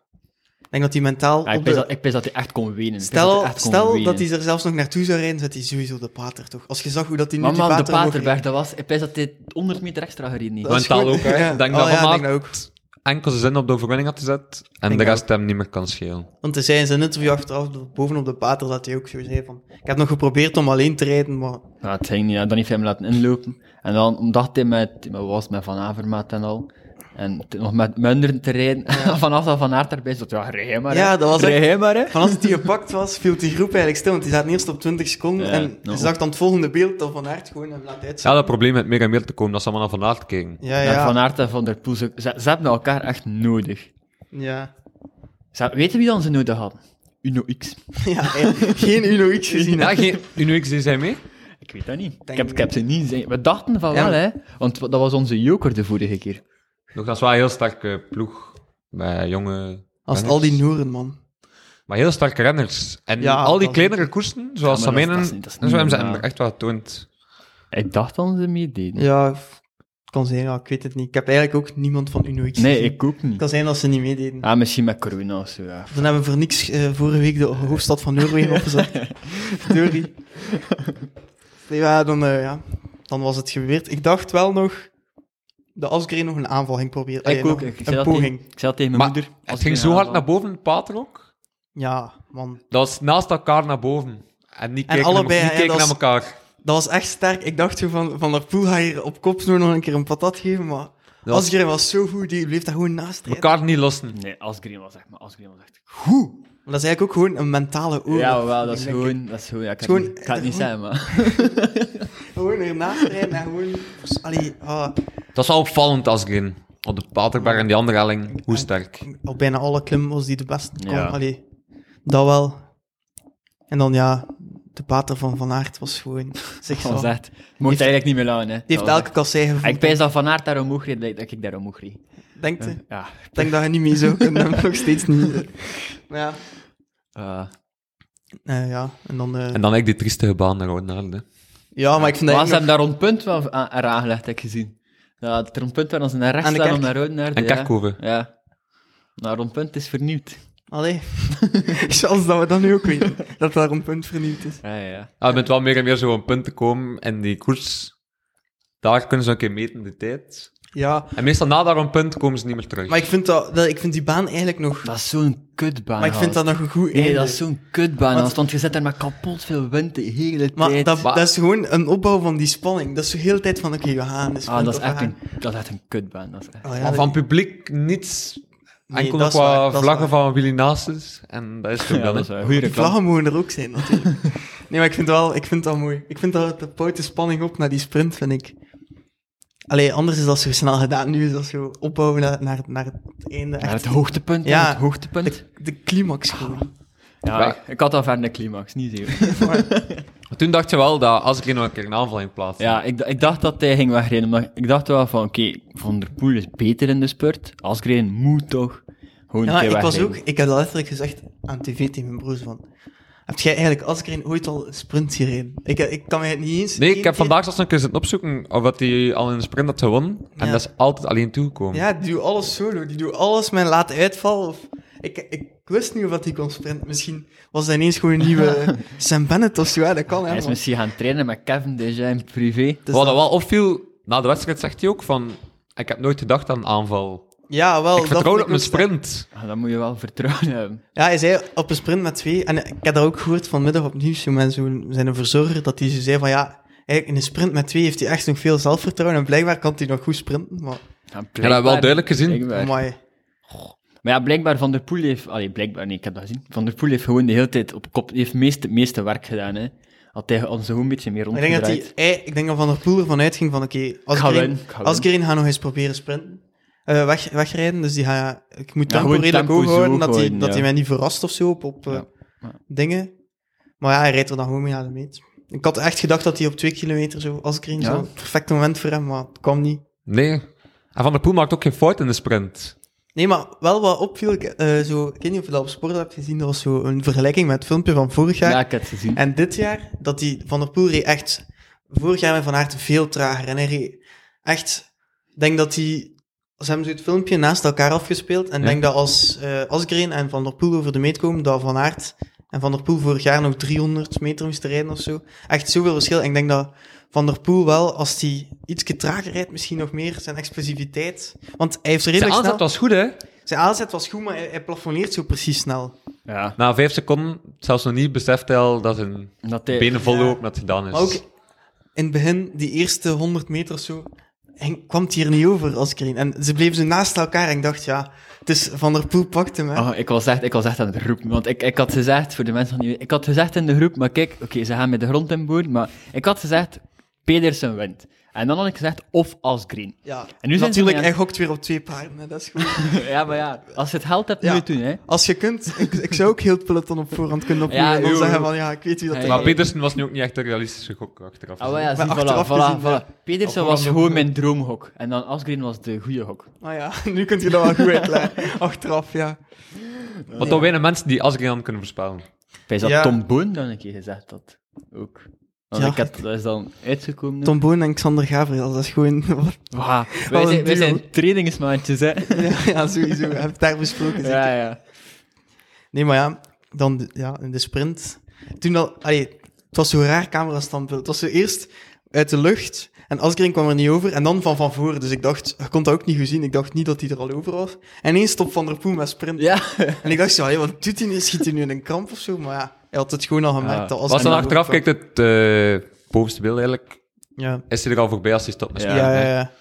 Speaker 2: Ik denk dat hij mentaal...
Speaker 1: Ja, ik
Speaker 2: op de-
Speaker 1: pijs dat- ik pijs dat hij echt kon wenen. Ik pijs dat
Speaker 2: Stel,
Speaker 1: hij echt kon
Speaker 2: stel
Speaker 1: wenen.
Speaker 2: dat hij er zelfs nog naartoe zou rijden, zet hij sowieso de pater toch? Als je zag hoe dat hij nu
Speaker 1: Maar
Speaker 2: die
Speaker 1: man, de
Speaker 2: pater omhoog
Speaker 1: Paterberg, dat was... Ik pijs dat hij 100 meter extra gereden heeft.
Speaker 2: Dat is
Speaker 3: Mentaal
Speaker 2: goed.
Speaker 3: ook, hè.
Speaker 2: Ja.
Speaker 3: Denk
Speaker 2: Oh
Speaker 3: dat
Speaker 2: ja,
Speaker 3: Van
Speaker 2: denk dat
Speaker 3: Aert
Speaker 2: ook.
Speaker 3: enkel zijn zin op de overwinning had gezet en
Speaker 2: Denk
Speaker 3: de
Speaker 2: dat
Speaker 3: rest hem niet meer kan schelen.
Speaker 2: recht. Want hij zei in zijn interview achteraf, dat bovenop de pater, dat hij ook zo zei van... Ik heb nog geprobeerd om alleen te rijden, maar...
Speaker 1: Ja, het ging niet. hè. Dan heeft hij hem laten inlopen. En dan, omdat hij met, met was met Van Avermaat en al, en t- nog met Munderen te rijden, vanaf dat Van Aert erbij zat, ja, rij jij maar.
Speaker 2: Ja,
Speaker 1: hè.
Speaker 2: dat was
Speaker 1: Rij
Speaker 2: echt-
Speaker 1: jij maar, hè.
Speaker 2: Van als hij gepakt was, viel die groep eigenlijk stil, want die zaten eerst op 20 seconden.
Speaker 1: Ja,
Speaker 2: en
Speaker 1: nou.
Speaker 2: je zag dan het volgende beeld dat Van Aert gewoon hem laat
Speaker 3: Ja,
Speaker 2: uitzetten.
Speaker 3: dat probleem met meer en meer te komen, dat ze allemaal naar Van Aert kijken.
Speaker 2: Ja,
Speaker 1: En Van
Speaker 2: ja.
Speaker 1: Aert en Van der Poel, ze, ze- ze hebben elkaar echt nodig.
Speaker 2: Ja,
Speaker 1: Ze, weten wie dan ze nodig hadden? Uno X.
Speaker 2: ja. hij heeft geen Uno X gezien. hè.
Speaker 3: Ja, geen Unuix is hij mee.
Speaker 1: Ik weet dat niet. Ik
Speaker 2: Denk
Speaker 1: heb, ik heb ze niet gezien. We dachten van
Speaker 2: Ja,
Speaker 1: wel,
Speaker 2: maar-
Speaker 1: hè. Want dat was onze joker de vorige keer.
Speaker 3: Nog dat is wel een heel sterke ploeg bij jonge.
Speaker 2: Als
Speaker 3: renners.
Speaker 2: al die Noeren, man.
Speaker 3: Maar heel sterke renners. En
Speaker 2: Ja,
Speaker 3: al die
Speaker 2: dat-
Speaker 3: kleinere koersen, zoals
Speaker 1: Ja, maar dat-
Speaker 3: Samenen,
Speaker 1: dat is niet- dat is
Speaker 3: en zo hebben
Speaker 1: niet
Speaker 3: ze hem
Speaker 1: normaal.
Speaker 3: echt wel getoond.
Speaker 1: Ik dacht dat ze meededen.
Speaker 2: Ja, f- het kan zijn, ja, ik weet het niet. Ik heb eigenlijk ook niemand van Uno X
Speaker 1: Nee,
Speaker 2: gezien.
Speaker 1: ik ook
Speaker 2: Het
Speaker 1: niet.
Speaker 2: kan zijn dat Ah, ze niet meededen.
Speaker 1: Ah, misschien met corona of zo, ja.
Speaker 2: Dan hebben we voor niks eh, vorige week de hoofdstad van Noorwegen opgezet. Verdorie. Nee, ja, dan, eh, ja, dan was het gebeurd. Ik dacht wel nog dat Asgreen nog een aanval ging proberen.
Speaker 1: Ik
Speaker 2: Eh,
Speaker 1: ook.
Speaker 2: nog
Speaker 1: Ik zei
Speaker 2: een
Speaker 1: dat tegen-
Speaker 2: poging.
Speaker 1: Ik zei dat tegen mijn
Speaker 3: Maar
Speaker 1: moeder. als
Speaker 3: Het
Speaker 1: ik
Speaker 3: ging
Speaker 1: een
Speaker 3: zo hard
Speaker 1: aanval-
Speaker 3: naar boven, het pater ook.
Speaker 2: Ja, man.
Speaker 3: Dat was naast elkaar naar boven. En niet kijken,
Speaker 2: allebei,
Speaker 3: naar,
Speaker 2: hè,
Speaker 3: niet kijken
Speaker 2: dat
Speaker 3: naar
Speaker 2: is-
Speaker 3: elkaar.
Speaker 2: Dat was echt sterk. Ik dacht zo van, van der Poel ga je op kopsnoer nog een keer een patat geven, maar
Speaker 3: Dat was
Speaker 2: Asgreen was zo goed, die bleef daar gewoon naast rijden.
Speaker 3: elkaar niet lossen.
Speaker 1: Nee, Asgreen was echt... Maar Asgreen was echt...
Speaker 2: Goed. Maar dat is eigenlijk ook gewoon een mentale oorlog.
Speaker 1: Ja, wel, dat
Speaker 2: Ik
Speaker 1: is
Speaker 2: denk,
Speaker 1: gewoon... Dat is gewoon... Ja, ik ga
Speaker 2: Gewoon-
Speaker 1: het niet- ik ga het niet zeggen, maar...
Speaker 2: Gewoon ernaast rijden en gewoon... Allee, ah,
Speaker 3: Dat is wel opvallend, Asgreen. Op de Paterberg en die andere helling. Hoe sterk.
Speaker 2: op bijna alle klimmen was die de beste. Kom,
Speaker 1: Ja.
Speaker 2: allee, dat wel. En dan ja, de pater van Van Aert was gewoon
Speaker 1: Dat was
Speaker 2: zichzelf.
Speaker 1: echt... Mocht eigenlijk niet meer lachen, hè.
Speaker 2: Die
Speaker 1: Dat
Speaker 2: heeft
Speaker 1: was
Speaker 2: elke kassei
Speaker 1: echt-
Speaker 2: gevoeld.
Speaker 1: Ik pijs dat Van Aert daar omhoog reed, dat ik daar omhoog reed.
Speaker 2: Denk, je? Ik
Speaker 1: Ja.
Speaker 2: denk dat je niet mee zou kunnen, nog steeds niet. Maar ja,
Speaker 1: eh,
Speaker 2: eh, ja. en dan... eh,
Speaker 3: En dan ik die triestige baan naar Oudenaarde.
Speaker 2: ja, maar ik vind dat
Speaker 1: Maar ze
Speaker 2: eigenlijk
Speaker 1: hebben daar rond punt wel aan- eraan gelegd, heb ik gezien. Dat er een punt waar ze naar rechts
Speaker 2: Aan de
Speaker 1: staan om
Speaker 2: kerk.
Speaker 1: naar rood naar de...
Speaker 3: En Kerkhoven.
Speaker 1: Ja. ja. Maar rond punt is vernieuwd.
Speaker 2: nog- Allee, chance dat we dat nu ook weten. Dat daar een punt vernieuwd is.
Speaker 1: Ja, ja, ja.
Speaker 3: Ah, je bent wel meer en meer zo op een punt te komen in die koers. Daar kunnen ze een keer meten de tijd.
Speaker 2: Ja,
Speaker 3: En meestal na daar een punt komen ze niet meer terug.
Speaker 2: maar ik vind, dat, dat, ik vind die baan eigenlijk nog...
Speaker 1: Dat is zo'n kutbaan.
Speaker 2: Maar ik vind
Speaker 1: gast.
Speaker 2: dat nog een goed
Speaker 1: Nee,
Speaker 2: einde.
Speaker 1: dat is zo'n kutbaan,
Speaker 2: Want-
Speaker 1: want, want je zet daar maar kapot veel wind de hele
Speaker 2: Maar
Speaker 1: tijd.
Speaker 2: dat,
Speaker 3: Maar-
Speaker 2: dat is gewoon een opbouw van die spanning. Dat is de hele tijd van, oké, we gaan. Dus
Speaker 1: ah, dat, is echt een, dat is echt een kutbaan. Dat is echt...
Speaker 2: Oh, ja,
Speaker 3: Maar
Speaker 2: dat-
Speaker 3: van publiek niets.
Speaker 2: Nee,
Speaker 3: Enkel
Speaker 2: dat
Speaker 3: nog
Speaker 2: is waar, dat
Speaker 3: wat
Speaker 2: is
Speaker 3: vlaggen
Speaker 2: waar.
Speaker 3: van Willy Nasus. En dat is het ook dan, hè.
Speaker 1: goede
Speaker 2: Die vlaggen mogen er ook zijn, natuurlijk. nee, maar ik vind, wel, ik vind dat mooi. Ik vind dat het bouwt de spanning op naar die sprint, vind ik. Allee, anders is dat zo snel gedaan. Nu is dat zo opbouwen naar, naar, naar het einde.
Speaker 1: Naar
Speaker 2: Echt
Speaker 1: het hoogtepunt,
Speaker 2: Ja.
Speaker 1: ja. het hoogtepunt.
Speaker 2: de climax
Speaker 3: Ah,
Speaker 2: gewoon.
Speaker 1: Ja,
Speaker 3: Ja.
Speaker 1: Ik, ik had al ver de climax, niet zeker.
Speaker 3: Maar Toen dacht je wel dat als ik nog een keer een aanval in plaats.
Speaker 1: ja, ik, d- ik dacht dat hij ging wegrijden, maar ik dacht wel van, oké, Van der Poel is beter in de spurt. Asgreen moet toch gewoon
Speaker 2: Ja,
Speaker 1: een
Speaker 2: maar
Speaker 1: keer
Speaker 2: ik was
Speaker 1: wegrijden.
Speaker 2: ook... Ik had letterlijk gezegd aan tv tegen mijn broers van... Heb jij eigenlijk als ik er ooit al een sprint gereden? Ik, ik kan mij het niet eens...
Speaker 3: Nee,
Speaker 2: één
Speaker 3: ik heb
Speaker 2: keer-
Speaker 3: vandaag zelfs een keer zitten opzoeken of dat hij al in de sprint had gewonnen. En
Speaker 2: Ja.
Speaker 3: dat is altijd alleen toegekomen.
Speaker 2: Ja, die doet alles solo. Die doet alles met een late uitval. Of... Ik, ik wist niet of dat die kon sprinten. Misschien was dat ineens gewoon een nieuwe Sam Bennett of zo. Ja, dat kan, hè.
Speaker 1: Hij is
Speaker 2: man.
Speaker 1: misschien gaan trainen met Kevin Deja in privé.
Speaker 2: Dus dat-
Speaker 3: Wat dat wel opviel, na de wedstrijd zegt hij ook van... Ik heb nooit gedacht aan een aanval.
Speaker 2: Ja, wel.
Speaker 3: ik
Speaker 2: Oh, dat
Speaker 3: vertrouw
Speaker 2: vond
Speaker 3: op mijn
Speaker 2: ook sterk.
Speaker 3: sprint.
Speaker 1: Ah, dan moet je wel vertrouwen hebben.
Speaker 2: Ja, hij zei op een sprint met twee. En ik heb dat ook gehoord vanmiddag op nieuws. Zo met zo'n zijn verzorger dat hij zo zei van ja... Eigenlijk in een sprint met twee heeft hij echt nog veel zelfvertrouwen. En blijkbaar kan hij nog goed sprinten. Maar
Speaker 1: Ja,
Speaker 3: hebben we wel duidelijk gezien.
Speaker 1: blijkbaar.
Speaker 2: amai.
Speaker 1: Maar ja, blijkbaar Van der Poel heeft... Allee, blijkbaar niet, ik heb dat gezien. Van der Poel heeft gewoon de hele tijd op kop... heeft meest, het meeste werk gedaan, hè. Had hij ons gewoon een beetje meer
Speaker 2: Ik denk,
Speaker 1: rondgedraaid.
Speaker 2: dat die, hij, ik denk dat Van der Poel ervan uitging van, oké, als
Speaker 1: ga
Speaker 2: Asgreen,
Speaker 1: winnen, ik ga
Speaker 2: Asgreen gaat nog eens proberen sprinten. eh, weg, wegrijden, dus die ga, ik moet tempo
Speaker 1: gewoon
Speaker 2: redelijk
Speaker 1: tempo
Speaker 2: hoog
Speaker 1: zo
Speaker 2: houden, dat,
Speaker 1: houden,
Speaker 2: hij, dat
Speaker 1: ja.
Speaker 2: hij mij niet verrast of zo op, op eh,
Speaker 1: Ja, ja.
Speaker 2: dingen. Maar ja, hij rijdt er dan gewoon mee naar de meet. Ik had echt gedacht dat hij op twee kilometer zo, Asgreen,
Speaker 1: Ja.
Speaker 2: zo het perfecte moment voor hem, maar het kwam niet.
Speaker 3: Nee. En Van der Poel maakt ook geen fout in de sprint.
Speaker 2: Nee, maar wel wat opviel, ik, eh, zo, ik weet niet of je dat op sport hebt gezien, dat was zo een vergelijking met het filmpje van vorig jaar.
Speaker 1: Ja, ik heb het gezien.
Speaker 2: En dit jaar, dat die Van der Poel reed echt... Vorig jaar met Van Aert veel trager. En hij reed echt... Ik denk dat hij... Ze hebben zo het filmpje naast elkaar afgespeeld. En ik
Speaker 3: Ja.
Speaker 2: denk dat als eh Asgreen en Van der Poel over de meet komen, dat Van Aert en Van der Poel vorig jaar nog 300 meter moest rijden of zo. Echt zoveel verschil. En ik denk dat Van der Poel wel, als hij iets trager rijdt, misschien nog meer zijn explosiviteit. Want hij heeft
Speaker 3: Zijn
Speaker 2: redelijk
Speaker 3: aanzet
Speaker 2: snel...
Speaker 3: was goed, hè.
Speaker 2: Zijn aanzet was goed, maar hij, hij plafonneert zo precies snel.
Speaker 1: Ja.
Speaker 3: Na vijf seconden, zelfs nog niet, beseft hij al dat zijn
Speaker 1: Dat hij...
Speaker 3: benen vol
Speaker 2: Ja.
Speaker 3: lopen, dat het
Speaker 1: Dus
Speaker 3: gedaan is.
Speaker 2: Maar ook in het begin, die eerste 100 meter of zo, en kwam het hier niet over als Green. En ze bleven zo naast elkaar en ik dacht, ja, het is Van der Poel pakt hem. Hè.
Speaker 1: Oh, ik, was echt, ik was echt aan het roepen, want ik, ik had gezegd, voor de mensen die niet weten, ik had gezegd in de groep, maar kijk, oké, ze gaan met de grond in boeren, maar ik had gezegd, Pedersen wint. En dan had ik gezegd, of Asgreen.
Speaker 2: ja.
Speaker 1: En nu zijn ze mee
Speaker 2: Natuurlijk,
Speaker 1: aan-
Speaker 2: hij gokt weer op twee paarden, hè. dat is goed.
Speaker 1: ja, maar ja, als je het geld hebt,
Speaker 2: Ja.
Speaker 1: moet je het doen, hè.
Speaker 2: Als je kunt, ik, ik zou ook heel het peloton op voorhand kunnen opnemen
Speaker 1: Ja,
Speaker 2: en dan
Speaker 1: joh,
Speaker 2: zeggen
Speaker 1: joh.
Speaker 2: van, ja, ik weet wie dat
Speaker 1: Ja,
Speaker 2: is.
Speaker 3: Maar Petersen was nu ook niet echt een realistische gok achteraf.
Speaker 1: Ah, wel ja, zie,
Speaker 2: achteraf
Speaker 1: voilà, voilà,
Speaker 2: gezien, ja.
Speaker 1: voilà. Pedersen
Speaker 3: Of
Speaker 1: was
Speaker 3: Orlando
Speaker 1: gewoon mijn droomhok. En dan Asgreen was de goede hok.
Speaker 2: Maar ja, nu kunt je dat wel goed uitleggen, achteraf, ja.
Speaker 3: Wat dan weinig mensen die Asgreen kunnen voorspellen.
Speaker 1: Bij dat
Speaker 2: Ja.
Speaker 1: Tom Boon dan een keer gezegd dat ook. Want
Speaker 2: Ja.
Speaker 1: ik had, dat is dan uitgekomen.
Speaker 2: Tom Boon en Xander Gabriel, dat is gewoon...
Speaker 1: Wa,
Speaker 2: Wat
Speaker 1: wij,
Speaker 2: een
Speaker 1: zijn, wij
Speaker 2: duo.
Speaker 1: zijn trainingsmaatjes, hè.
Speaker 2: ja, ja, sowieso. We hebben het daar besproken. zeker.
Speaker 1: ja, ja.
Speaker 2: Nee, maar ja, dan de- ja, in de sprint. Toen dat, allee, het was zo'n raar camerastandbeeld. Het was zo eerst uit de lucht en Asgreen kwam er niet over en dan van van voren. Dus ik dacht, ik kon dat ook niet goed zien. Ik dacht niet dat hij er al over was. En ineens stopt Van der Poel met sprint.
Speaker 1: Ja.
Speaker 2: En ik dacht zo, allee, wat doet hij nu? Schiet hij nu in een kramp of zo? Maar ja, hij had het gewoon al gemerkt.
Speaker 1: Ja.
Speaker 2: Dat
Speaker 3: Als
Speaker 2: Asgreen
Speaker 3: dan
Speaker 2: er
Speaker 3: achteraf
Speaker 2: over
Speaker 3: kijkt het eh, bovenste beeld eigenlijk,
Speaker 2: kwam. Ja.
Speaker 3: is hij er al voorbij als hij stopt met
Speaker 1: Ja.
Speaker 2: Ja,
Speaker 3: spelen.
Speaker 2: ja,
Speaker 3: hè.
Speaker 2: ja.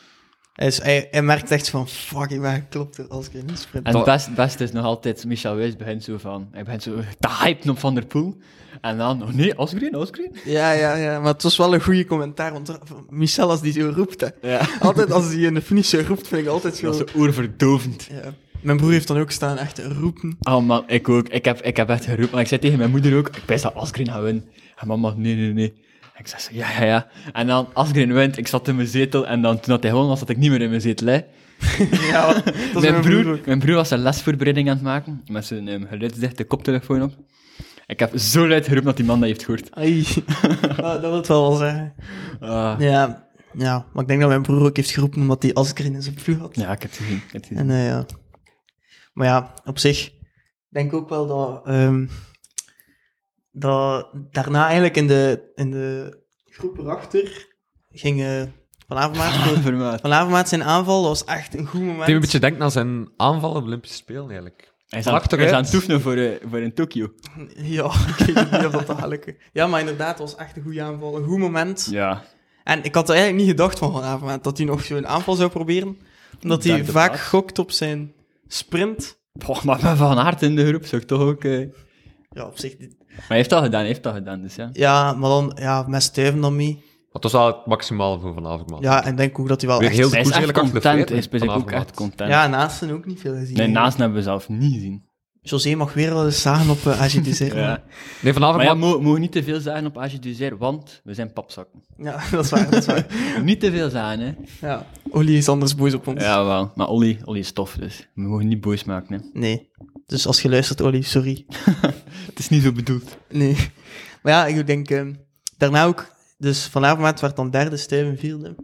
Speaker 2: Hij, is, hij, hij merkt echt van, fuck, ik ben geklopt door Asgreen in sprint.
Speaker 1: En
Speaker 3: Dat-
Speaker 1: het best, best is dus nog altijd, Michel Wijs begint zo van, hij begint zo te hypen op Van der Poel. En dan, oh nee, Osgreen, Osgreen.
Speaker 2: Ja, ja, ja, maar het was wel een goede commentaar, want er- Michel als die zo roept, hè.
Speaker 1: Ja.
Speaker 2: Altijd als hij in de finish zo roept, vind ik altijd zo...
Speaker 1: Dat is zo oerverdovend.
Speaker 2: Ja. Mijn broer heeft dan ook staan echt roepen.
Speaker 1: Oh man, ik ook. Ik heb, ik heb echt geroepen. Maar ik zei tegen mijn moeder ook, ik wist dat Asgreen gaat winnen. En mama, nee, nee, nee. En ik zei zo, ja, ja, ja. En dan, Asgreen wint, ik zat in mijn zetel. En dan, toen dat hij gewonnen was, zat ik niet meer in mijn zetel, hè.
Speaker 2: Ja, dat is
Speaker 1: mijn, broer, mijn broer was een lesvoorbereiding aan het maken, met zijn ehm, geluidsdichte koptelefoon op. Ik heb zo luid geroepen dat die man dat heeft gehoord.
Speaker 2: Ai. Ah, dat wil het wel wel zeggen.
Speaker 1: Ah.
Speaker 2: Ja. ja, maar ik denk dat mijn broer ook heeft geroepen omdat hij Asgreen in zijn ploeg had.
Speaker 1: Ja, ik heb het gezien. Ik heb het gezien.
Speaker 2: En, eh, ja. Maar ja, op zich denk ik ook wel dat, ehm, dat daarna eigenlijk in de, in de groep erachter ging eh, Van Avermaat voor-
Speaker 1: Vermaat.
Speaker 2: Van Avermaat zijn aanval, dat was echt een goed moment.
Speaker 3: Het deed me een beetje denken aan zijn aanval op Olympische Spelen eigenlijk.
Speaker 1: Hij is aan, hij
Speaker 3: Achteruit.
Speaker 1: is aan het oefenen voor, eh, voor in Tokio.
Speaker 2: Ja, ik weet niet of dat gaat lukken. Ja, maar inderdaad, het was echt een goede aanval, een goed moment.
Speaker 1: Ja.
Speaker 2: En ik had er eigenlijk niet gedacht van vanavond dat hij nog zo'n aanval zou proberen. Omdat hij
Speaker 1: Dank de
Speaker 2: vaak
Speaker 1: baas.
Speaker 2: gokt op zijn sprint.
Speaker 1: Boah, maar met Van Aert in de groep zou ik toch ook... eh,
Speaker 2: Ja, op zich. dit-
Speaker 1: Maar hij heeft dat gedaan, hij heeft dat gedaan, dus ja.
Speaker 2: Ja, maar dan ja, met stuiven dan mee.
Speaker 3: Want dat was wel het maximaal voor vanavond, man.
Speaker 2: Ja, en ik denk ook dat hij wel
Speaker 3: Weer
Speaker 2: echt...
Speaker 3: heel
Speaker 1: Hij is
Speaker 3: de koers
Speaker 1: echt
Speaker 3: eigenlijk achter de
Speaker 1: content, hij
Speaker 3: feiten
Speaker 1: is bij zich ook
Speaker 3: vanavond.
Speaker 1: echt content.
Speaker 2: Ja, naasten ook niet veel gezien.
Speaker 1: Nee, naast hebben we zelf niet gezien.
Speaker 2: José mag weer wel eens zagen op uh,
Speaker 1: Ja.
Speaker 2: Ja.
Speaker 3: Nee, vanavond,
Speaker 1: Maar ja,
Speaker 3: maar,
Speaker 1: mo- mogen niet te veel zagen op Age Duzer, want we zijn papzakken.
Speaker 2: dat is waar, dat is waar.
Speaker 1: Niet te veel zagen, hè.
Speaker 2: Ja. Olly is anders boos op ons.
Speaker 1: Ja, wel. Maar Olly, Olly is tof, dus we mogen niet boos maken, hè.
Speaker 2: Nee. Dus als je luistert, Olly, sorry.
Speaker 1: Het is niet zo bedoeld.
Speaker 2: Nee. Maar ja, ik denk ehm, daarna ook. Dus vanavond werd dan derde, Steven vierde.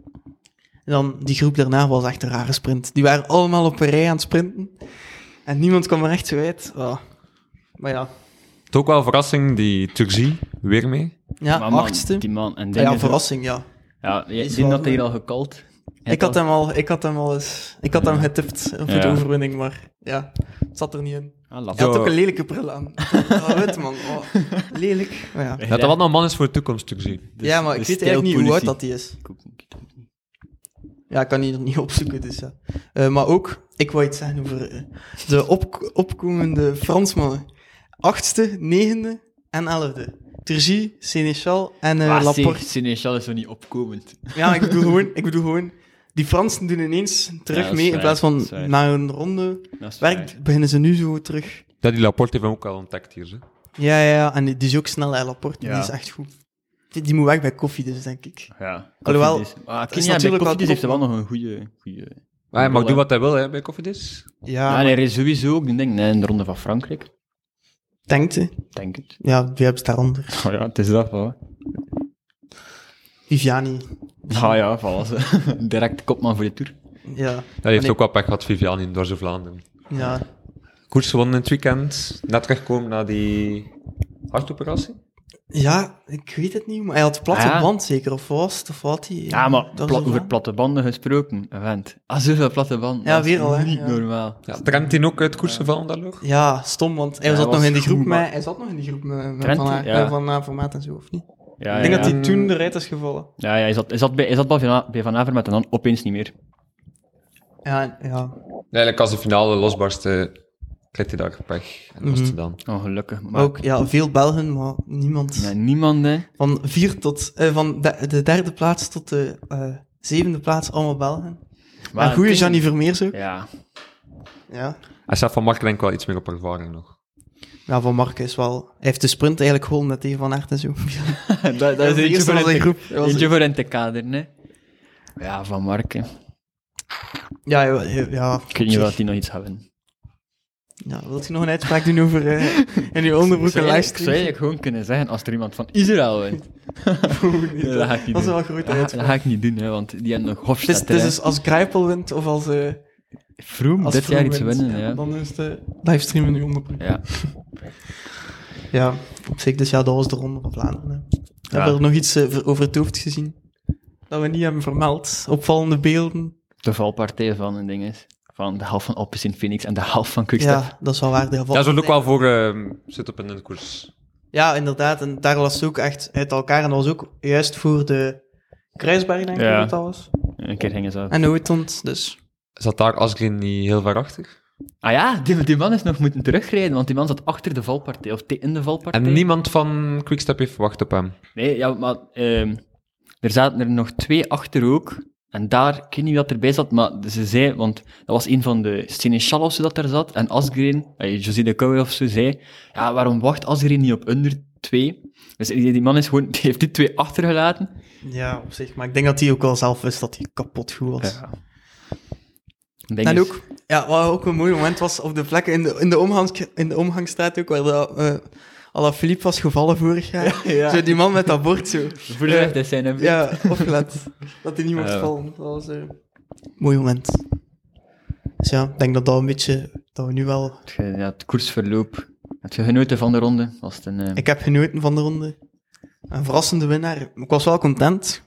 Speaker 2: En dan die groep daarna was echt een rare sprint. Die waren allemaal op een rij aan het sprinten. En niemand kwam er echt zo uit. Oh. Maar ja,
Speaker 3: het ook wel een verrassing, die Turgie weer mee.
Speaker 2: ja
Speaker 1: Maar man,
Speaker 2: achtste.
Speaker 1: Die man. En
Speaker 2: Ah
Speaker 1: dingen
Speaker 2: ja,
Speaker 1: zo-
Speaker 2: verrassing, ja.
Speaker 1: Ja, je- ik
Speaker 2: Is wel
Speaker 1: denk dat
Speaker 2: goed.
Speaker 1: hij hier al gekald.
Speaker 2: Ik had, hem al, ik had hem al eens... Ik had hem getipt eh, voor de
Speaker 1: Ja.
Speaker 2: overwinning, maar ja, het zat er niet in.
Speaker 1: Ah, laf.
Speaker 2: Hij had
Speaker 3: Zo.
Speaker 2: ook een lelijke bril aan. Oh, wit, man. Oh, lelijk. Maar ja.
Speaker 3: Ja, dat wat nou een man is voor de toekomst, Turgie.
Speaker 1: Dus
Speaker 2: ja, maar
Speaker 1: de
Speaker 2: ik weet eigenlijk niet hoe oud
Speaker 1: stijlpolitie.
Speaker 2: dat hij is.
Speaker 1: Ik ook niet.
Speaker 2: Ja, ik kan die er niet opzoeken, dus ja. Eh, maar ook, ik wou iets zeggen over eh, de op- opkomende Fransmannen. Achtste, negende en elfde. Tergie, Sénéchal en eh,
Speaker 1: Ah,
Speaker 2: Laporte.
Speaker 1: zeg, Sénéchal is zo niet opkomend.
Speaker 2: Ja, ik bedoel, gewoon, ik bedoel gewoon, die Fransen doen ineens terug
Speaker 1: Ja, dat is
Speaker 2: mee. In
Speaker 1: waar,
Speaker 2: plaats
Speaker 1: dat
Speaker 2: van
Speaker 1: is waar.
Speaker 2: na een ronde
Speaker 1: Dat is waar.
Speaker 2: werk, beginnen ze nu zo terug.
Speaker 3: Ja, die Laporte heeft hem ook al ontdekt hier. Hè.
Speaker 2: Ja, ja, ja. En die die is ook snel, hè, Laporte.
Speaker 1: Ja.
Speaker 2: Die is echt goed. Die, die moet weg bij koffie, dus denk ik.
Speaker 1: Ja.
Speaker 2: Alhoewel,
Speaker 1: Koffiedis. Ah,
Speaker 2: is
Speaker 1: Kenia bij
Speaker 2: natuurlijk wel
Speaker 1: Koffiedis heeft hij
Speaker 2: top,
Speaker 1: wel nog een goede... goede...
Speaker 3: Maar hij
Speaker 1: Wel,
Speaker 3: mag doen
Speaker 1: hè.
Speaker 3: wat hij wil hè, bij Koffiedis.
Speaker 2: Ja,
Speaker 1: Ja, nee, hij is sowieso ook, ik denk, nee, in de Ronde van Frankrijk.
Speaker 2: denkt hè.
Speaker 1: Denk het.
Speaker 2: Ja, wie hebben ze daaronder?
Speaker 1: Oh ja, het is dat wel.
Speaker 2: Viviani.
Speaker 1: Ah ja, voilà. ze. Direct kopman voor de Tour.
Speaker 2: Ja,
Speaker 3: Ja, Hij heeft
Speaker 2: Ah, Nee.
Speaker 3: ook wel pech gehad, Viviani, in Dorse Vlaanderen.
Speaker 2: ja.
Speaker 3: Koers gewonnen in het weekend. Net teruggekomen na die hartoperatie.
Speaker 2: Ja, ik weet het niet, maar hij had platte
Speaker 1: Ah, ja.
Speaker 2: band zeker, of was het, of wat hij...
Speaker 1: Ja, maar
Speaker 2: dat
Speaker 1: pla-
Speaker 2: is
Speaker 1: over
Speaker 2: ervan.
Speaker 1: platte banden gesproken, vent. Ah, zoveel platte banden.
Speaker 2: Ja,
Speaker 1: dat is
Speaker 2: weer al, hè,
Speaker 1: Niet
Speaker 2: ja.
Speaker 1: normaal.
Speaker 3: Ja, Trent die ook uit koers gevallen daardoor.
Speaker 2: Ja, stom, want hij
Speaker 1: Ja, hij
Speaker 2: zat nog
Speaker 1: was
Speaker 2: in die
Speaker 1: goed,
Speaker 2: groep met...
Speaker 1: maar-
Speaker 2: Hij zat nog in die groep met, met
Speaker 1: Trent,
Speaker 2: Van Aert,
Speaker 1: ja.
Speaker 2: eh, Van Avermaat en zo, of niet?
Speaker 1: Ja,
Speaker 2: ik denk
Speaker 1: ja,
Speaker 2: dat
Speaker 1: ja.
Speaker 2: hij toen eruit is gevallen.
Speaker 1: Ja, ja, hij zat, hij zat, bij, hij zat bij Van- bij Van Avermaet en dan opeens niet meer.
Speaker 2: Ja, ja.
Speaker 3: Eigenlijk als de finale losbarstte, kreeg hij daar pech. En was
Speaker 2: Mhm.
Speaker 3: hij dan.
Speaker 1: Ongelukkig. Maar,
Speaker 2: Maar ook, ja, veel Belgen, maar niemand.
Speaker 1: Ja, niemand, hè.
Speaker 2: Van, vier tot, eh, van de, de derde plaats tot de eh, zevende plaats, allemaal Belgen. Maar een
Speaker 1: het
Speaker 2: goede
Speaker 1: ding-
Speaker 2: Gianni Vermeers ook.
Speaker 1: Ja.
Speaker 2: Ja.
Speaker 3: Hij staat van Mark denk ik wel iets meer op ervaring nog.
Speaker 2: ja, Van Marken is wel... Hij heeft de sprint eigenlijk gewonnen net tegen Van Aert en zo.
Speaker 1: dat, dat is
Speaker 2: de
Speaker 1: eentje
Speaker 2: eerste
Speaker 1: voor
Speaker 2: van
Speaker 1: in
Speaker 2: zijn
Speaker 1: te-
Speaker 2: groep. Hij was-
Speaker 1: eentje voor in te kaderen, hè. Ja, Van Marken.
Speaker 2: Ja, ja, ja.
Speaker 1: Ik weet niet of hij nog iets gaat winnen.
Speaker 2: Ja, wilt u Nou, nog een uitspraak doen over eh, in uw onderbroek en
Speaker 1: Zou ik- zou
Speaker 2: livestream?
Speaker 1: ik gewoon kunnen zeggen als er iemand van Israël wint? Ja, dat ga ik niet
Speaker 2: Dat is
Speaker 1: doen.
Speaker 2: wel een grote
Speaker 1: Dat
Speaker 2: uitspraak.
Speaker 1: ga ik niet doen, hè, want die hebben nog
Speaker 2: Het is,
Speaker 1: Hofstad.
Speaker 2: het is dus als Kruipel wint of als, eh
Speaker 1: Vroom
Speaker 2: als
Speaker 1: dit
Speaker 2: Vroom
Speaker 1: jaar iets
Speaker 2: wint,
Speaker 1: winnen, ja.
Speaker 2: Dan is het eh, livestream in uw onderbroek.
Speaker 1: ja.
Speaker 2: Ja, op zich. Dus ja, dat was de Ronde van Vlaanderen. Hè. Hebben we er nog iets eh, ver- over het hoofd gezien? Dat we niet hebben vermeld. Opvallende beelden.
Speaker 1: De valpartij van een ding is. Van de helft van Alpes in Phoenix en de helft van Quickstep.
Speaker 2: Ja, dat is wel waar. de geval-
Speaker 3: Dat is ook wel voor eh, zit-up en een koers.
Speaker 2: Ja, inderdaad. En daar was het ook echt uit elkaar. En dat was ook juist voor de Kruisberg, denk ik
Speaker 1: Ja.
Speaker 2: dat dat was.
Speaker 1: Een keer gingen ze af.
Speaker 2: En Hoetont, dus.
Speaker 3: Zat daar Asgreen niet heel ver achter?
Speaker 1: Ah ja, die, die man is nog moeten terugrijden, want die man zat achter de valpartij, of te- in de valpartij.
Speaker 3: En niemand van Quickstep heeft wacht op hem.
Speaker 1: Nee, ja, maar ehm, er zaten er nog twee achter ook. En daar, ik weet niet wat erbij zat, maar ze zei, want dat was een van de Senechal of zo dat daar zat. En Asgreen, eh, José de Kouwe of zo, zei, ja, waarom wacht Asgreen niet op onder twee? Dus die, die man is gewoon, die heeft die twee achtergelaten.
Speaker 2: Ja, op zich. Maar ik denk dat hij ook wel zelf wist dat hij kapot goed was.
Speaker 1: Ik denk
Speaker 2: En
Speaker 1: dus-
Speaker 2: ook, ja, wat ook een mooi moment was op de plekken in de, in de, omgangs, in de omgangstraat ook, waar dat, eh Alaphilippe was gevallen vorig jaar.
Speaker 1: Ja, ja.
Speaker 2: Zo die man met dat bord zo.
Speaker 1: Voorzichtig eh, zijn hem.
Speaker 2: Ja, opgelet. dat hij niet mocht
Speaker 1: Ja.
Speaker 2: vallen. Dat was eh, een mooi moment. Dus ja, ik denk dat dat een beetje, dat we nu wel...
Speaker 1: Het, ge- ja, het koersverloop. Heb je genoten van de ronde? Was het een, eh,
Speaker 2: Ik heb genoten van de ronde. Een verrassende winnaar. Ik was wel content.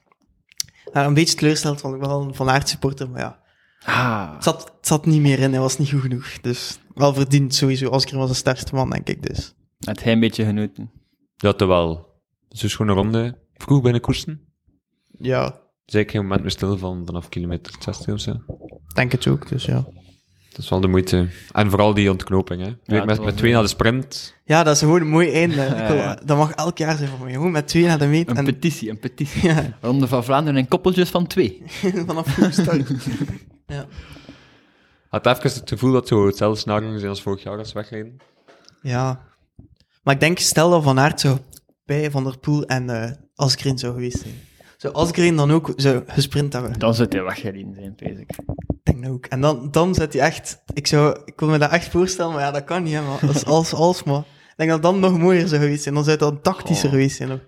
Speaker 2: Maar een beetje teleurgesteld, want ik ben wel een Van Aert supporter, maar ja.
Speaker 1: Ah,
Speaker 2: Het zat, het zat niet meer in, hij was niet goed genoeg. Dus wel verdiend sowieso. Oscar was de sterkste man, denk ik dus.
Speaker 1: had hij een beetje genoten?
Speaker 3: Ja, terwijl. Het is gewoon een ronde. Vroeg bij de koersen.
Speaker 2: Ja,
Speaker 3: Zeker geen moment meer stil van vanaf kilometer 60 of zo.
Speaker 2: denk het ook, dus ja.
Speaker 3: Dat is wel de moeite. En vooral die ontknoping, hè.
Speaker 1: het
Speaker 3: met,
Speaker 1: was
Speaker 3: met
Speaker 1: een-
Speaker 3: twee naar de sprint.
Speaker 2: Ja, dat is gewoon een mooi einde. Ik wil-
Speaker 1: ja.
Speaker 2: Dat mag elk jaar zijn voor mij. Gewoon met twee naar de meet
Speaker 1: Een
Speaker 2: en
Speaker 1: petitie, een petitie.
Speaker 2: Ja.
Speaker 1: Ronde van Vlaanderen en koppeltjes van twee.
Speaker 2: vanaf de start. ja.
Speaker 3: Had even het gevoel dat zo hetzelfde snaren zijn als vorig jaar als ze wegreden.
Speaker 2: ja. Maar ik denk, stel dat Van Aert zo bij Van der Poel en eh Asgreen zou geweest zijn. Zou Asgreen dan ook zo gesprint hebben?
Speaker 1: Dan zou hij weggereden zijn, vrees ik.
Speaker 2: Ik denk dat ook. En dan, dan zet hij echt... Ik, zou, ik kon me dat echt voorstellen, maar ja, dat kan niet, hè, maar dat is als, als, maar... Ik denk dat dan nog mooier zou geweest zijn. Dan zou het dan tactischer
Speaker 1: Goh.
Speaker 2: geweest zijn. Ook.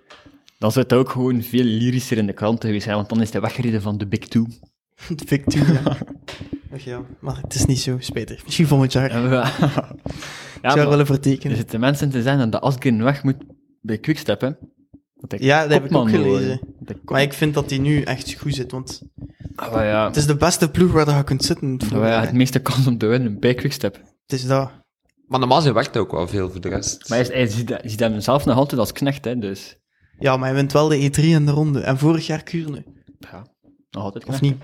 Speaker 1: Dan zou het ook gewoon veel lyrischer in de kranten geweest zijn, want dan is hij weggereden van de Big Two.
Speaker 2: Victoria. ja. Ach ja, maar het is niet zo, spijtig. Misschien volgend jaar.
Speaker 1: En we- ja,
Speaker 2: ik zou
Speaker 1: maar
Speaker 2: willen
Speaker 1: er
Speaker 2: vertekenen.
Speaker 1: zitten mensen te zijn dat de Asgreen weg moet bij Quickstep, hè. Dat hij
Speaker 2: Ja, dat heb ik
Speaker 1: kopman
Speaker 2: ook
Speaker 1: wil
Speaker 2: gelezen.
Speaker 1: worden. Dat hij kop-
Speaker 2: Maar ik vind dat hij nu echt goed zit, want
Speaker 1: Ah, maar ja.
Speaker 2: het is de beste ploeg waar dat je kunt zitten. in het
Speaker 1: Ah, maar
Speaker 2: voetbal,
Speaker 1: ja,
Speaker 2: hè.
Speaker 1: het meeste kans om te winnen bij Quickstep.
Speaker 2: Het is dat.
Speaker 3: Maar normaal zijn werkt ook wel veel voor de rest.
Speaker 1: Maar hij, is- hij ziet, hij ziet hem zelf nog altijd als knecht, hè, dus...
Speaker 2: Ja, maar hij wint wel de E3 in de ronde. En vorig jaar Kuurne.
Speaker 1: Ja, nog altijd
Speaker 2: Of
Speaker 1: knecht.
Speaker 2: niet?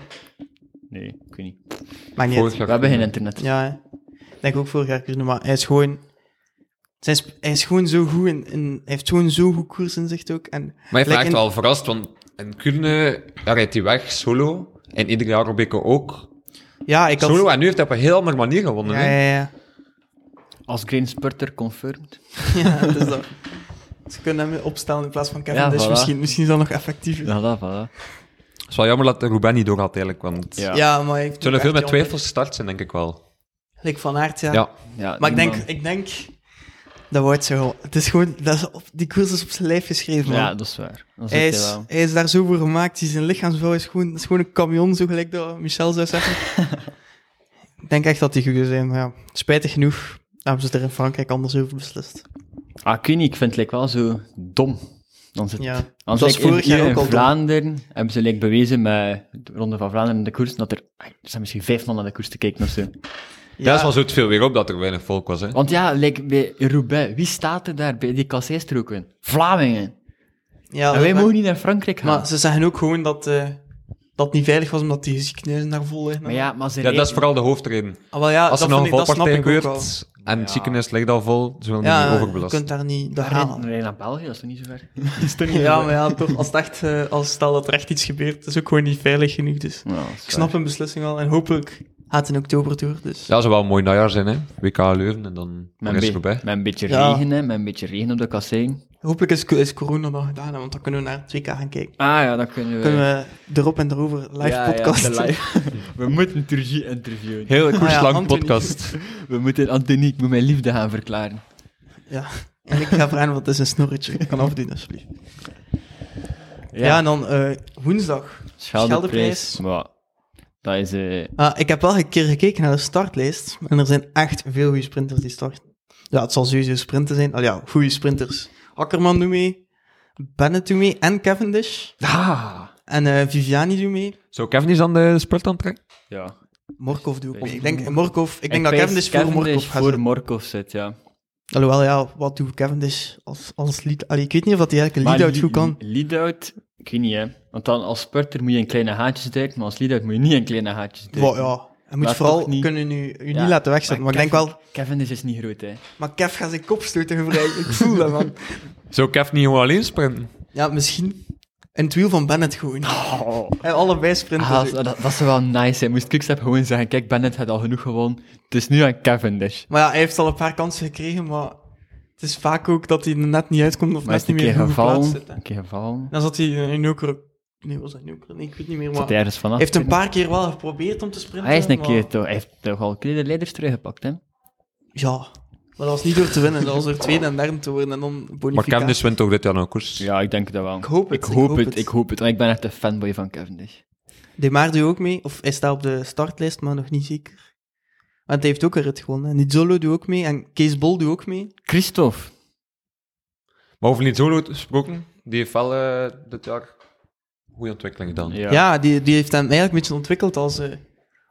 Speaker 1: Nee, ik weet niet.
Speaker 2: Maar niet.
Speaker 3: Vorig
Speaker 2: uit.
Speaker 3: jaar-
Speaker 1: We hebben geen internet.
Speaker 2: Ja, hè. ik denk ook vorig jaar Kuurne, maar hij is gewoon... Zijn sp- hij is gewoon zo goed in, in- Hij heeft gewoon zo goed koers in zicht ook. En
Speaker 3: Maar hij
Speaker 2: Like
Speaker 3: vraagt
Speaker 2: in-
Speaker 3: wel verrast, want in Kulne daar rijdt hij weg, solo. En ieder jaar op Beke ook.
Speaker 2: Ja, ik had...
Speaker 3: Solo, en nu heeft hij op een heel andere manier gewonnen.
Speaker 2: Ja,
Speaker 3: hè.
Speaker 2: ja, ja.
Speaker 1: Als Green Spurter confirmed.
Speaker 2: ja het is dat. Ze kunnen hem opstellen in plaats van Kevin
Speaker 1: Ja,
Speaker 2: Dish.
Speaker 1: voilà.
Speaker 2: Misschien, misschien is dat nog effectiever.
Speaker 1: Ja, dat, voilà.
Speaker 3: Het is wel jammer dat Ruben niet doorgaat eigenlijk, want
Speaker 1: Ja.
Speaker 3: het
Speaker 2: Ja, maar hij heeft
Speaker 3: zullen
Speaker 2: ook
Speaker 3: veel met
Speaker 2: echt jammer.
Speaker 3: twijfels gestart zijn, denk ik wel.
Speaker 2: Like van Aert, ja.
Speaker 3: Ja.
Speaker 1: Ja,
Speaker 2: Maar ik
Speaker 1: die
Speaker 2: denk,
Speaker 1: man-
Speaker 2: ik denk, dat wordt zo. Het is gewoon, dat is op, die koers is op zijn lijf geschreven, man.
Speaker 1: Ja, dat is waar. Dat
Speaker 2: hij,
Speaker 1: zit
Speaker 2: is,
Speaker 1: wel.
Speaker 2: hij is daar zo voor gemaakt. Die zijn lichaamsbouw is gewoon, dat is gewoon een camion, zo gelijk dat Michel zou zeggen. ik denk echt dat die goed zijn, maar ja, spijtig genoeg hebben ze er in Frankrijk anders over beslist.
Speaker 1: Ah, ik weet niet, ik vind het like, wel zo dom. Dan zit,
Speaker 2: Ja,
Speaker 1: want,
Speaker 2: zoals
Speaker 1: like, in-
Speaker 2: vorig jaar
Speaker 1: hier
Speaker 2: ook
Speaker 1: in
Speaker 2: al dom.
Speaker 1: Vlaanderen hebben ze like, bewezen met de Ronde van Vlaanderen en de koers, dat er, ah, er zijn misschien vijf man naar de koers te kijken of zo.
Speaker 2: Ja,
Speaker 3: Dat is wel zo het veel weer op dat er weinig volk was, hè.
Speaker 1: Want ja, like, bij Roubaix, wie staat er daar bij die kasseistroken? Vlamingen.
Speaker 2: ja,
Speaker 1: en
Speaker 2: dat is
Speaker 1: wij
Speaker 2: waar.
Speaker 1: mogen niet naar Frankrijk gaan.
Speaker 2: Maar
Speaker 1: Maar,
Speaker 2: ze zeggen ook gewoon dat eh, dat het niet veilig was omdat die ziekenhuizen daar vol liggen.
Speaker 1: ja, maar ze
Speaker 3: Ja, dat is
Speaker 1: rijden-
Speaker 3: vooral de hoofdreden.
Speaker 2: Ah, wel ja,
Speaker 3: Als er
Speaker 2: dat,
Speaker 3: nog een
Speaker 2: vind ik, dat snap
Speaker 3: valpartij
Speaker 2: ik ook wel.
Speaker 3: gebeurt en het ziekenhuis ligt al vol, ze willen niet
Speaker 2: Ja, je
Speaker 3: overbelast.
Speaker 2: kunt daar niet dat
Speaker 1: We
Speaker 2: halen.
Speaker 1: rijden- we rijden naar België, dat is toch niet zo ver? Dat is toch niet
Speaker 2: Ja,
Speaker 1: zo
Speaker 2: maar
Speaker 1: ver?
Speaker 2: ja, toch, als, het echt, eh, als stel dat er echt iets gebeurt, is ook gewoon niet veilig genoeg. Dus
Speaker 1: Ja, dat is
Speaker 2: ik snap hun beslissing wel en hopelijk gaat het in oktober door. Dus.
Speaker 3: Ja, zou wel een mooi najaar zijn, hè. WK Leuven en dan
Speaker 1: Met
Speaker 3: is
Speaker 1: een,
Speaker 3: het
Speaker 1: be-
Speaker 3: erbij.
Speaker 1: met een beetje
Speaker 2: Ja.
Speaker 1: regen, hè, met een beetje regen op de kassein.
Speaker 2: Hopelijk is, is corona nog gedaan, hè, want dan kunnen we naar het WK gaan kijken.
Speaker 1: Ah ja, dan kunnen we...
Speaker 2: Kunnen we erop en erover live
Speaker 1: Ja, ja,
Speaker 2: podcasten.
Speaker 1: de live. we moeten Turgie interviewen.
Speaker 3: Heel koerslang
Speaker 2: Anthony.
Speaker 3: podcast.
Speaker 1: We moeten Anthony, ik moet mijn liefde gaan verklaren.
Speaker 2: Ja. En ik ga vragen, wat is een snorretje? Ik kan afdoen, alsjeblieft. Ja, en dan eh, woensdag. Scheldeprijs.
Speaker 1: Maar dat is... eh,
Speaker 2: Ah, ik heb wel een keer gekeken naar de startlijst. En er zijn echt veel goede sprinters die starten. Ja, het zal sowieso sprinten zijn. Al ja, goede sprinters. Akkerman doet mee. Bennett doet mee. En Cavendish.
Speaker 3: Ah.
Speaker 2: En eh, Viviani doet mee.
Speaker 3: Zou Kevin eens aan de spurt aantrekken?
Speaker 1: ja.
Speaker 2: Morkov doet ook
Speaker 1: Of
Speaker 2: mee. Ik denk, Morkov, ik denk dat
Speaker 1: pijs
Speaker 2: Cavendish voor Morkov
Speaker 1: Cavendish
Speaker 2: gaat
Speaker 1: voor
Speaker 2: zitten.
Speaker 1: Morkov zit, ja.
Speaker 2: Alhoewel, ja, wat doet Cavendish als, als lead... Allee, ik weet niet of dat hij eigenlijk een
Speaker 1: Maar
Speaker 2: lead-out
Speaker 1: li-
Speaker 2: goed kan.
Speaker 1: Lead-out, ik weet niet, hè. Want dan als spurter moet je in kleine haatjes duiken, maar als lead-out moet je niet in kleine haatjes duiken.
Speaker 2: Wow, ja. Hij moet
Speaker 1: Maar
Speaker 2: vooral
Speaker 1: toch niet.
Speaker 2: kunnen u, u
Speaker 1: Ja,
Speaker 2: niet laten wegzetten. Maar, ik denk wel,
Speaker 1: Cavendish is niet groot, hè.
Speaker 2: maar Kev gaat zijn kop stoten vrij. ik voel dat, man.
Speaker 3: Zou Kevin niet gewoon alleen sprinten?
Speaker 2: Ja, misschien in het wiel van Bennett gewoon. En allebei sprinten.
Speaker 1: Oh. Ah, dat, dat zou wel nice zijn. Moest Quickstep gewoon zeggen, kijk, Bennett had al genoeg gewonnen. Het is nu aan Cavendish.
Speaker 2: Maar ja, hij heeft al een paar kansen gekregen, maar het is vaak ook dat hij er net niet uitkomt of
Speaker 1: Maar is
Speaker 2: net
Speaker 1: het
Speaker 2: niet
Speaker 1: een keer
Speaker 2: meer goed geplaatst
Speaker 1: gevallen.
Speaker 2: zit. hè.
Speaker 1: Een keer gevallen.
Speaker 2: Dan zat hij in Nukere... Nee, was dat Nukere? Nee, ik weet niet meer, maar...
Speaker 1: Zat hij
Speaker 2: Hij
Speaker 1: ergens vanaf?
Speaker 2: heeft een paar keer wel geprobeerd om te sprinten,
Speaker 1: Hij is een
Speaker 2: maar-
Speaker 1: keer toch... Hij heeft toch al een keer de leiders teruggepakt, hè.
Speaker 2: Ja, maar dat was niet door te winnen. Dat was door tweede en derde te worden en dan bonificatie.
Speaker 3: Maar dus- Kevin wint toch dit jaar een koers?
Speaker 1: Ja, ik denk dat wel.
Speaker 2: Ik hoop het,
Speaker 1: Ik hoop het, ik hoop het. Want ik ben echt een fanboy van Cavendish.
Speaker 2: De Maar doet ook mee, of hij staat op de startlijst, maar nog niet zeker. Want hij heeft ook een rit gewonnen. En Nizzolo doet ook mee en Kees Bol doet ook mee.
Speaker 1: Christophe.
Speaker 3: Maar over niet zo gesproken, die heeft wel eh, dit jaar goede ontwikkeling gedaan.
Speaker 2: Ja, die, die heeft hem eigenlijk een beetje ontwikkeld als, eh,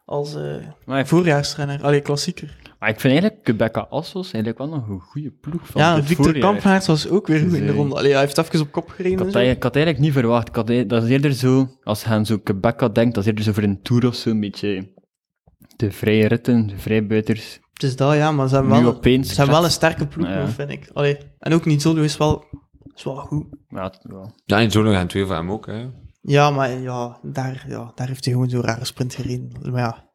Speaker 2: als eh,
Speaker 1: Maar ik,
Speaker 2: voorjaarsrenner. Allee, klassieker.
Speaker 1: maar ik vind eigenlijk Quebeca Assos eigenlijk wel nog een goede ploeg van
Speaker 2: ja,
Speaker 1: dit
Speaker 2: Victor
Speaker 1: voorjaar.
Speaker 2: Kampenaerts was ook weer goed in de
Speaker 1: Zee.
Speaker 2: ronde. Allee, hij heeft even op kop
Speaker 1: Ik
Speaker 2: gereden.
Speaker 1: had,
Speaker 2: en
Speaker 1: dat
Speaker 2: zo.
Speaker 1: eigenlijk- ik had eigenlijk niet verwacht. Ik had, eigenlijk- dat is eerder zo, als je aan zo Quebeca denkt, dat is eerder zo voor een tour of zo, een beetje de vrije ritten, de vrijbuiters.
Speaker 2: Het is dat, ja, maar ze hebben,
Speaker 1: Nu
Speaker 2: wel,
Speaker 1: opeens
Speaker 2: ze hebben wel een
Speaker 1: kletst.
Speaker 2: sterke ploeg,
Speaker 1: Ja.
Speaker 2: nog, vind ik. Allee, en ook Nizzolo is wel, is wel goed.
Speaker 1: Ja, het- wel.
Speaker 3: Ja, en zo nog en twee van hem ook. Hè.
Speaker 2: Ja, maar ja, daar, ja, daar heeft hij gewoon zo'n rare sprint gereden. Maar ja,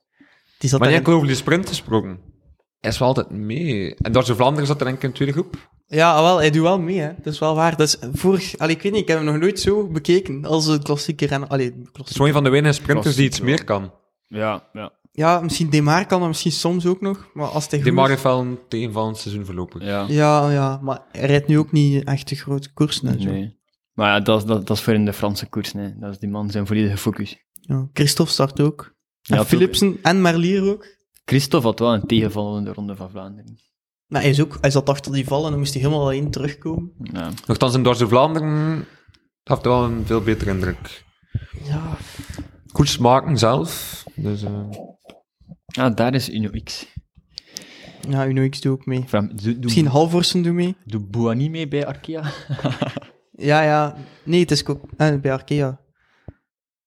Speaker 2: die zat daar
Speaker 3: Maar niet
Speaker 2: in-
Speaker 3: enkel over die sprint gesproken. Hij is wel altijd mee. En door zijn Vlaanderen zat er denk ik in de tweede groep.
Speaker 2: Ja, wel, hij doet wel mee, hè. Dat is wel waar. Dat is vorig... Allee, ik weet niet, ik heb hem nog nooit zo bekeken als een klassieke renner. Allee,
Speaker 3: Het is
Speaker 2: klassiek.
Speaker 3: gewoon een van de weinige sprinters die iets
Speaker 1: Klassiek,
Speaker 3: meer kan.
Speaker 1: Ja, ja.
Speaker 2: Ja, misschien Demar kan dat misschien soms ook nog, maar als hij goed
Speaker 3: Die Mar
Speaker 2: is-
Speaker 3: heeft wel een team van het seizoen verlopen.
Speaker 1: ja.
Speaker 2: Ja, ja, maar hij rijdt nu ook niet echt de grote koersen en zo.
Speaker 1: Nee. Maar ja, dat, is- dat, dat is voor in de Franse koers, nee. Dat is die man zijn volledige focus.
Speaker 2: Ja, Christophe start ook.
Speaker 1: Ja,
Speaker 2: en
Speaker 1: ook.
Speaker 2: Philipsen en Merlier ook.
Speaker 1: Christophe had wel een tegenvaller in de Ronde van Vlaanderen.
Speaker 2: Maar hij, is ook, hij zat achter die vallen en dan moest hij helemaal alleen terugkomen.
Speaker 1: Ja.
Speaker 3: Nochtans, in door zijn Vlaanderen heeft hij wel een veel betere indruk.
Speaker 2: Ja,
Speaker 3: Koers maken zelf. Dus, eh,
Speaker 1: Ah, daar is Uno X.
Speaker 2: ja Uno X doet ook mee.
Speaker 1: Van, doe,
Speaker 2: Misschien
Speaker 1: doe,
Speaker 2: Halvorsen doet mee.
Speaker 1: doe Bouhanni mee bij Arkea?
Speaker 2: Ja, ja. Nee, het is ook eh, bij Arkea.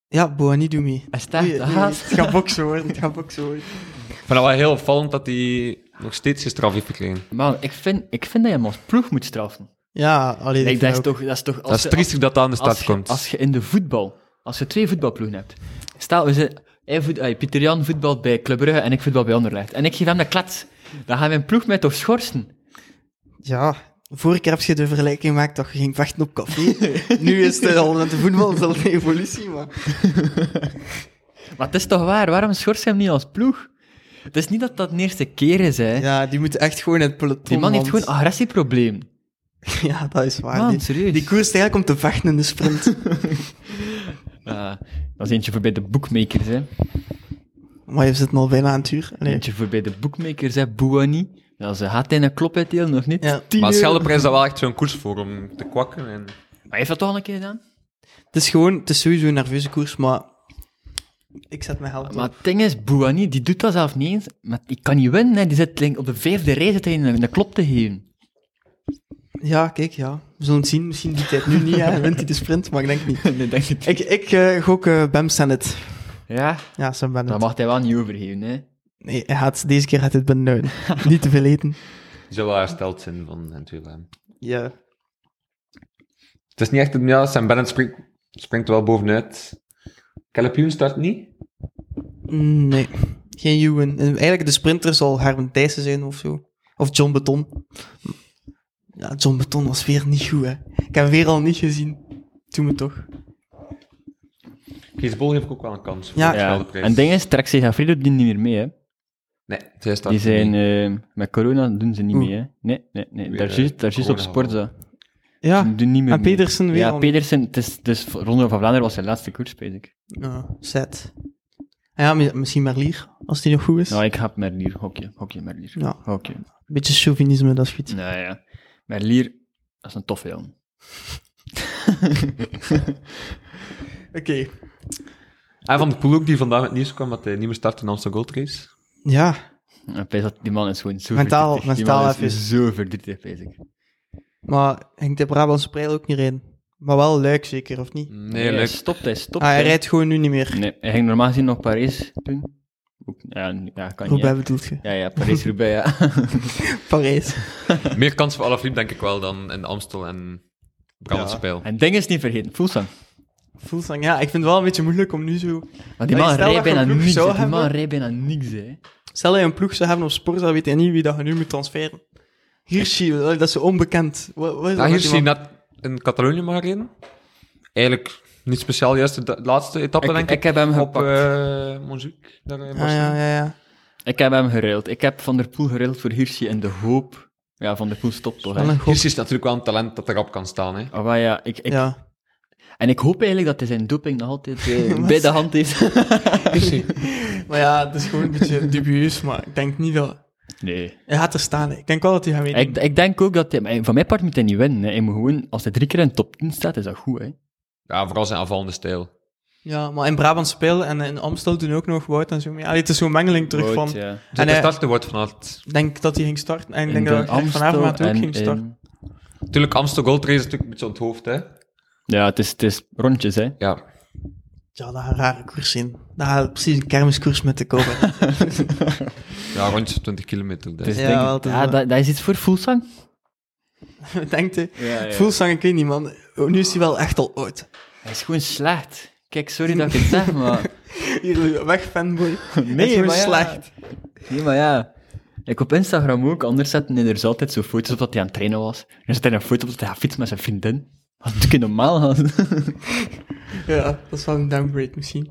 Speaker 2: Ja, Boani doet mee.
Speaker 1: Hij staat
Speaker 2: Oei,
Speaker 1: te
Speaker 2: oei,
Speaker 1: haast.
Speaker 2: Het gaat boksen worden, het gaat boksen worden.
Speaker 3: Ik vind het wel heel opvallend dat hij nog steeds geen straf heeft gekregen.
Speaker 1: Man, ik vind, ik vind dat je hem als ploeg moet straffen.
Speaker 2: Ja, alleen
Speaker 1: Kijk, dat, is toch, dat is toch... Als
Speaker 3: Dat is
Speaker 1: je-
Speaker 3: triestig dat dat aan de
Speaker 1: als, als,
Speaker 3: start
Speaker 1: je-
Speaker 3: komt.
Speaker 1: Als je in de voetbal... Als je twee voetbalploegen hebt... Stel, we zijn, hij voet, eh, Pieter Jan voetbalt bij Club Brugge en ik voetbal bij Anderlecht. En ik geef hem de klets. Dan gaan mijn ploeg mij toch schorsen?
Speaker 2: Ja, vorige keer heb je de vergelijking gemaakt dat je ging vechten op café. nu is het al met de voetbal is al een evolutie, maar...
Speaker 1: Maar het is toch waar? Waarom schorsen hem niet als ploeg? Het is niet dat dat de eerste keer is, hè.
Speaker 2: Ja, die moet echt gewoon in het peloton,
Speaker 1: Die man heeft
Speaker 2: want-
Speaker 1: gewoon een agressieprobleem.
Speaker 2: Ja, dat is waar.
Speaker 1: Man,
Speaker 2: die,
Speaker 1: serieus.
Speaker 2: die koers is eigenlijk om te vechten in de sprint.
Speaker 1: Eh, dat is eentje voor bij de bookmakers, hè.
Speaker 2: maar je zit al bijna aan het uur. Allee.
Speaker 1: Eentje voor bij de bookmakers, hè, Bouani. Dat ze gaat hij een klop uitdelen, of niet?
Speaker 2: Ja.
Speaker 3: Maar Scheldeprijs is daar wel echt zo'n koers voor om te kwakken. En...
Speaker 1: Maar heeft dat toch al een keer gedaan?
Speaker 2: Het is gewoon... Het is sowieso een nerveuze koers, maar... Ik zet mijn helft
Speaker 1: Maar
Speaker 2: op.
Speaker 1: het ding is, Bouani, die doet dat zelf niet eens. Maar die kan niet winnen, hè. Die zit denk ik, op de vijfde rij zit hij in een, een klop te geven.
Speaker 2: Ja, kijk, ja. We zullen het zien. Misschien doet hij het nu niet, hè. Wint hij de sprint, maar ik denk niet.
Speaker 1: nee, denk het
Speaker 2: Ik, ik eh, gok eh, Bam Sennett.
Speaker 1: Ja,
Speaker 2: Ja, Sam Bennett.
Speaker 1: dat mag hij wel niet overgeven, hè.
Speaker 2: Nee, hij gaat, deze keer gaat het benauwen. Niet te veel eten.
Speaker 3: Die zal wel hersteld zijn van hen twee van hem.
Speaker 2: Ja.
Speaker 3: Het is niet echt... een- Ja, Sam Bennett springt, springt wel bovenuit. Calipioen start niet.
Speaker 2: Nee, geen Eh, Ewan. En Eigenlijk de sprinter zal Herman Thijssen zijn of zo. Of John Beton. Ja, John Beton was weer niet goed, hè. Ik heb hem weer al niet gezien. Doe me toch.
Speaker 3: Kees Bol heeft ook wel een kans. voor
Speaker 2: Ja.
Speaker 3: dezelfde
Speaker 1: En
Speaker 3: prijs.
Speaker 1: het ding is, trek Segafredo die niet meer mee, hè.
Speaker 3: Nee, zij staat
Speaker 1: Die
Speaker 3: er
Speaker 1: zijn,
Speaker 3: niet.
Speaker 1: eh, met corona doen ze niet
Speaker 2: Oeh.
Speaker 1: mee, hè. Nee, nee, nee.
Speaker 3: Weer,
Speaker 1: Daar
Speaker 3: eh,
Speaker 1: juist- daar juist op
Speaker 3: corona.
Speaker 1: sport, ze
Speaker 2: Ja,
Speaker 1: doen niet meer
Speaker 2: Ah. en
Speaker 1: mee.
Speaker 2: Pedersen weer
Speaker 1: Ja,
Speaker 2: al-
Speaker 1: Pedersen, het is, dus Ronde van Vlaanderen was zijn laatste koers, weet ik.
Speaker 2: ja set. En ja, mi- misschien Merlier, als die nog goed is.
Speaker 1: Nou, ik heb Merlier, hokje, hokje Merlier.
Speaker 2: Ja.
Speaker 1: Hokje.
Speaker 2: Beetje chauvinisme, dat is goed.
Speaker 1: Nou ja, Merlier, dat is een toffe jongen.
Speaker 2: Oké.
Speaker 3: En van de pool ook die vandaag met nieuws kwam dat hij niet meer start in de Amsterdam Gold Race.
Speaker 2: Ja,
Speaker 1: En Pijs, dat- die man is gewoon zo
Speaker 2: Mentaal-
Speaker 1: verdrietig. Die
Speaker 2: mentaal
Speaker 1: man
Speaker 2: even.
Speaker 1: is zo verdrietig, Pijs. ik.
Speaker 2: maar hangt de Brabantse prijl ook niet in. Maar wel leuk zeker, of niet?
Speaker 3: Nee,
Speaker 1: Hij
Speaker 3: leuk.
Speaker 1: stopt, hij stopt.
Speaker 2: Ah, hij
Speaker 1: hè.
Speaker 2: rijdt gewoon nu niet meer.
Speaker 1: Nee, hij ging normaal gezien nog Parijs doen. Ook- Ja, nu- ja kan
Speaker 2: Roubaix
Speaker 1: niet.
Speaker 2: bedoelt je?
Speaker 1: hè. Ja, ja, Parijs-Roubaix, ja.
Speaker 2: Parijs.
Speaker 3: Meer kans voor Alaphilippe denk ik wel dan in de Amstel en Brabantse
Speaker 2: Ja.
Speaker 3: Pijl.
Speaker 1: en ding is niet vergeten, Fulsang.
Speaker 2: Fullsang, ja, ik vind het wel een beetje moeilijk om nu zo...
Speaker 1: Want die
Speaker 2: Maar
Speaker 1: man
Speaker 2: stel dat
Speaker 1: rijdt
Speaker 2: je
Speaker 1: bijna
Speaker 2: een ploeg
Speaker 1: niks,
Speaker 2: zou
Speaker 1: hè. Die man
Speaker 2: hebben-
Speaker 1: rijdt bijna niks, hè.
Speaker 2: Stel hij een ploeg zou hebben op sport, dan weet hij niet wie dat je nu moet transferen. Hirschi, dat is zo onbekend. Wat, wat is
Speaker 3: Ja,
Speaker 2: dat
Speaker 3: hier
Speaker 2: met die
Speaker 3: zie je
Speaker 2: man?
Speaker 3: net in Catalonië maar in. Eigenlijk niet speciaal, juist de da- laatste etappe
Speaker 1: Ik,
Speaker 3: denk
Speaker 1: ik heb hem
Speaker 3: op
Speaker 1: gepakt.
Speaker 3: eh Monzuik. Daar in
Speaker 2: Ah,
Speaker 3: Bosnië.
Speaker 2: ja, ja, ja.
Speaker 1: Ik heb hem geruild. Ik heb Van der Poel geruild voor Hirschi in de hoop... Ja, Van der Poel stopt toch,
Speaker 2: Wel
Speaker 1: hè.
Speaker 2: een gok.
Speaker 3: Hirschi is natuurlijk wel een talent dat erop kan staan. Hè.
Speaker 1: Oh, maar ja, ik, ik,
Speaker 2: Ja.
Speaker 1: En ik hoop eigenlijk dat hij zijn doping nog altijd eh, bij de hand is.
Speaker 2: Maar ja, het is gewoon een beetje dubieus, maar ik denk niet dat...
Speaker 1: Nee.
Speaker 2: Hij gaat er staan, hè. ik denk wel dat hij gaat winnen.
Speaker 1: Ik, ik denk ook dat hij... maar Van mijn part moet hij niet winnen. Hè. Hij moet gewoon... Als hij drie keer in de top 10 staat, is dat goed, hè.
Speaker 3: Ja, vooral zijn aanvallende stijl.
Speaker 2: Ja, maar in Brabant spelen en in Amstel doen ook nog Wout en zo. mee. Allee, het is zo'n mengeling terug van...
Speaker 1: Wout, ja.
Speaker 3: Dus en de
Speaker 2: hij-
Speaker 3: starten wordt vanuit...
Speaker 2: Ik denk dat hij ging starten en ik
Speaker 1: In
Speaker 2: denk dat
Speaker 1: de
Speaker 2: hij vanavond
Speaker 1: Amstel
Speaker 2: ook
Speaker 1: en
Speaker 2: ging starten.
Speaker 1: in-
Speaker 3: Natuurlijk, Amstel Gold Race is natuurlijk een beetje aan het hoofd. Hè.
Speaker 1: Ja, het is, het is rondjes, hè.
Speaker 3: Ja.
Speaker 2: Ja, dat gaat een rare koers in. Dat gaat precies een kermiskoers met de koper.
Speaker 3: ja, rondjes op 20 kilometer.
Speaker 1: Het is
Speaker 2: Ja,
Speaker 3: Dus.
Speaker 1: denk ik-
Speaker 2: wel, het is
Speaker 1: ja,
Speaker 2: wel.
Speaker 1: dat, dat is iets voor Fulsang.
Speaker 2: Denkt hij.
Speaker 1: Ja,
Speaker 2: Voelsang, ik weet niet, man. Oh, Nu is hij wel echt al oud.
Speaker 1: Hij is gewoon slecht. Kijk, sorry dat ik het zeg, maar...
Speaker 2: Hier, weg, fanboy.
Speaker 1: Nee,
Speaker 2: is gewoon
Speaker 1: maar ja.
Speaker 2: slecht.
Speaker 1: Nee, maar ja... Ik op Instagram ook, anders zetten hij er zo altijd zo foto's op dat hij aan het trainen was. Er zit hij een foto op dat hij gaat fietsen met zijn vriendin. Wat natuurlijk normaal gast.
Speaker 2: Ja, dat is wel een downgrade misschien.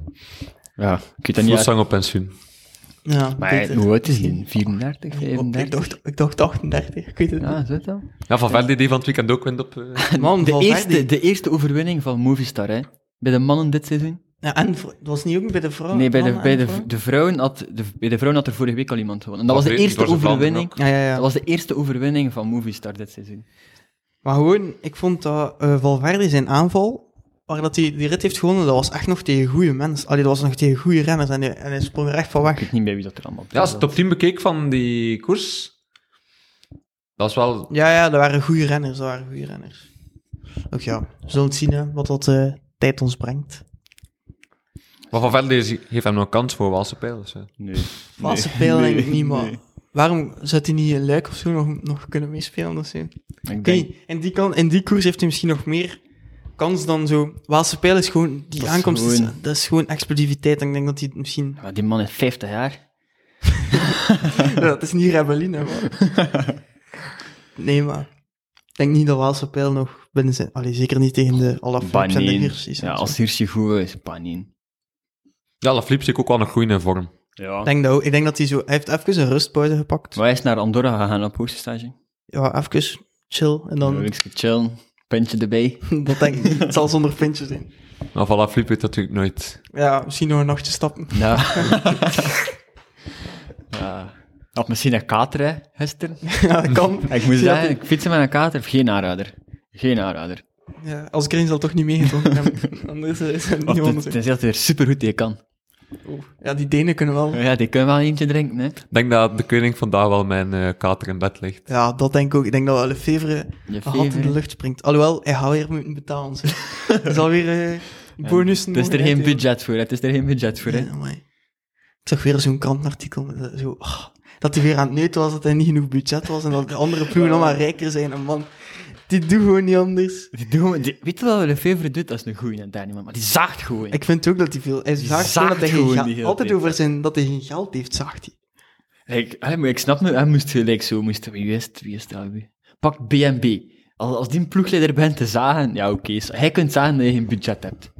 Speaker 1: Ja, ik weet dat niet. uit-
Speaker 3: Voelsang op pensioen.
Speaker 2: Ja,
Speaker 1: Maar
Speaker 2: beter.
Speaker 1: hij- hoe oud is hij? 34,
Speaker 2: Oh, ik,
Speaker 1: 35?
Speaker 2: dacht, ik dacht 38, ik weet het
Speaker 1: Ja, zit dat?
Speaker 3: Ja, van Verdi die van het weekend ook wint op... eh,
Speaker 2: niet. Man,
Speaker 1: De
Speaker 2: Valverde.
Speaker 1: eerste, de eerste overwinning van Movistar, hè? Bij de mannen dit seizoen?
Speaker 2: Ja, en voor- het was niet ook bij de vrouw?
Speaker 1: nee, bij de,
Speaker 2: mannen
Speaker 1: bij
Speaker 2: en
Speaker 1: de,
Speaker 2: vrouw?
Speaker 1: de vrouwen had, de, bij de vrouwen had er vorige week al iemand gewonnen. En dat
Speaker 3: Dat
Speaker 1: was de
Speaker 3: weet-
Speaker 1: eerste
Speaker 3: dat was in Vlaanderen
Speaker 1: overwinning.
Speaker 2: Ja, ja, ja.
Speaker 1: Dat was de eerste overwinning van Movistar dit seizoen.
Speaker 2: Maar gewoon, ik vond dat eh, Valverde zijn aanval, waar dat hij die rit heeft gewonnen, dat was echt nog tegen goede mensen. Allee, dat was nog tegen goede renners en hij, en hij sprong er echt van
Speaker 1: Ik
Speaker 2: weg.
Speaker 1: weet niet bij wie dat er allemaal
Speaker 3: Ja,
Speaker 1: bij
Speaker 3: als je
Speaker 1: zat.
Speaker 3: de top 10 bekeek van die koers, dat is wel...
Speaker 2: Ja, ja, dat waren goede renners, dat waren goede renners. Ook ja, we zullen het zien hè, wat dat eh, tijd ons brengt.
Speaker 3: Maar van Verdi is- geeft hem nog een kans voor Waalse Pijl. Dus, eh.
Speaker 1: Nee.
Speaker 2: Valse
Speaker 1: Nee.
Speaker 2: pijl denk
Speaker 1: Nee.
Speaker 2: ik niet, maar
Speaker 1: Nee.
Speaker 2: waarom zou hij niet een luik of zo nog, nog kunnen meespelen of zo? Ik
Speaker 1: Ik
Speaker 2: weet
Speaker 1: denk,
Speaker 2: niet, in die, kan, in die koers heeft hij misschien nog meer kans dan zo. Waalse pijl is gewoon, die
Speaker 1: Dat is
Speaker 2: aankomst, is-
Speaker 1: gewoon-
Speaker 2: dat is gewoon explosiviteit. En ik denk dat hij het misschien...
Speaker 1: ja, die man is 50 jaar.
Speaker 2: Ja, dat is niet rebelline, man. Nee, maar ik denk niet dat Waalse pijl nog binnen zijn. Allee, zeker niet tegen de Alaphilippe en de
Speaker 1: Banin.
Speaker 2: Hirsies. en
Speaker 1: Ja,
Speaker 2: zo.
Speaker 1: als Hirschi goed is, Panin.
Speaker 3: Ja, Lafliep zie ik ook wel nog groeien in vorm.
Speaker 1: Ja.
Speaker 2: Ik denk dat, ook- ik denk dat hij zo... Hij heeft even een rustpauze gepakt.
Speaker 1: Maar hij is naar Andorra gegaan op hoogstestage.
Speaker 2: Ja, even chill. En
Speaker 1: Dan...
Speaker 2: dan...
Speaker 1: Een weekje chillen, puntje erbij.
Speaker 2: dat denk ik niet. Het zal zonder pintjes zijn.
Speaker 3: Maar van Lafliep weet dat natuurlijk nooit.
Speaker 2: Ja, misschien nog een nachtje stappen.
Speaker 1: Ja. ja. Had misschien een kater, hè, gisteren.
Speaker 2: ja, dat kan.
Speaker 1: Ik moet
Speaker 2: Zie dat
Speaker 1: zeggen, ik fietsen met een kater, geen aanrader. Geen aanrader.
Speaker 2: hij- Ja, als Green zal toch niet meegedronken hebben. Anders eh, is het niet
Speaker 1: Of
Speaker 2: anders.
Speaker 1: ten- Tenzij dat hij er supergoed tegen kan.
Speaker 2: Oeh. Ja, die Denen kunnen wel.
Speaker 1: Ja, die kunnen wel eentje drinken, hè.
Speaker 3: Ik denk dat de koning vandaag wel mijn eh, kater in bed ligt.
Speaker 2: Ja, dat denk ik ook. Ik denk dat Lefevre
Speaker 1: Je
Speaker 2: een hand in de
Speaker 1: fever.
Speaker 2: lucht springt. Alhoewel, hij gaat weer moeten betalen. zo. Er is alweer eh bonussen.
Speaker 1: Het is er geen
Speaker 2: mogen uitdelen.
Speaker 1: budget voor, hè. het is er geen budget voor, hè.
Speaker 2: Ja, amai. ik zag weer zo'n krantenartikel. met, eh, Zo, ah, dat hij weer aan het neuten was, dat hij niet genoeg budget was en dat de andere ploegen allemaal rijker zijn. En man, die doen gewoon niet anders.
Speaker 1: Die doen, die- weet je wat Lefevre doet? Dat is een goeie, en daar niet maar die zaagt gewoon.
Speaker 2: Ik vind ook dat hij veel... Hij zaagt,
Speaker 1: zaagt
Speaker 2: gewoon dat hij geen
Speaker 1: gewoon
Speaker 2: geld-
Speaker 1: die hele
Speaker 2: Altijd
Speaker 1: tijd.
Speaker 2: over zijn dat hij geen geld heeft, zaagt hij.
Speaker 1: Ik, hè, maar ik snap nu, hij moest gelijk zo, moest, wie is het, wie is het, ja, wie? Pak BNB. Als, als die een ploegleider bent te zagen, ja oké, so- hij kunt zagen dat je geen budget hebt.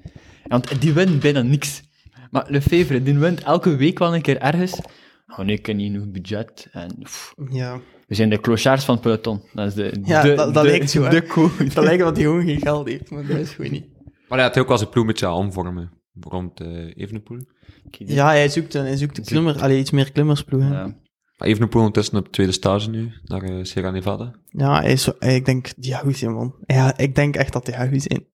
Speaker 1: Want die wint bijna niks. Maar Lefevre, die wint elke week wel een keer ergens. Oh nee, ik heb niet genoeg budget. En, pff,
Speaker 2: Ja.
Speaker 1: we zijn de clochards van het peloton. Dat is de,
Speaker 2: Ja,
Speaker 1: de,
Speaker 2: dat- dat
Speaker 1: de-
Speaker 2: lijkt zo, hè.
Speaker 1: de code.
Speaker 2: Dat lijkt dat hij gewoon geen geld heeft, maar dat is gewoon niet.
Speaker 3: Maar hij had ook wel zijn ploeg een beetje omvormen rond eh Evenepoel.
Speaker 1: Oké, dus, eh, dit-
Speaker 2: Ja, hij zoekt een, hij zoekt een klimmer, allee, iets meer klimmersploeg. hè. Ja,
Speaker 1: ja.
Speaker 3: Maar Evenepoel ondertussen op tweede stage nu, naar eh, Sierra Nevada.
Speaker 2: hij is, hij- ik denk, die gaat goed zijn, man. Ja, ik denk echt dat hij gaat goed zijn.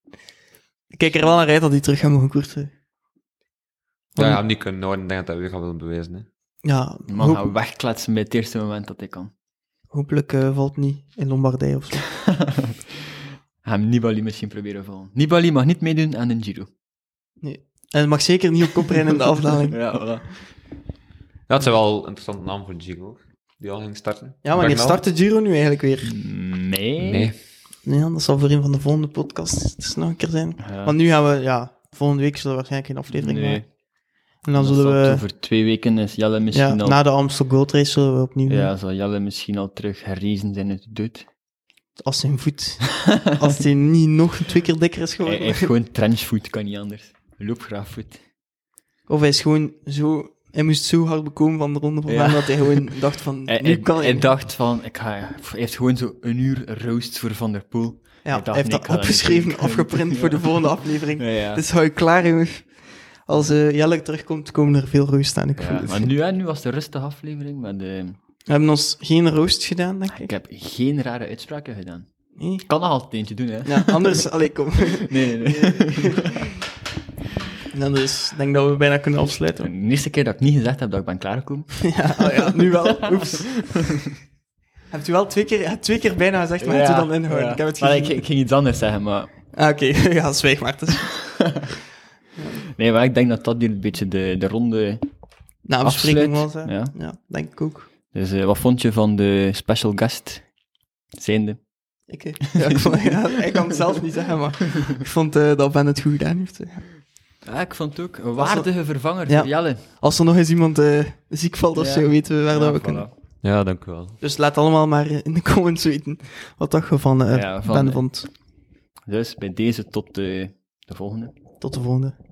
Speaker 2: Ik kijk er wel naar uit dat hij terug gaat mogen koersen.
Speaker 3: Ja,
Speaker 2: Om-
Speaker 3: ja, niet kunnen horen. Ik denk dat hij weer gaat willen bewijzen. Hè.
Speaker 2: Ja,
Speaker 1: Die man
Speaker 2: hoop-
Speaker 1: gaat wegkletsen bij het eerste moment dat hij kan.
Speaker 2: hopelijk eh, valt niet in Lombardij of zo.
Speaker 1: Hem Nibali misschien proberen vallen. Nibali mag niet meedoen aan een Giro.
Speaker 2: En het mag zeker niet op kop rijden in de afdaling.
Speaker 1: Ja, voilà.
Speaker 3: Ja, het zijn wel een interessante naam voor Giro, die al ging starten.
Speaker 2: Ja, wanneer
Speaker 3: Bernal?
Speaker 2: start de Giro nu eigenlijk weer?
Speaker 1: Nee.
Speaker 3: Nee.
Speaker 2: Nee, dat zal voor een van de volgende podcasts dus nog een keer zijn.
Speaker 1: Ja.
Speaker 2: Want nu gaan we, ja, volgende week zullen we waarschijnlijk geen aflevering
Speaker 1: Nee.
Speaker 2: maken. En dan
Speaker 1: Dat
Speaker 2: zullen
Speaker 1: zal
Speaker 2: we,
Speaker 1: Over twee weken is Jelle
Speaker 2: ja,
Speaker 1: misschien al...
Speaker 2: na de Amstel Gold Race zullen we opnieuw,
Speaker 1: Ja, zal Jelle misschien al terug herrezen zijn uit de dood.
Speaker 2: als zijn voet, als hij niet nog twee keer dikker is
Speaker 1: Hij
Speaker 2: geworden.
Speaker 1: heeft gewoon trenchvoet, kan niet anders. Loopgraafvoet.
Speaker 2: Of hij is gewoon zo, hij moest zo hard bekomen van de ronde van
Speaker 1: Ja.
Speaker 2: Vlaanderen dat hij gewoon dacht van,
Speaker 1: Hij,
Speaker 2: nu
Speaker 1: hij,
Speaker 2: kan
Speaker 1: hij
Speaker 2: ik.
Speaker 1: dacht van, ik ga... Hij heeft gewoon zo een uur roast voor Van der Poel.
Speaker 2: ja,
Speaker 1: dacht,
Speaker 2: hij heeft
Speaker 1: nee,
Speaker 2: dat
Speaker 1: ik ga dat niet
Speaker 2: opgeschreven,
Speaker 1: doen.
Speaker 2: afgeprint voor de
Speaker 1: Ja.
Speaker 2: volgende aflevering.
Speaker 1: Ja, ja.
Speaker 2: Dus hou je klaar, jongens. Als eh, Jelle terugkomt, komen er veel roost aan. Ik voel
Speaker 1: Ja,
Speaker 2: het.
Speaker 1: maar nu, hè, nu was de rustige aflevering, maar de,
Speaker 2: We hebben ons geen roost gedaan, denk
Speaker 1: ik
Speaker 2: ik.
Speaker 1: heb geen rare uitspraken gedaan.
Speaker 2: Nee.
Speaker 1: Ik kan nog altijd eentje doen, hè.
Speaker 2: Ja, anders, allee, kom.
Speaker 1: Nee, nee, nee.
Speaker 2: En dan dus, ik denk dat we bijna kunnen afsluiten.
Speaker 1: De eerste keer dat ik niet gezegd heb dat ik ben klaargekomen.
Speaker 2: Ja, oh ja nu wel. Oeps. Hebt u wel twee keer, je hebt twee keer bijna gezegd, maar hebt u dan inhouden?
Speaker 1: ja.
Speaker 2: Ik heb het
Speaker 1: Maar
Speaker 2: gezien.
Speaker 1: ik, ik ging iets anders zeggen, maar...
Speaker 2: Ah, Oké, ja, zwijg maar. Dus.
Speaker 1: Nee, maar ik denk dat dat hier een beetje de, de ronde...
Speaker 2: Nou, bespreking was,
Speaker 1: Afsluit,
Speaker 2: hè.
Speaker 1: ja.
Speaker 2: denk ik ook.
Speaker 1: Dus eh, wat vond je van de special guest zijnde?
Speaker 2: Ik, eh, ja, ik, vond- ja, ik kan het zelf niet zeggen, maar ik vond eh, dat Ben het goed gedaan heeft. eh.
Speaker 1: Ja, ik vond het ook een
Speaker 2: waardige
Speaker 1: vervanger
Speaker 2: Ja. voor
Speaker 1: voor Jelle.
Speaker 2: Als er nog eens iemand eh, ziek valt of
Speaker 1: Ja.
Speaker 2: zo, weten we waar dat we kunnen.
Speaker 3: Ja, dank u wel.
Speaker 2: Dus laat allemaal maar eh, in de comments weten wat dat je van, eh
Speaker 1: Ja, van,
Speaker 2: Ben
Speaker 1: eh,
Speaker 2: vond.
Speaker 1: Dus bij deze tot de, de volgende.
Speaker 2: Tot de volgende.